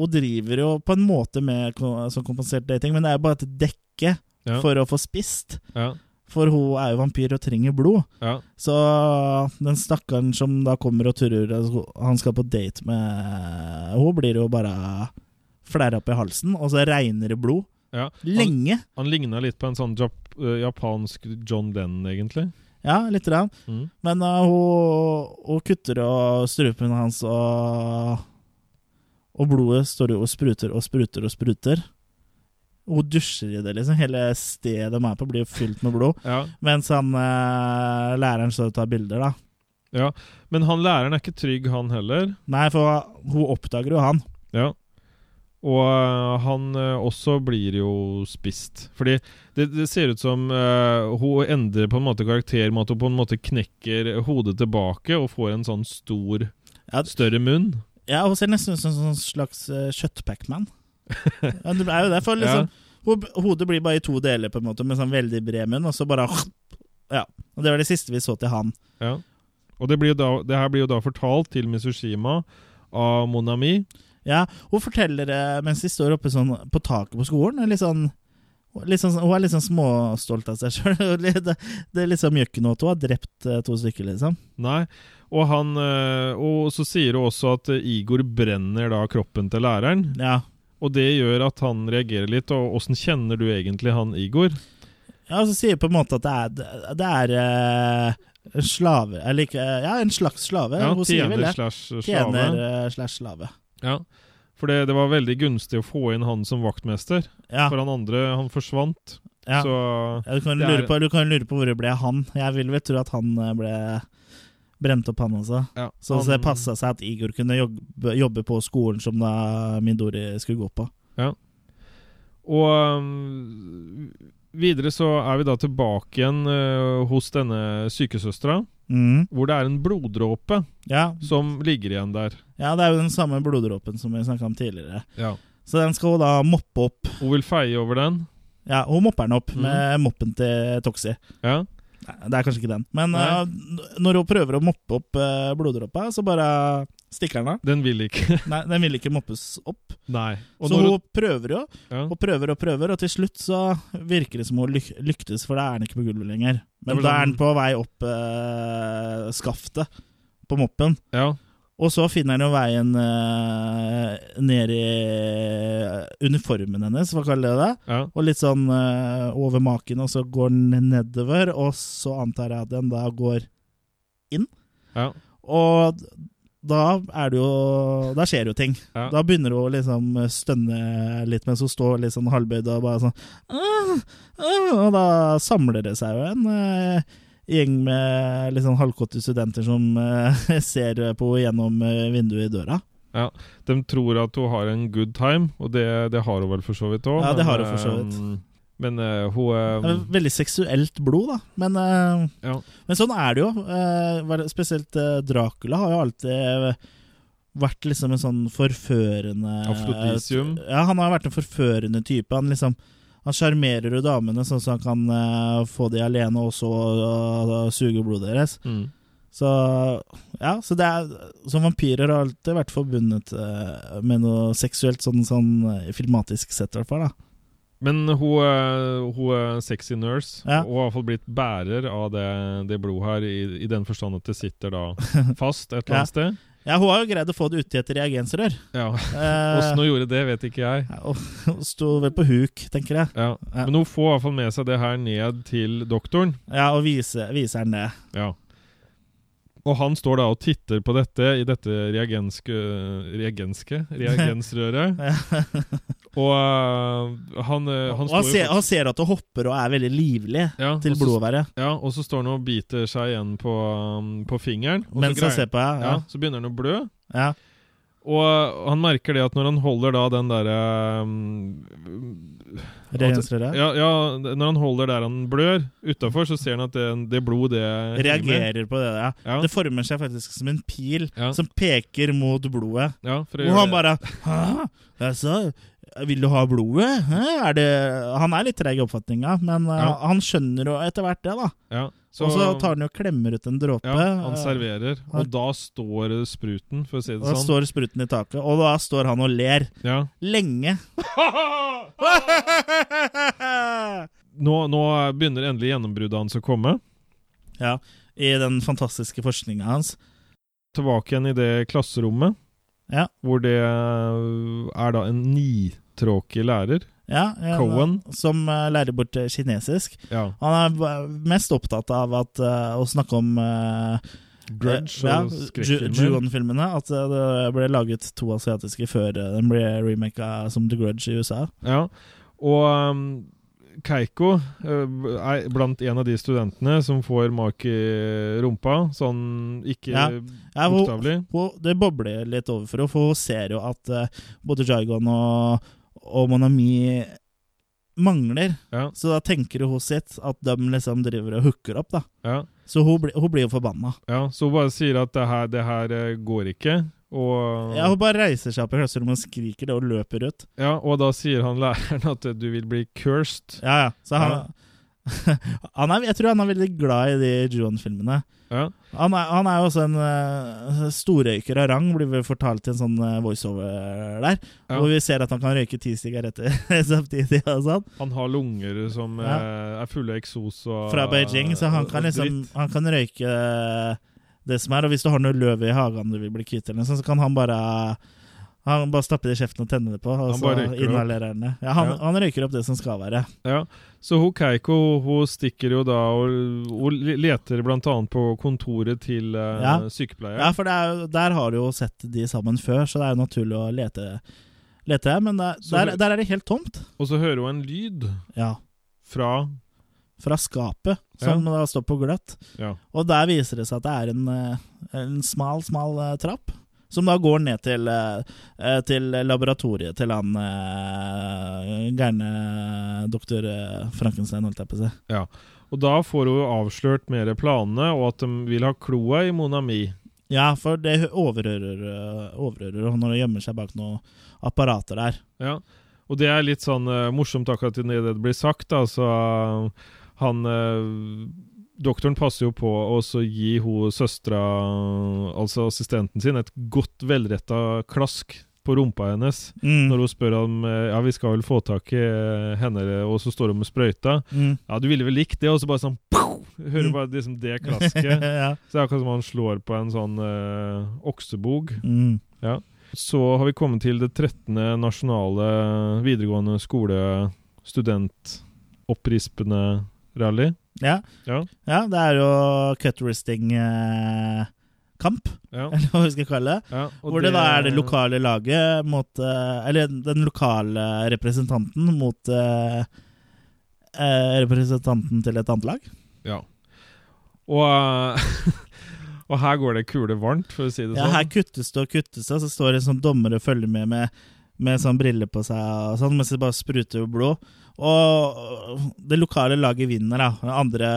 hun driver jo på en måte med ko- sånn kompensert dating, men det er jo bare et dekke Ja. for å få spist. Ja. For hun er jo vampyr og trenger blod. ja. Så den stakkaren som da kommer og turrer, og han skal på date med hun blir jo bare flæra opp i halsen, og så regner det blod. ja. Han, Lenge. han ligna litt på en sånn jap uh, japansk John Lennon, egentlig. Ja, lite grann. Mm. Men eh, hun, hun kutter og strupen hans, og, og blodet står jo og spruter og spruter og spruter. Hun dusjer i det, liksom. Hele stedet de er på, blir jo fylt med blod. Ja. Mens han eh, læreren står og tar bilder, da. ja. Men han læreren er ikke trygg, han heller. Nei, for hun oppdager jo han. Ja. Og øh, han øh, også blir jo spist. Fordi det, det ser ut som øh, hun endrer på en måte karakter med at hun på en måte knekker hodet tilbake og får en sånn stor, Ja. større munn. Ja, hun ser nesten ut som en sånn slags uh, kjøttpackman. ja, det er jo det, for liksom ho- Hodet blir bare i to deler, på en måte, med sånn veldig bred munn, og så bare Ja. Og det var det siste vi så til han. Ja. Og det, blir jo da, det her blir jo da fortalt til Misushima av Monami. Ja, hun forteller det mens de står oppe sånn på taket på skolen. Litt sånn, litt sånn, hun er litt sånn småstolt av seg [laughs] sjøl. Det, det er liksom gjør ikke noe at hun har drept eh, to stykker, liksom. Nei. Og, han, øh, og så sier hun også at øh, Igor brenner da kroppen til læreren. Ja. Og det gjør at han reagerer litt. Og åssen kjenner du egentlig han Igor? ja, og så sier hun på en måte at det er, det er eh, slave Eller ikke eh, Ja, en slags slave. Ja, hun sier vel tjener det. slash slave. Tjener eh, slash slave. Ja, for det, det var veldig gunstig å få inn han som vaktmester. Ja. For han andre, han forsvant. ja. Så ja du, kan det lure er- på, du kan lure på hvor det ble av han. Jeg vil vel tro at han eh, ble brent opp, han også. ja, Så han, det passa seg at Igor kunne jobbe, jobbe på skolen som da Midori skulle gå på. Og um, videre så er vi da tilbake igjen øh, hos denne sykesøstera, Mm. hvor det er en bloddråpe Ja. som ligger igjen der. ja, det er jo den samme bloddråpen som vi snakka om tidligere. Ja. Så den skal hun da moppe opp. Hun vil feie over den. Ja, hun mopper den opp Mhm. med moppen til Toxie. Ja, Nei, Det er kanskje ikke den, men Nei. uh, n- når hun prøver å moppe opp uh, bloddråpa, så bare stikker den av. Den vil ikke. [laughs] Nei, den vil ikke moppes opp. Nei. Og så når hun hun, prøver jo, ja, og prøver og prøver, og til slutt så virker det som hun lyk lyktes, for da er den ikke på gulvet lenger. Det var Men da er sånn- den på vei opp eh, skaftet på moppen. ja, Og så finner han jo veien eh, ned i uniformen hennes, hva kaller jeg det? ja, Og litt sånn eh, over maken, og så går den nedover, og så antar jeg at den da går ja, Og da er det jo Da skjer jo ting. Ja. Da begynner hun å liksom stønne litt mens hun står litt sånn halvbøyd og bare sånn «Åh, åh», Og da samler det seg jo en eh, gjeng med litt sånn halvkåte studenter som eh, [laughs] ser på henne gjennom eh, vinduet i døra. ja. De tror at hun har en good time, og det, det har hun vel for så vidt òg. Ja, det har hun for så vidt. Men øh, hun Det er øh, Veldig seksuelt blod, da. Men, eh, Ja. men sånn er det jo. Eh, hva er det- Spesielt eh, Dracula har jo alltid vært liksom en sånn forførende Afrodisium. Ja, han har vært en forførende type. Han liksom Han sjarmerer jo damene sånn at han kan eh, få de alene og så eh, suge blodet deres. Mm. Så ja, så det er Som vampyrer har alltid vært forbundet eh, med noe seksuelt, sånn, sånn eh, filmatisk sett, i hvert fall. da Men hun, eh, hun er sexy nurse, Ja. og har iallfall blitt bærer av det, det blodet her, i, i den forstand at det sitter [laughs] da fast et eller annet sted. Ja, hun har jo greid å få det uti et reagensrør. Ja, Eh, Åssen hun gjorde det, vet ikke jeg. ja, og og sto vel på huk, tenker jeg. Ja. Ja. Men hun får i hvert fall med seg det her ned til doktoren. Ja, Og viser, viser henne det. Ja. Og han står da og titter på dette i dette reagenske [laughs] Reagenske? Reagensrøret. Og øh, han, øh, han Og står han jo ser, fort- han ser at hun hopper og er veldig livlig ja, og til så- blodværet Ja, og så står han og biter seg igjen på, um, på fingeren. og så mens han greier- ser på ja. henne. Ja. Så begynner han å blø. Ja. Og øh, han merker det at når han holder da den derre um, Reagensrøret. ja, ja, når han holder der han blør, utafor, så ser han at det, det blod, det rimer. Reagerer på det. Ja. Ja. Det former seg faktisk som en pil Ja. som peker mot blodet. Ja, for Og å gjøre han det. bare Hæ? Altså, vil du ha blodet? Hæ? Er det Han er litt treig i oppfatninga, men uh, Ja. han skjønner jo etter hvert det, da. ja, Og så tar han jo og klemmer ut en dråpe. Ja, han serverer, han- og da står spruten, for å si og det da sånn. står spruten i taket, og da står han og ler. Ja. [laughs] Lenge. Nå, nå begynner endelig gjennombruddet hans å komme. ja, I den fantastiske forskninga hans. Tilbake igjen i det klasserommet, Ja. hvor det er da en nitråkig lærer. Ja, ja, Cohen. Som eh, lærer bort eh, kinesisk. Ja. Han er v- mest opptatt av at, eh, å snakke om eh, Grudge eh, ja, og Ju- skrekkfilmer. Ju-on-filmene. At eh, det ble laget to asiatiske før eh, den ble remaka som The Grudge i USA. Ja. Og um, Keiko eh, er blant en av de studentene som får mak i rumpa, sånn ikke Ja. Ja, hun- bokstavelig. hun, det bobler litt over for henne, for hun ser jo at eh, både Jargon og, og Monami mangler. Ja. Så da tenker hun sitt at de liksom driver og hooker opp, da. Ja. Så hun, blir- hun blir jo forbanna. Ja, så hun bare sier at det her, det her eh, går ikke. Og, Ja, hun bare reiser seg opp i klasserommet og skriker det og løper ut. Ja, og da sier han læreren at eh, du vil bli cursed. Ja, ja. Så han, han er, jeg tror han er veldig glad i de Juan-filmene. Ja. Han, er- han er jo også en eh, storrøyker av rang, blir vi fortalt i en sånn eh, voiceover der. Ja. Hvor vi ser at han kan røyke ti sigaretter samtidig. og sånn. Han har lunger som eh, er fulle av eksos og Fra Beijing, så han kan og liksom dritt. Han kan røyke eh, det som er. Og hvis du har noe løv i hagen du vil bli kvitt, eller noe sånt, så kan han bare han bare stapper det i kjeften og tenner det på. Og Han så bare røyker det opp. inhalerer han det. Ja, han, Ja. han røyker opp det som skal være. Ja. Så hun Keiko hun stikker jo da og, og leter blant annet på kontoret til eh, Ja. sykepleier. Ja, for det er, jo- der har du jo sett de sammen før, så det er jo naturlig å lete, lete men det, Så der, du- der er det helt tomt. Og så hører hun en lyd Ja, fra fra skapet, som da står på gløtt. Ja. Og der viser det seg at det er en, eh, en smal, smal eh, trapp, som da går ned til, eh, eh, til laboratoriet til han eh, gærne doktor eh, Frankenstein, holdt jeg på å si. ja. Og da får hun avslørt mer planene, og at de vil ha kloa i Monami. Ja, for det overhører, eh, overhører han når han gjemmer seg bak noen apparater der. Ja, og det er litt sånn eh, morsomt akkurat i det det blir sagt, da, så eh, han eh, Doktoren passer jo på å også gi hun søstera, altså assistenten sin, et godt velretta klask på rumpa hennes Mm. når hun spør om eh, Ja, vi skal vel få tak i eh, henne, og så står hun med sprøyta. Mm. Ja, du ville vel likt det, og så bare sånn pow! Hører Mm. bare liksom det klasket. [laughs] ja. Så det er akkurat som han slår på en sånn eh, oksebog. Mm. Så har vi kommet til det 13. nasjonale videregående skole studentopprispende rally. Ja. Ja. Ja, det er jo cutristing-kamp, Ja, eller hva vi skal kalle det. ja. og Hvor det da er det lokale laget mot eh, Eller den lokale representanten mot eh, eh, representanten til et annet lag. Ja. Og, [laughs] eh, og her går det kule varmt, for å si det Ja, sånn. her kuttes det og kuttes det, og så står det en sånn dommer og følger med med, med sånn briller på seg og sånn, mens det bare spruter blod. Og det lokale laget vinner, da. Det andre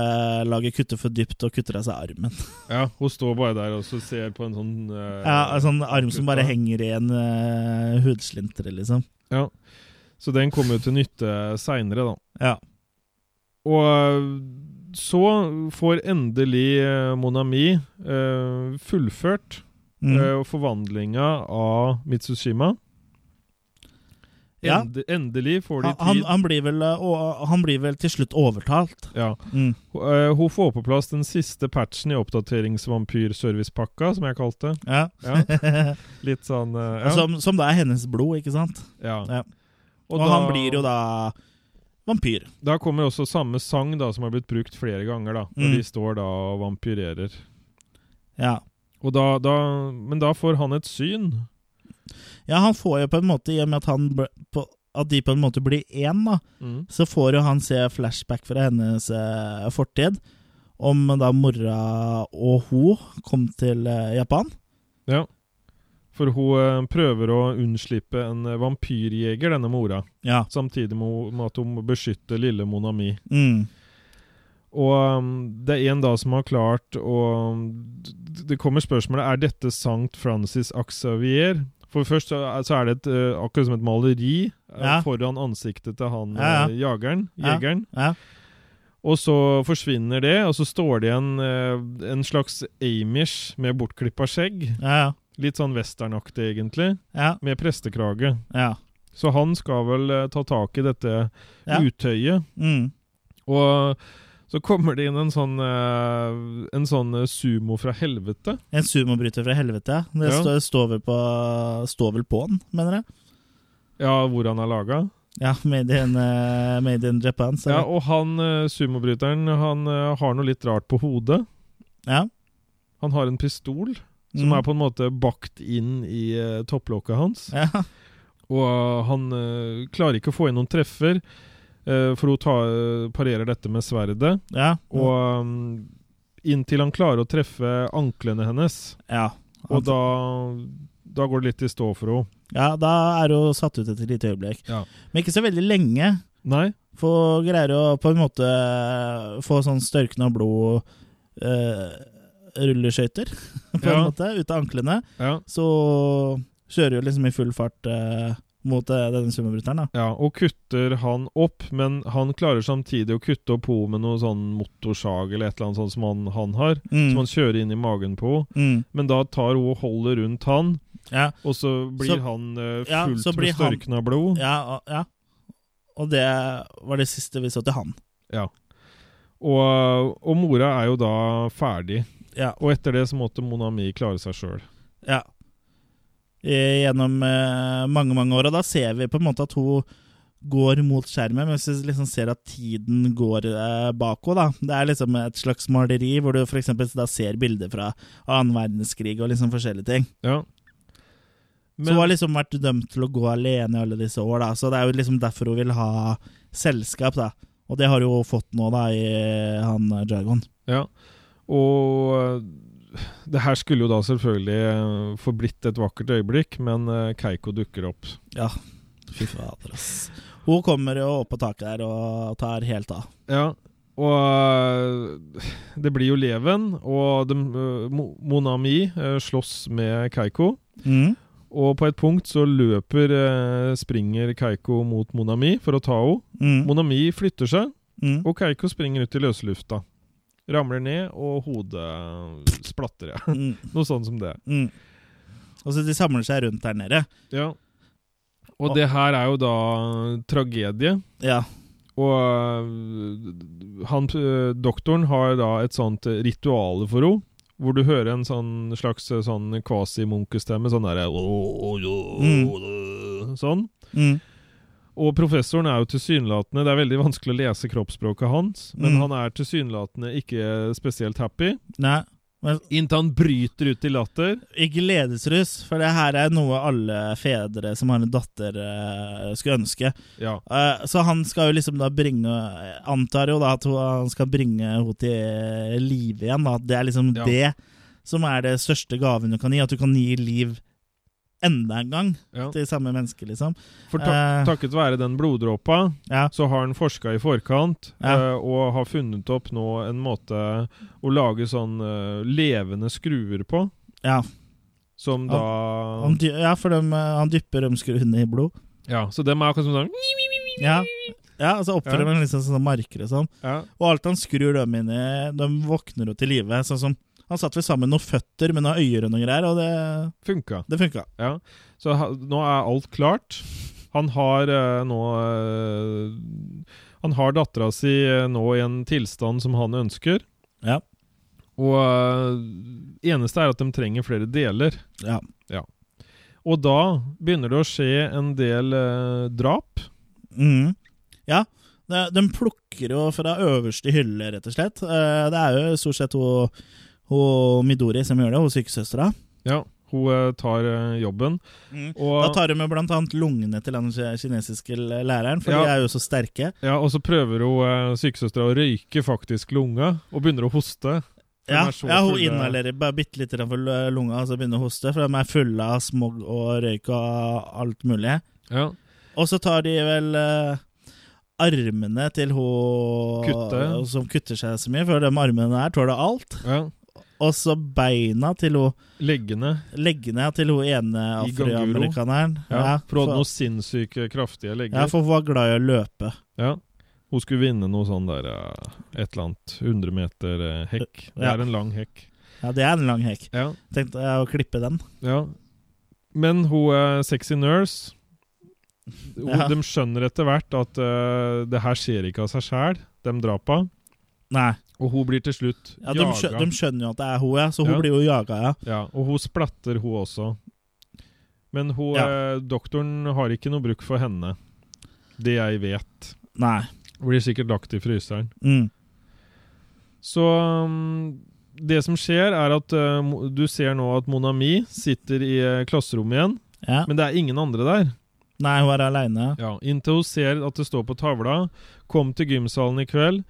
laget kutter for dypt og kutter av seg armen. Ja, hun står bare der og så ser på en sånn eh, altså- Ja, en sånn arm som bare kutta. henger i en uh, hudslintre, liksom. Ja. Så den kom jo til nytte seinere, da. Ja. Og øh, så får endelig øh, Monami øh, fullført Mm. øh, forvandlinga av Mitsushima. Ja. Ende, Endelig får de Han, han, tid. han, blir vel, eh, å- han blir vel til slutt overtalt. ja. Mm. Eh, Hun får på plass den siste patchen i oppdateringsvampyrservicepakka, som jeg kalte det. Ja. [laughs] [laughs] Ja. Litt sånn eh, ja. Som, som da er hennes blod, ikke sant? ja. Altså, Ja. Og, han blir jo da vampyr. Da kommer også samme sang da, som har blitt brukt flere ganger, da. Når Mm. de står da og vampyrerer. Ja. Og da, da, men da får han et syn. ja, han får jo på en måte, i og med at, han ble, på, at de på en måte blir én, da, Mm. så får jo han se flashback fra hennes eh, fortid. Om da mora og hun kom til eh, Japan. Ja. For hun eh, prøver å unnslippe en eh, vampyrjeger, denne mora. Ja. Samtidig med ho- med at hun beskytter lille Monami. Mm. Og um, det er en da som har klart å um, d- Det kommer spørsmålet er dette Sankt Francis Axavier. For først så er- så er det et, eh, akkurat som et maleri eh, Ja. foran ansiktet til han Ja, ja. eh, jageren, Ja. jegeren. Ja. Og så forsvinner det, og så står det igjen eh, en slags amish med bortklippa skjegg. Ja, ja. Litt sånn westernaktig, egentlig, Ja, med prestekrage. ja. Så han skal vel eh, ta tak i dette Ja. utøyet. Mm. Og så kommer det inn en sånn, eh, en sånn eh, sumo fra helvete. En sumobryter fra helvete. Det Ja. står, står, vel på, står vel på den, mener jeg. Ja, hvor han er laga. Ja, Made in, eh, made in Japan. Så. Ja, og han eh, sumobryteren han eh, har noe litt rart på hodet. Ja. Han har en pistol som Mm. er på en måte bakt inn i eh, topplokket hans. Ja. Og eh, han eh, klarer ikke å få inn noen treffer, eh, for hun tar, parerer dette med sverdet. ja. Og eh, inntil han klarer å treffe anklene hennes, ja. og da, da går det litt i stå for henne. Ja, da er hun satt ut et lite øyeblikk. Ja. Men ikke så veldig lenge. Nei? For hun greier å på en måte få sånn størkende blod eh, Rulleskøyter, [laughs] på en Ja. måte, ut av anklene. Ja. Så kjører hun liksom i full fart eh, mot eh, denne sumobryteren, da. Ja, og kutter han opp, men han klarer samtidig å kutte opp henne med noe sånn motorsag eller et eller annet sånt som han, han har, som han kjører inn i magen på henne. Mm. Men da tar hun og holder rundt han, Ja. og så blir Så- han eh, ja, fullt så blir med han- størkna blod. Ja, og, ja. Og det var det siste vi så til han. Og, og mora er jo da ferdig. Ja. Og etter det så måtte Monami klare seg sjøl. ja. Eh, Gjennom eh, mange, mange år. Og da ser vi på en måte at hun går mot skjermen, men hvis vi liksom ser at tiden går eh, bak henne, da. Det er liksom et slags maleri hvor du f.eks. da ser bilder fra annen verdenskrig og liksom forskjellige ting. Ja. så Men, hun har liksom vært dømt til å gå alene i alle disse år, da. Så det er jo liksom derfor hun vil ha selskap, da. Og det har hun jo fått nå, da, i han eh, Jargon. ja. Og eh, det her skulle jo da selvfølgelig eh, forblitt et vakkert øyeblikk, men eh, Keiko dukker opp. Ja, fy fader, ass. Hun kommer jo opp på taket der og tar helt av. Ja, og øh, det blir jo leven, og de, øh, Mo- Monami øh, slåss med Keiko. Mm. Og på et punkt så løper, øh, springer Keiko mot Monami for å ta henne. Mm. Monami flytter seg, Mm. og Keiko springer ut i løslufta. Ramler ned, og hodet eh, splatter. ja. Mm. [laughs] Noe sånt som det. Mm. Og så de samler seg rundt der nede. Ja. Og det her er jo da tragedie. Ja. Og øh, han, øh, doktoren har da et sånt øh, rituale for henne. Hvor du hører en sånn slags øh, sånn kvasimonkestemme, sånn derre Mm. Sånn. Mm. Og professoren er jo tilsynelatende Det er veldig vanskelig å lese kroppsspråket hans, men Mm. han er tilsynelatende ikke spesielt happy. Nei. Men Inntil han bryter ut i latter. i gledesrus, for det her er noe alle fedre som har en datter, eh, skulle ønske. Ja. Eh, så han skal jo liksom da bringe Antar jo da at hun- han skal bringe henne til live igjen. Da. At det er liksom Ja. det som er det største gaven du kan gi. At du kan gi liv enda en gang ja. til samme menneske, liksom. For ta Eh. takket være den bloddråpa, Ja. så har han forska i forkant Ja. eh, og har funnet opp nå en måte å lage sånn eh, levende skruer på, Ja, som Han da dy ja for dem, eh, han dypper rømskruene i blod. Ja, så dem er akkurat som sånn Ja, ja altså oppfører Ja. man liksom sånn marker og sånn. ja. Og alt han skrur dem inn i, de våkner jo til live. Sånn som Han satt vel sammen med noen føtter med noen øyer og noen greier, og det, Funka. det funka. Ja. Så ha, nå er alt klart. Han har eh, nå eh, Han har dattera si eh, nå i en tilstand som han ønsker. Ja. Og eh, eneste er at de trenger flere deler. Ja. Og da begynner det å skje en del eh, drap. Mhm. ja. De, de plukker jo fra øverste hylle, rett og slett. Eh, Det er jo stort sett hun, hun Midori som gjør det, hun sykesøstera. Ja, hun eh, tar eh, jobben. Mhm. Da Og, tar de jo blant annet lungene til den kinesiske læreren, for Ja. de er jo så sterke. ja, og så prøver hun eh, sykesøstera å røyke faktisk lunga, og begynner å hoste. De Ja, er så eh. ja, hun fulle- inhalerer bare bitte litt for lunga og så begynner hun å hoste, for de er fulle av smog og røyk og alt mulig. Ja. Og så tar de vel eh, armene til hun Kutte. som kutter seg så mye, for de armene her tåler alt. ja. Og så beina til hun Leggene leggene til hun ene I Ganguro. afroamerikaneren. Ja, for hun hadde for, noen sinnssyke, kraftige ja, legger. Ja, for hun var glad i å løpe. Hun skulle vinne noe sånn der eh, Et eller annet 100 meter eh, hekk. Det Ja. er en lang hekk. Ja, Det er en lang hekk. Ja, Tenkte jeg å klippe den. ja. Men hun eh, sexy nurse hun, Ja. De skjønner etter hvert at eh, det her skjer ikke av seg sjæl, de drapa. Nei. Og hun blir til slutt Ja, de, jaga. skjø de skjønner jo at det er hun, ja, så hun Ja. blir jo jaga, ja. Ja, og hun splatter, hun også. Men hun, eh, doktoren har ikke noe bruk for henne. Det jeg vet. Nei. Blir sikkert lagt i fryseren. Mm. Så um, det som skjer, er at uh, Mo- du ser nå at Monami sitter i uh, klasserommet igjen, Ja. men det er ingen andre der. Nei, hun er aleine. Ja, Inntil hun ser at det står på tavla 'Kom til gymsalen i kveld'.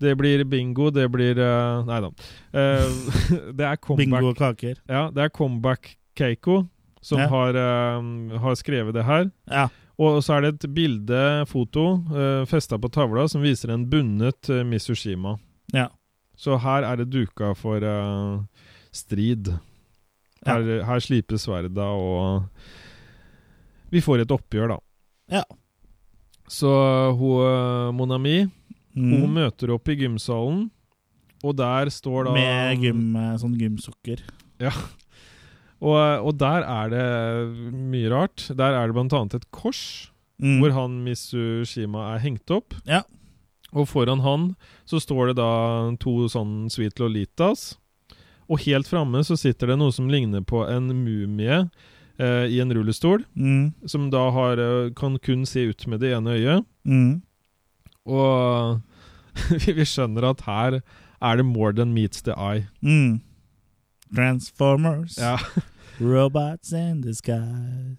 Det blir bingo, det blir uh, Nei da. Eh, [laughs] det er Bingo comeback, og kaker. ja, det er comeback Keiko som Ja. har, eh, har skrevet det her. Ja. Og så er det et bilde, foto, uh, festa på tavla som viser en bundet uh, Misushima. ja. Så her er det duka for eh, strid. Ja. Her, her slipes sverda, og vi får et oppgjør, da. Ja. Så hun eh, Monami, hun Mm. møter opp i gymsalen, og der står da Med [laughs] gym, eh, sånn gymsukker. Og, og der er det mye rart. Der er det blant annet et kors Mm. hvor han Misushima er hengt opp. Ja. Og foran han så står det da to sånn Sweet Lolitas. Og helt framme så sitter det noe som ligner på en mumie eh, i en rullestol, Mm. som da har, eh, kan kun se ut med det ene øyet. Mm. Og [laughs] vi, vi skjønner at her er det more than meets the eye. Mm. Transformers, robots in the sky.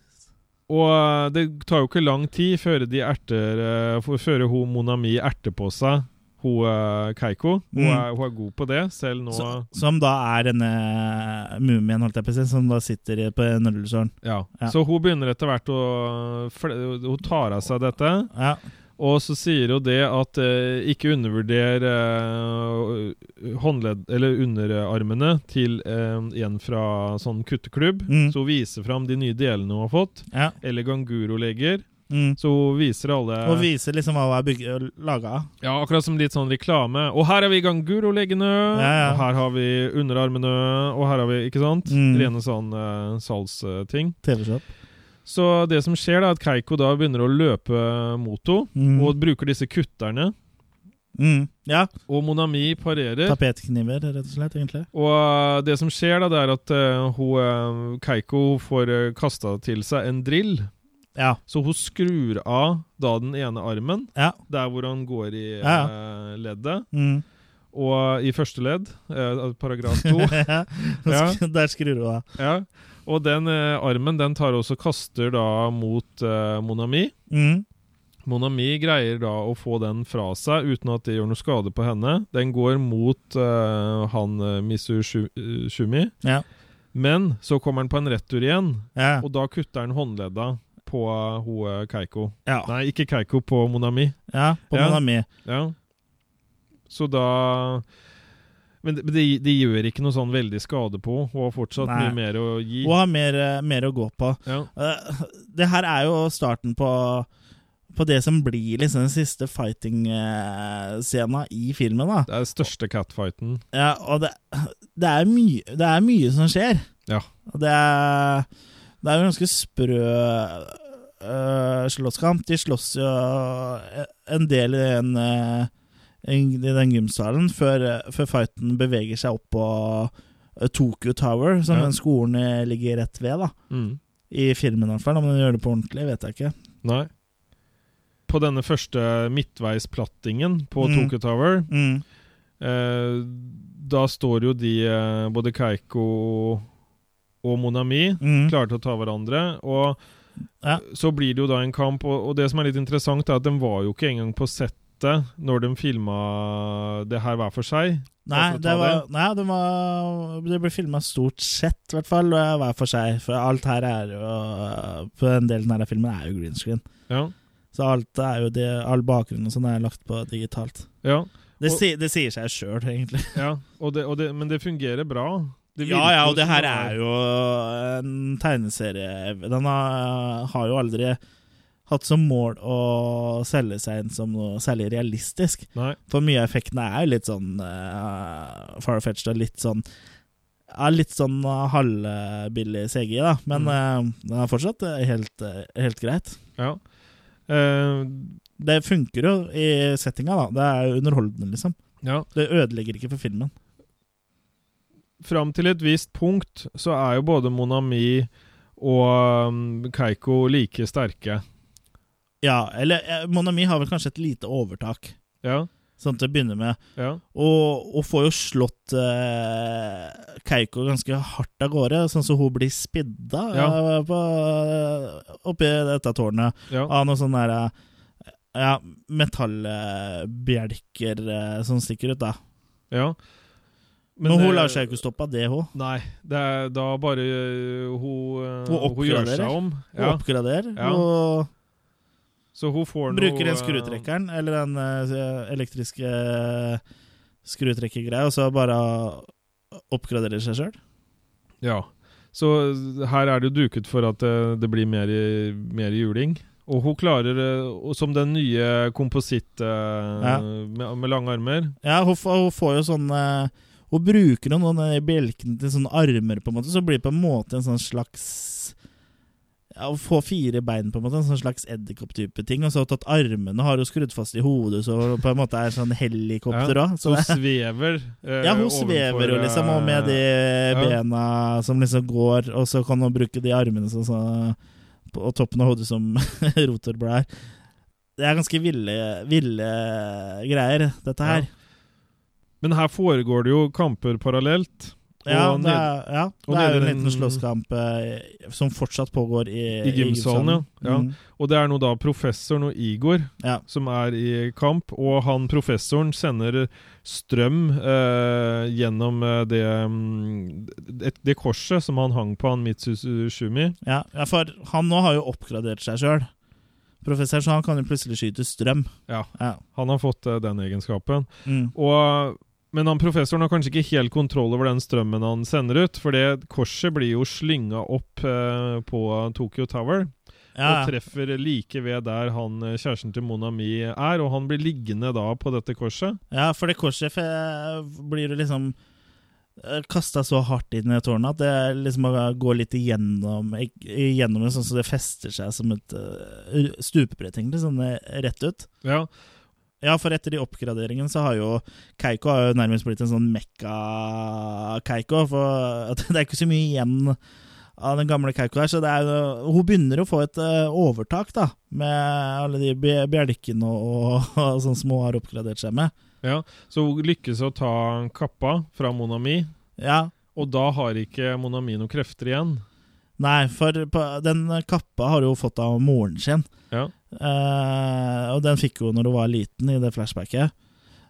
Og eh, det tar jo ikke lang tid før de erter eh, for- Før hun Monami erter på seg hun eh, Keiko. Hun, Mm. er, hun er god på det, selv nå. Så, som da er denne mumien, holdt jeg på å si, som da sitter i- på en rullestol. Ja. Ja. Så hun begynner etter hvert å fl- Hun tar av seg dette, Ja. og så sier hun det at eh, ikke undervurder eh, håndledd Eller underarmene til eh, en fra sånn kutteklubb. Mm. Så hun viser fram de nye delene hun har fått. ja. Eller Ganguro-leger. Mm. Så hun viser alle Og viser liksom hva hun er bygd- laga av. Ja, akkurat som litt sånn reklame. Og her har vi Ganguro-legene! Ja, ja. Og her har vi underarmene, og her har vi Ikke sant? Mm. Rene sånn eh, salgsting. TV-shop. Så det som skjer, da, er at Keiko da begynner å løpe mot henne. Mm. Og bruker disse kutterne. Mm. Ja. Og Monami parerer. Tapetkniver, rett og slett, egentlig. Og øh, det som skjer, da, det er at øh, hun, øh, Keiko får uh, kasta til seg en drill. Ja. Så hun skrur av da den ene armen, Ja. der hvor han går i Ja. øh, leddet. Mm. Og eh, i første ledd, øh, paragraf to. [laughs] ja. Der skrur hun av. ja. Og den øh, armen den tar også kaster da mot øh, Monami. Mm. Monami greier da å få den fra seg uten at det gjør noe skade på henne. Den går mot øh, han øh, Misu Shu- øh, Shumi. Ja. Men så kommer han på en retur igjen, Ja. og da kutter han håndledda på øh, ho øh, Keiko. Ja. Nei, ikke Keiko, på Monami. ja. På Ja. Monami. Ja. Så da Men det, men det, det gjør ikke noe sånn veldig skade på henne. Hun har fortsatt Nei. mye mer å gi. Og har mer, eh, mer å gå på. Ja. Eh, det her er jo starten på på det som blir liksom den siste fighting-scena i filmen. da Det er den største catfighten. ja, Og det, det, er mye, det er mye som skjer. Ja. Og det er, det er jo ganske sprø øh, slåsskamp. De slåss jo eh, en del i den, øh, i den gymsalen før, eh, før fighten beveger seg opp på øh, Tokyo Tower, som Ja. den skolen øh, ligger rett ved. da Mm. I filmen, i hvert fall. Om den gjør det på ordentlig, vet jeg ikke. Nei. På denne første midtveisplattingen på Mm. Tokyo Tower, Mm. eh, da står jo de, eh, både Keiko og Monami, Mm. klare til å ta hverandre. Og Ja. så blir det jo da en kamp, og, og det som er litt interessant, er at de var jo ikke engang på settet når de filma det her hver for seg. Nei, Bare for å det, ta var, nei, det var Det ble filma stort sett, i hvert fall, og hver for seg. For alt her er jo eh, På den delen her av filmen er jo green screen. Ja. Så alt er jo det, all bakgrunnen og sånn er lagt på digitalt. ja, Det, Og- si, det sier seg sjøl, egentlig. ja. Og det, og det, men det fungerer bra. Det ja, ja, og det her er jo jo en tegneserie Den har, har jo aldri hatt som mål å selge seg inn som noe særlig realistisk. Nei. For mye av effektene er jo litt sånn uh, farfetched og litt sånn ja, litt sånn eh, halvbillig CGI, da. Men eh, den er fortsatt eh, helt, eh, helt greit. Ja. Eh, Det funker jo i settinga, da. Det er jo underholdende, liksom. ja. Det ødelegger ikke for filmen. Fram til et visst punkt så er jo både Monami og um, Keiko like sterke. Ja, eller eh, Monami har vel kanskje et lite overtak, Ja. sånn til å begynne med. ja. Og, og får jo slått eh, Keiko ganske hardt av gårde, sånn så hun blir spidda Ja. eh, på, eh, oppi dette tårnet. ja. av noen sånne der, eh, ja, metallbjelker eh, som stikker ut, da. ja. Men, hun eh, lar seg jo ikke stoppe av det, hun. Nei, det er da bare øh, hun, øh, Hun hun gjør oppgraderer. seg om. Hun Ja. oppgraderer. Ja. Hun Så hun får noe bruker den øh, skrutrekkeren, eller den eh, elektriske eh, skrutrekkergreia, og så bare oppgraderer seg sjøl. Ja. Så øh, her er det jo duket for at øh, det blir mer, i- mer juling. Og hun klarer, øh, og som den nye kompositt øh, Ja. med, med lange armer Ja, hun, får- hun får jo sånn eh, Hun bruker jo noen av de bjelkene til sånne armer, på en måte, så blir det på en måte en sånn slags ja, Hun får fire bein, på en måte, en sånn slags edderkopp-type ting. Og så har hun tatt armene har hun skrudd fast i hodet, så hun på en måte er sånn helikopter òg. Hun svever. øh, Ja, hun overfor, eh, svever jo liksom, og med de ja. bena som liksom går, og så kan hun bruke de armene sånn sånn på toppen av hodet som [laughs] rotorblader. Det er ganske ville, ville greier, dette her. Men her foregår det jo kamper parallelt. Ja, og det ned- er, ja, og det er jo en nede- liten slåsskamp eh, som fortsatt pågår i, I gymsalen, ja. Ja. Mm. Og det er nå da professoren og Igor Ja. som er i kamp, og han professoren sender strøm eh, gjennom eh, det, mm, det, det korset som han hang på, han Mitsushumi. Ja. ja, for han nå har jo oppgradert seg sjøl, professor, så han kan jo plutselig skyte strøm. Ja, Ja. han har fått eh, den egenskapen. Mm. Og, men han professoren har kanskje ikke helt kontroll over den strømmen han sender ut, for det korset blir jo slynga opp eh, på Tokyo Tower. ja. og treffer like ved der han eh, kjæresten til Monami er, og han blir liggende da på dette korset. ja, for det korset eh, blir jo liksom kasta så hardt inn i tårnet at det liksom bare går litt igjennom, igjennom det, sånn så det fester seg som et eh, stupebrett, egentlig, sånn eh, rett ut. Ja, Ja, for etter de oppgraderingene så har jo Keiko har jo nærmest blitt en sånn mekka-Keiko. For [laughs] at det er ikke så mye igjen av den gamle Keiko her. Så det er jo, hun begynner å få et eh, overtak, da. Med alle de bje- bjelkene og, [laughs] og, og sånn som hun har oppgradert seg med. ja. Så hun lykkes å ta kappa fra Monami, Ja, og da har ikke Monami noen krefter igjen. Nei, for på, den kappa har hun jo fått av moren sin. Ja, Eh, og den fikk hun når hun var liten, i det flashbacket.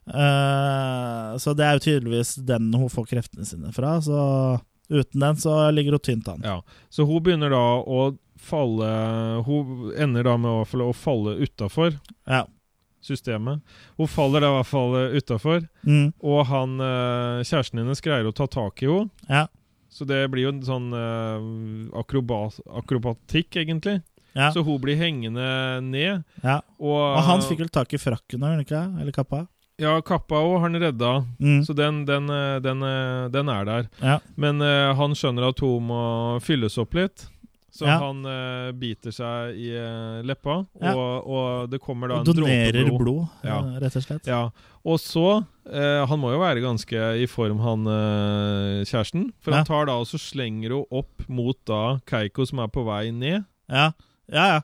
Eh, så det er jo tydeligvis den hun får kreftene sine fra. Så uten den så ligger hun tynt an. ja. Så hun begynner da å falle Hun ender da med i hvert fall å falle utafor. Ja. systemet. Hun faller da i hvert fall utafor, Mm. og han, eh, kjæresten hennes greier å ta tak i henne. Ja. Så det blir jo en sånn eh, akrobat, akrobatikk, egentlig. Ja. Så hun blir hengende ned. ja. Og, Og han fikk vel tak i frakken, eller ikke? Eller kappa? Ja, kappa òg har han redda. Mm. Så den, den, eh, den, eh, den er der. Ja. Men eh, han skjønner at hun må fylles opp litt. Så Ja. han eh, biter seg i eh, leppa, og, Ja. og det kommer da Og en dråpe donerer blod. blod, Ja. eh, rett og slett. Ja. Og så eh, Han må jo være ganske i form, han eh, kjæresten. For Ja. han tar da og så slenger hun opp mot da Keiko, som er på vei ned. Ja, ja. ja.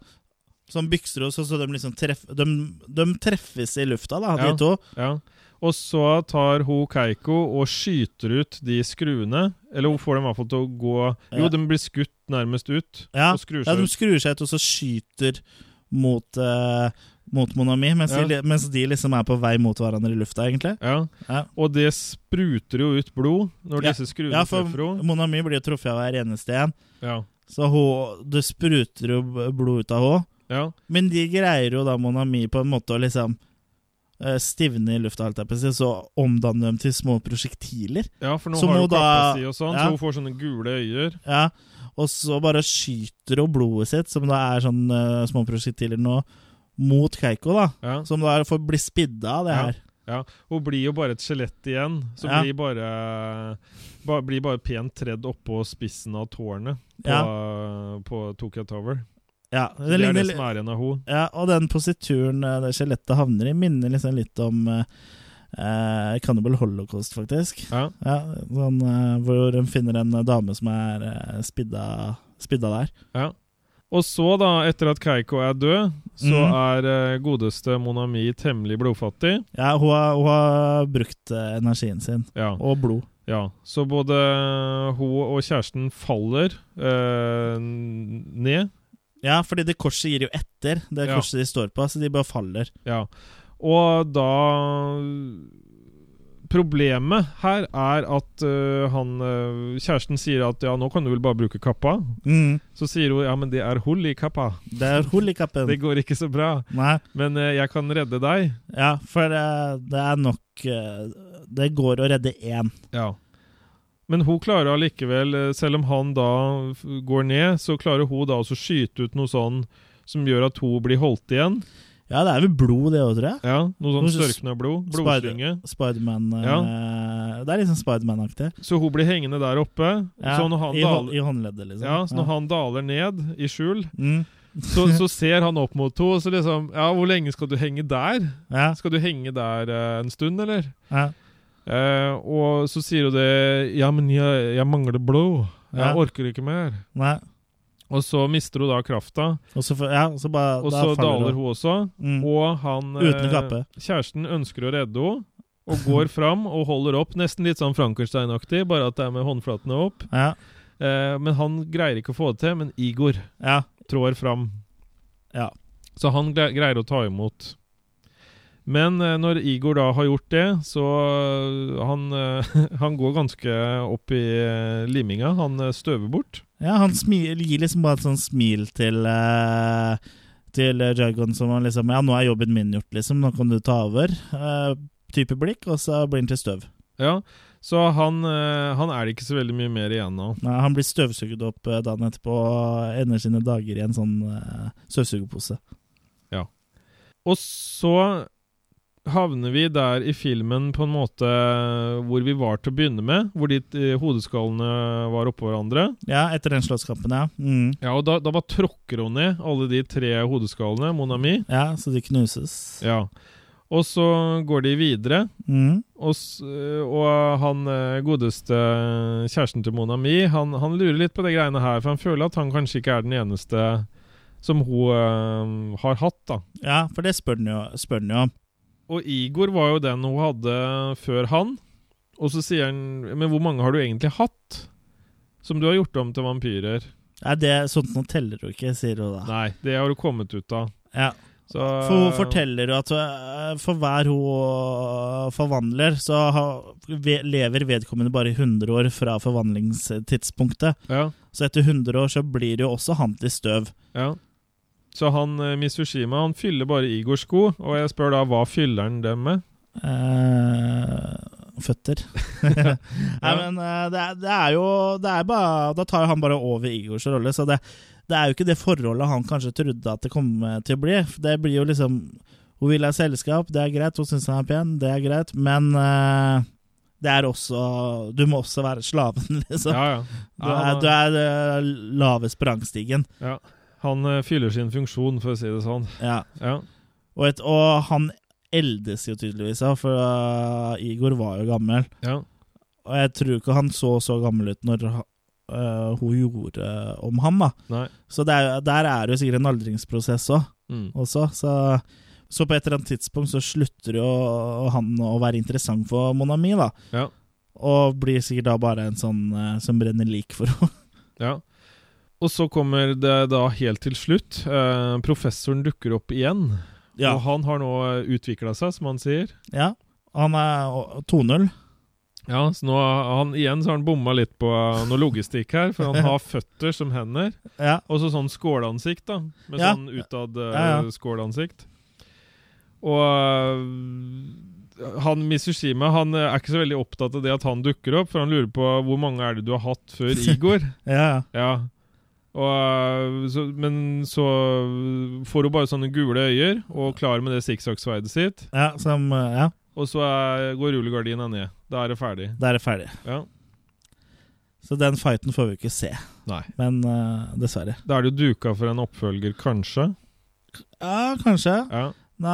Som bykser og så, så de liksom treff, de, de treffes i lufta, da, de Ja. to. Ja. Og så tar hun Keiko og skyter ut de skruene. Eller hun får dem i hvert fall til å gå Jo, Ja. de blir skutt nærmest ut. Ja, Og skrur ja seg de ut. skrur seg ut, og så skyter mot, eh, mot Monami, mens, Ja. de, li- mens de liksom er på vei mot hverandre i lufta, egentlig. Ja. Ja. Og det spruter jo ut blod når disse skruene Ja, for treffer henne. Monami blir jo truffet av hver eneste en, Ja. så hun, det spruter jo b- blod ut av henne. ja. Men de greier jo da Monami på en måte å liksom eh, stivne i lufta, holdt jeg på å si, så omdanne dem til små prosjektiler. Ja, for nå Så har må hun kappa da- si og sånn, ja. så hun får sånne gule øyer. Ja, og så bare skyter hun blodet sitt, som da er sånn eh, små prosjektiler nå, mot Keiko, da. Ja. Som da får bli spidda av det Ja. her. Ja, Hun blir jo bare et skjelett igjen, som Ja. blir bare ba, Blir bare pent tredd oppå spissen av tårnet på, på Tokyo Tower. Ja, Det det er ligner, det som er igjen av henne. ja, og den posituren eh, det skjelettet havner i, minner liksom litt om eh, eh, Cannibal Holocaust, faktisk. Ja. Ja, sånn, eh, hvor de finner en eh, dame som er eh, spidda, spidda der. Ja. Og så, da, etter at Keiko er død, så Mhm. er eh, godeste Monami temmelig blodfattig. Ja, hun har, hun har brukt eh, energien sin, Ja. og blod. ja. Så både hun og kjæresten faller eh, ned. Ja, fordi det korset gir jo etter det Ja. korset de står på, så de bare faller. Ja. Og da Problemet her er at eh, han eh, Kjæresten sier at ja, nå kan du vel bare bruke kappa. Mm. Så sier hun ja, men det er hull i kappa. Det er hull i kappen. Det går ikke så bra. Nei, Men eh, jeg kan redde deg. ja, for eh, det er nok eh, Det går å redde én. Ja. Men hun klarer allikevel, eh, selv om han da f- går ned, så klarer hun da også skyte ut noe sånn som gjør at hun blir holdt igjen. Ja, det er vel blod, det òg, tror jeg. Ja, Noe Hun sånn s- størkna blod. Spider- Blodslynge. Spiderman eh, Det er liksom Spiderman-aktig. Så hun blir hengende der oppe. Ja, så når han i, hå- daler, I håndleddet, liksom. ja, så når han daler ned i skjul, Mm, [laughs] så, så ser han opp mot henne, og så liksom Ja, hvor lenge skal du henge der? ja, Skal du henge der eh, en stund, eller? ja. Eh, og så sier hun det Ja, men jeg, jeg mangler blod. Jeg Ja. orker ikke mer. Nei. Og så mister hun da krafta. Og så, får- ja, og så bare Og da så faller daler hun også. Mm. Og han eh, Uten kappe. Kjæresten ønsker å redde henne. Og [laughs] går fram og holder opp, nesten litt sånn Frankenstein-aktig, bare at det er med håndflatene opp. Ja, Eh, men han greier ikke å få det til, men Igor ja, trår fram. ja. Så han grei- greier å ta imot. Men eh, når Igor da har gjort det, så eh, han, eh, [laughs] han går ganske opp i eh, liminga. Han eh, støver bort. ja han smil, gir liksom bare et sånt smil til eh, Til eh, Jargon som han liksom Ja, nå er jobben min gjort, liksom. Nå kan du ta over. eh, type blikk, og så blir han til støv. Ja, Så han, eh, han er det ikke så veldig mye mer igjen av. Nei, han blir støvsugd opp eh, dagen etterpå og ender sine dager i en sånn uh, støvsugerpose. Og så havner vi der i filmen på en måte eh, hvor vi var til å begynne med. Hvor de eh, hodeskallene var oppå hverandre. Ja, etter den slåsskampen, ja. Mm. Ja, og da, da bare tråkker hun ned alle de tre hodeskallene, Mon Ami. Ja, så de knuses. Ja. Og så går de videre, Mm. og, s- og han eh, godeste kjæresten til Mona Mi, han, han lurer litt på de greiene her, for han føler at han kanskje ikke er den eneste som hun eh, har hatt, da. Ja, for det spør han jo, spør han jo om. Og Igor var jo den hun hadde før han. Og så sier han Men hvor mange har du egentlig hatt? Som du har gjort om til vampyrer? Nei, det, sånt noe teller jo ikke, sier hun da. Nei, det har du kommet ut av. Ja. Så, For hun forteller jo at øh, for hver hun forvandler, så ha- ve- lever vedkommende bare i 100 år fra forvandlingstidspunktet. Ja, Så etter 100 år så blir det jo også han til støv. ja. Så han eh, Mitsushima han fyller bare Igors sko, og jeg spør da hva fyller han dem med? Eh, [laughs] føtter. [laughs] Nei, men eh, det, er, det er jo det er bare, Da tar jo han bare over Igors rolle, så det, det er jo ikke det forholdet han kanskje trodde at det kom eh, til å bli. Det blir jo liksom Hun vil ha selskap, det er greit. Hun syns han er pen, det er greit. Men eh, det er også Du må også være slaven, [laughs] liksom. Ja, ja. Du er, du han, er eh, lavest på rangstigen. ja. han eh, fyller sin funksjon, for å si det sånn. Ja. Ja. Og, et, og han eldes jo tydeligvis, ja, for eh, Igor var jo gammel. ja. Og jeg tror ikke han så så gammel ut når øh, hun gjorde om ham, da. Nei. Så det er, der er det jo sikkert en aldringsprosess òg. Mm. Også, så, så på et eller annet tidspunkt så slutter jo han å være interessant for Monami, da. Ja. Og blir sikkert da bare en sånn øh, som brenner lik for henne. [laughs] Ja. Og så kommer det da helt til slutt. Eh, professoren dukker opp igjen. Ja. Og han har nå utvikla seg, som han sier. ja. Han er og- 2-0. Ja, så nå har han, Igjen så har han bomma litt på eh, noe logistikk her, [laughs] for han har føtter som hender. Ja. Og så sånn skålansikt, da. Med Ja. sånn utad eh, Ja, ja. skålansikt. Og eh, han Mitsushima han eh, er ikke så veldig opptatt av det at han dukker opp, for han lurer på hvor mange er det du har hatt før Igor. [laughs] ja. ja. ja. Og, eh, så, men så får hun bare sånne gule øyer og klarer med det sikksakksverdet sitt. Ja, som, øh, ja, Og så er, går rullegardina ned. Da er det ferdig. da er det ferdig. Ja. Så den fighten får vi ikke se. Nei. Men øh, dessverre. Da er det jo duka for en oppfølger, kanskje. Ja, kanskje. Ja. Nei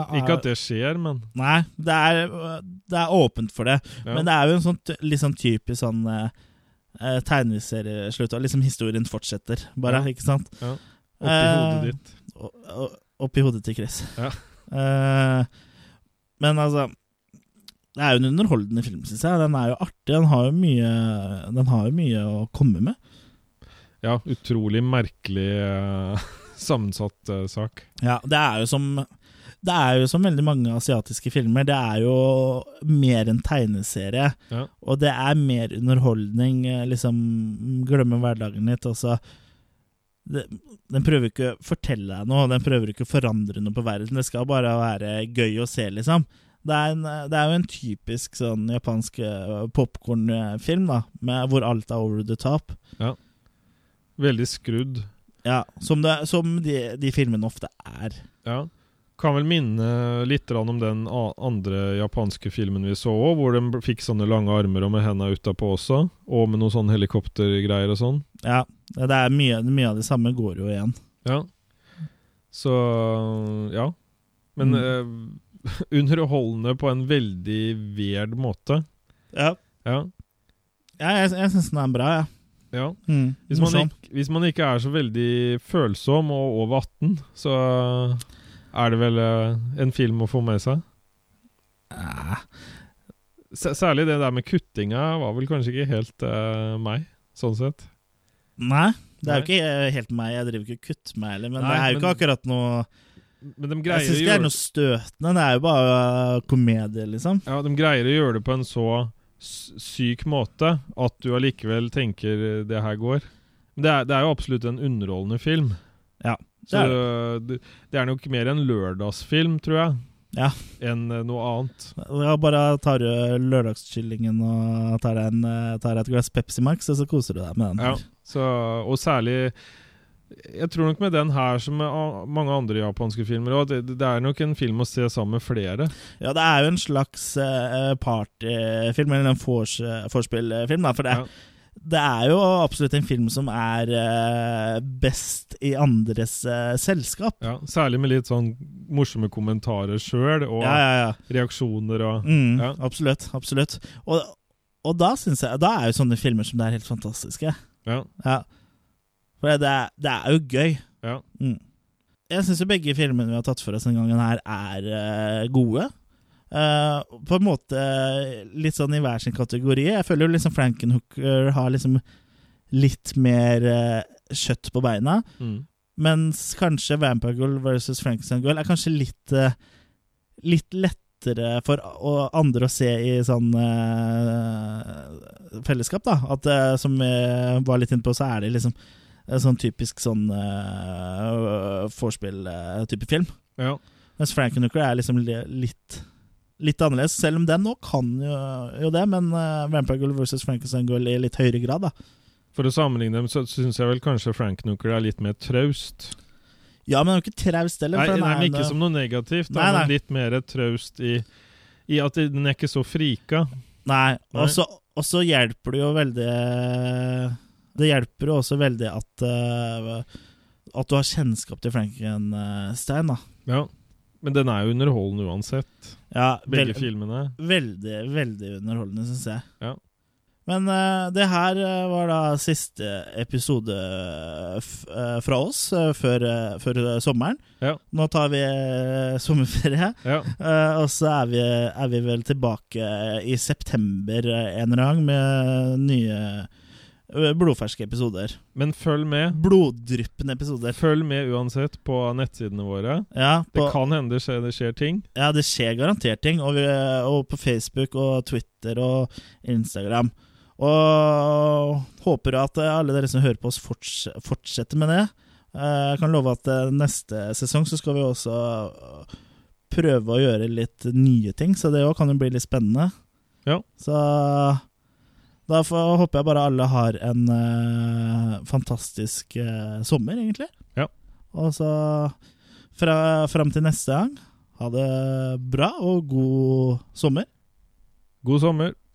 eh, Ikke at det skjer, men Nei, det er, det er åpent for det. Ja. Men det er jo en sånn t- litt sånn typisk sånn eh, eh, tegneserieslutt. og Liksom historien fortsetter, bare. Ja. Ikke sant? oppi Eh, hodet ditt. O- o- Oppi hodet til Chris. Ja. Eh, men altså Det er jo en underholdende film, syns jeg. Den er jo artig. Den har jo mye, den har jo mye å komme med. Ja, utrolig merkelig eh, [laughs] sammensatt eh, sak. Ja, det er jo som det er jo som veldig mange asiatiske filmer, det er jo mer en tegneserie. Ja. Og det er mer underholdning. eh, Liksom glemme hverdagen litt. Altså, det, den prøver ikke å fortelle deg noe, den prøver ikke å forandre noe på verden. Det skal bare være gøy å se, liksom. Det er, en, eh, det er jo en typisk sånn japansk popkornfilm, da, med, hvor alt er over the top. Veldig skrudd. Ja, Som, det, som de, de filmene ofte er. Ja. Kan vel minne litt grann om den a- andre japanske filmen vi så òg, hvor de bl- fikk sånne lange armer og med henda utapå også, og med noen sånne helikoptergreier og sånn. Ja, det er mye, mye av det samme går jo igjen. Ja. Så ja. Men eh, [laughs] underholdende på en veldig weird måte. Ja, Ja. jeg, jeg syns den er bra, jeg. ja. Ja. Mm, Hvis man, morsom. ikke, hvis man ikke er så veldig følsom og over 18, så er det vel eh, en film å få med seg. Ah. S særlig det der med kuttinga var vel kanskje ikke helt eh, meg, sånn sett. Nei, det er jo ikke eh, helt meg. Jeg driver ikke og kutter meg heller, men Nei, det er jo ikke men- akkurat noe Men de Jeg greier, syns å ikke det er gjøre, noe støtende. Det er jo bare eh, komedie, liksom. ja, de greier å gjøre det på en så s- syk måte at du allikevel tenker eh, det her går. Men Det er, det er jo absolutt en underholdende film. Ja, Så er det, det er nok mer en lørdagsfilm, tror jeg, Ja. enn eh, noe annet. Jeg bare tar eh, lørdagskyllingen og tar deg, en, eh, tar deg et glass Pepsi Max, og så koser du deg med den. Ja, så, og særlig Jeg tror nok med den her som med a- mange andre japanske filmer også, at det, det er nok en film å se sammen med flere. Ja, det er jo en slags eh, partyfilm, eller en vors- eh, vorspielfilm, da. For det, Ja. det er jo absolutt en film som er eh, best i andres eh, selskap. Ja, særlig med litt sånn morsomme kommentarer sjøl, og Ja, ja, ja. reaksjoner og Mm, Ja. Absolutt. absolutt. Og, og da synes jeg Da er jo sånne filmer som det er helt fantastiske. Ja. Ja. For det er, det er jo gøy. Ja. Mm. Jeg syns jo begge filmene vi har tatt for oss denne gangen, her er eh, gode. Eh, på en måte eh, litt sånn i hver sin kategori. Jeg føler jo liksom Frankenhooker har liksom litt mer eh, kjøtt på beina. Mm. Mens kanskje Vampire Girl versus Frankenstein Girl er kanskje litt eh, Litt lettere for å- andre å se i sånn eh, fellesskap, da. At eh, som vi var litt inne på, så er det liksom En sånn typisk sånn uh, vorspiel-type film. Ja. Mens Frankenhooker er liksom li- litt Litt annerledes, selv om den nå kan jo, jo det, men uh, Vampire Girl versus Frankenstein Girl i litt høyere grad, da. For å sammenligne dem, så syns jeg vel kanskje Frank Nooker er litt mer traust. Ja, men den er jo ikke traust heller. Nei, for den nei, men er en, ikke som noe negativt, da, Nei, nei. men litt mer traust i, i at den er ikke så frika. Nei, Nei. og så- og så hjelper det jo veldig Det hjelper jo også veldig at eh, At du har kjennskap til Frankenstein, da. Ja. Men den er jo underholdende uansett, Ja, begge vel- filmene. Veldig, veldig underholdende, syns jeg. Ja. Men eh, det her eh, var da siste episode eh, f eh, fra oss eh, før, eh, før eh, sommeren. Ja. Nå tar vi eh, sommerferie, Ja. eh, og så er vi, er vi vel tilbake i september eh, en eller annen gang med nye eh, blodferske episoder. Men følg med. Bloddryppende episoder. Følg med uansett på nettsidene våre. Ja, på, Det kan hende det skjer, det skjer ting. ja, det skjer garantert ting. Og, vi, og på Facebook og Twitter og Instagram. Og håper at alle dere som hører på oss, forts fortsetter med det. Eh, Jeg kan love at eh, neste sesong så skal vi også eh, prøve å gjøre litt nye ting, så det òg kan jo bli litt spennende. Ja. Så da får, håper jeg bare alle har en eh, fantastisk eh, sommer, egentlig. Ja. Og så fra, fram til neste gang ha det bra og god sommer. God sommer.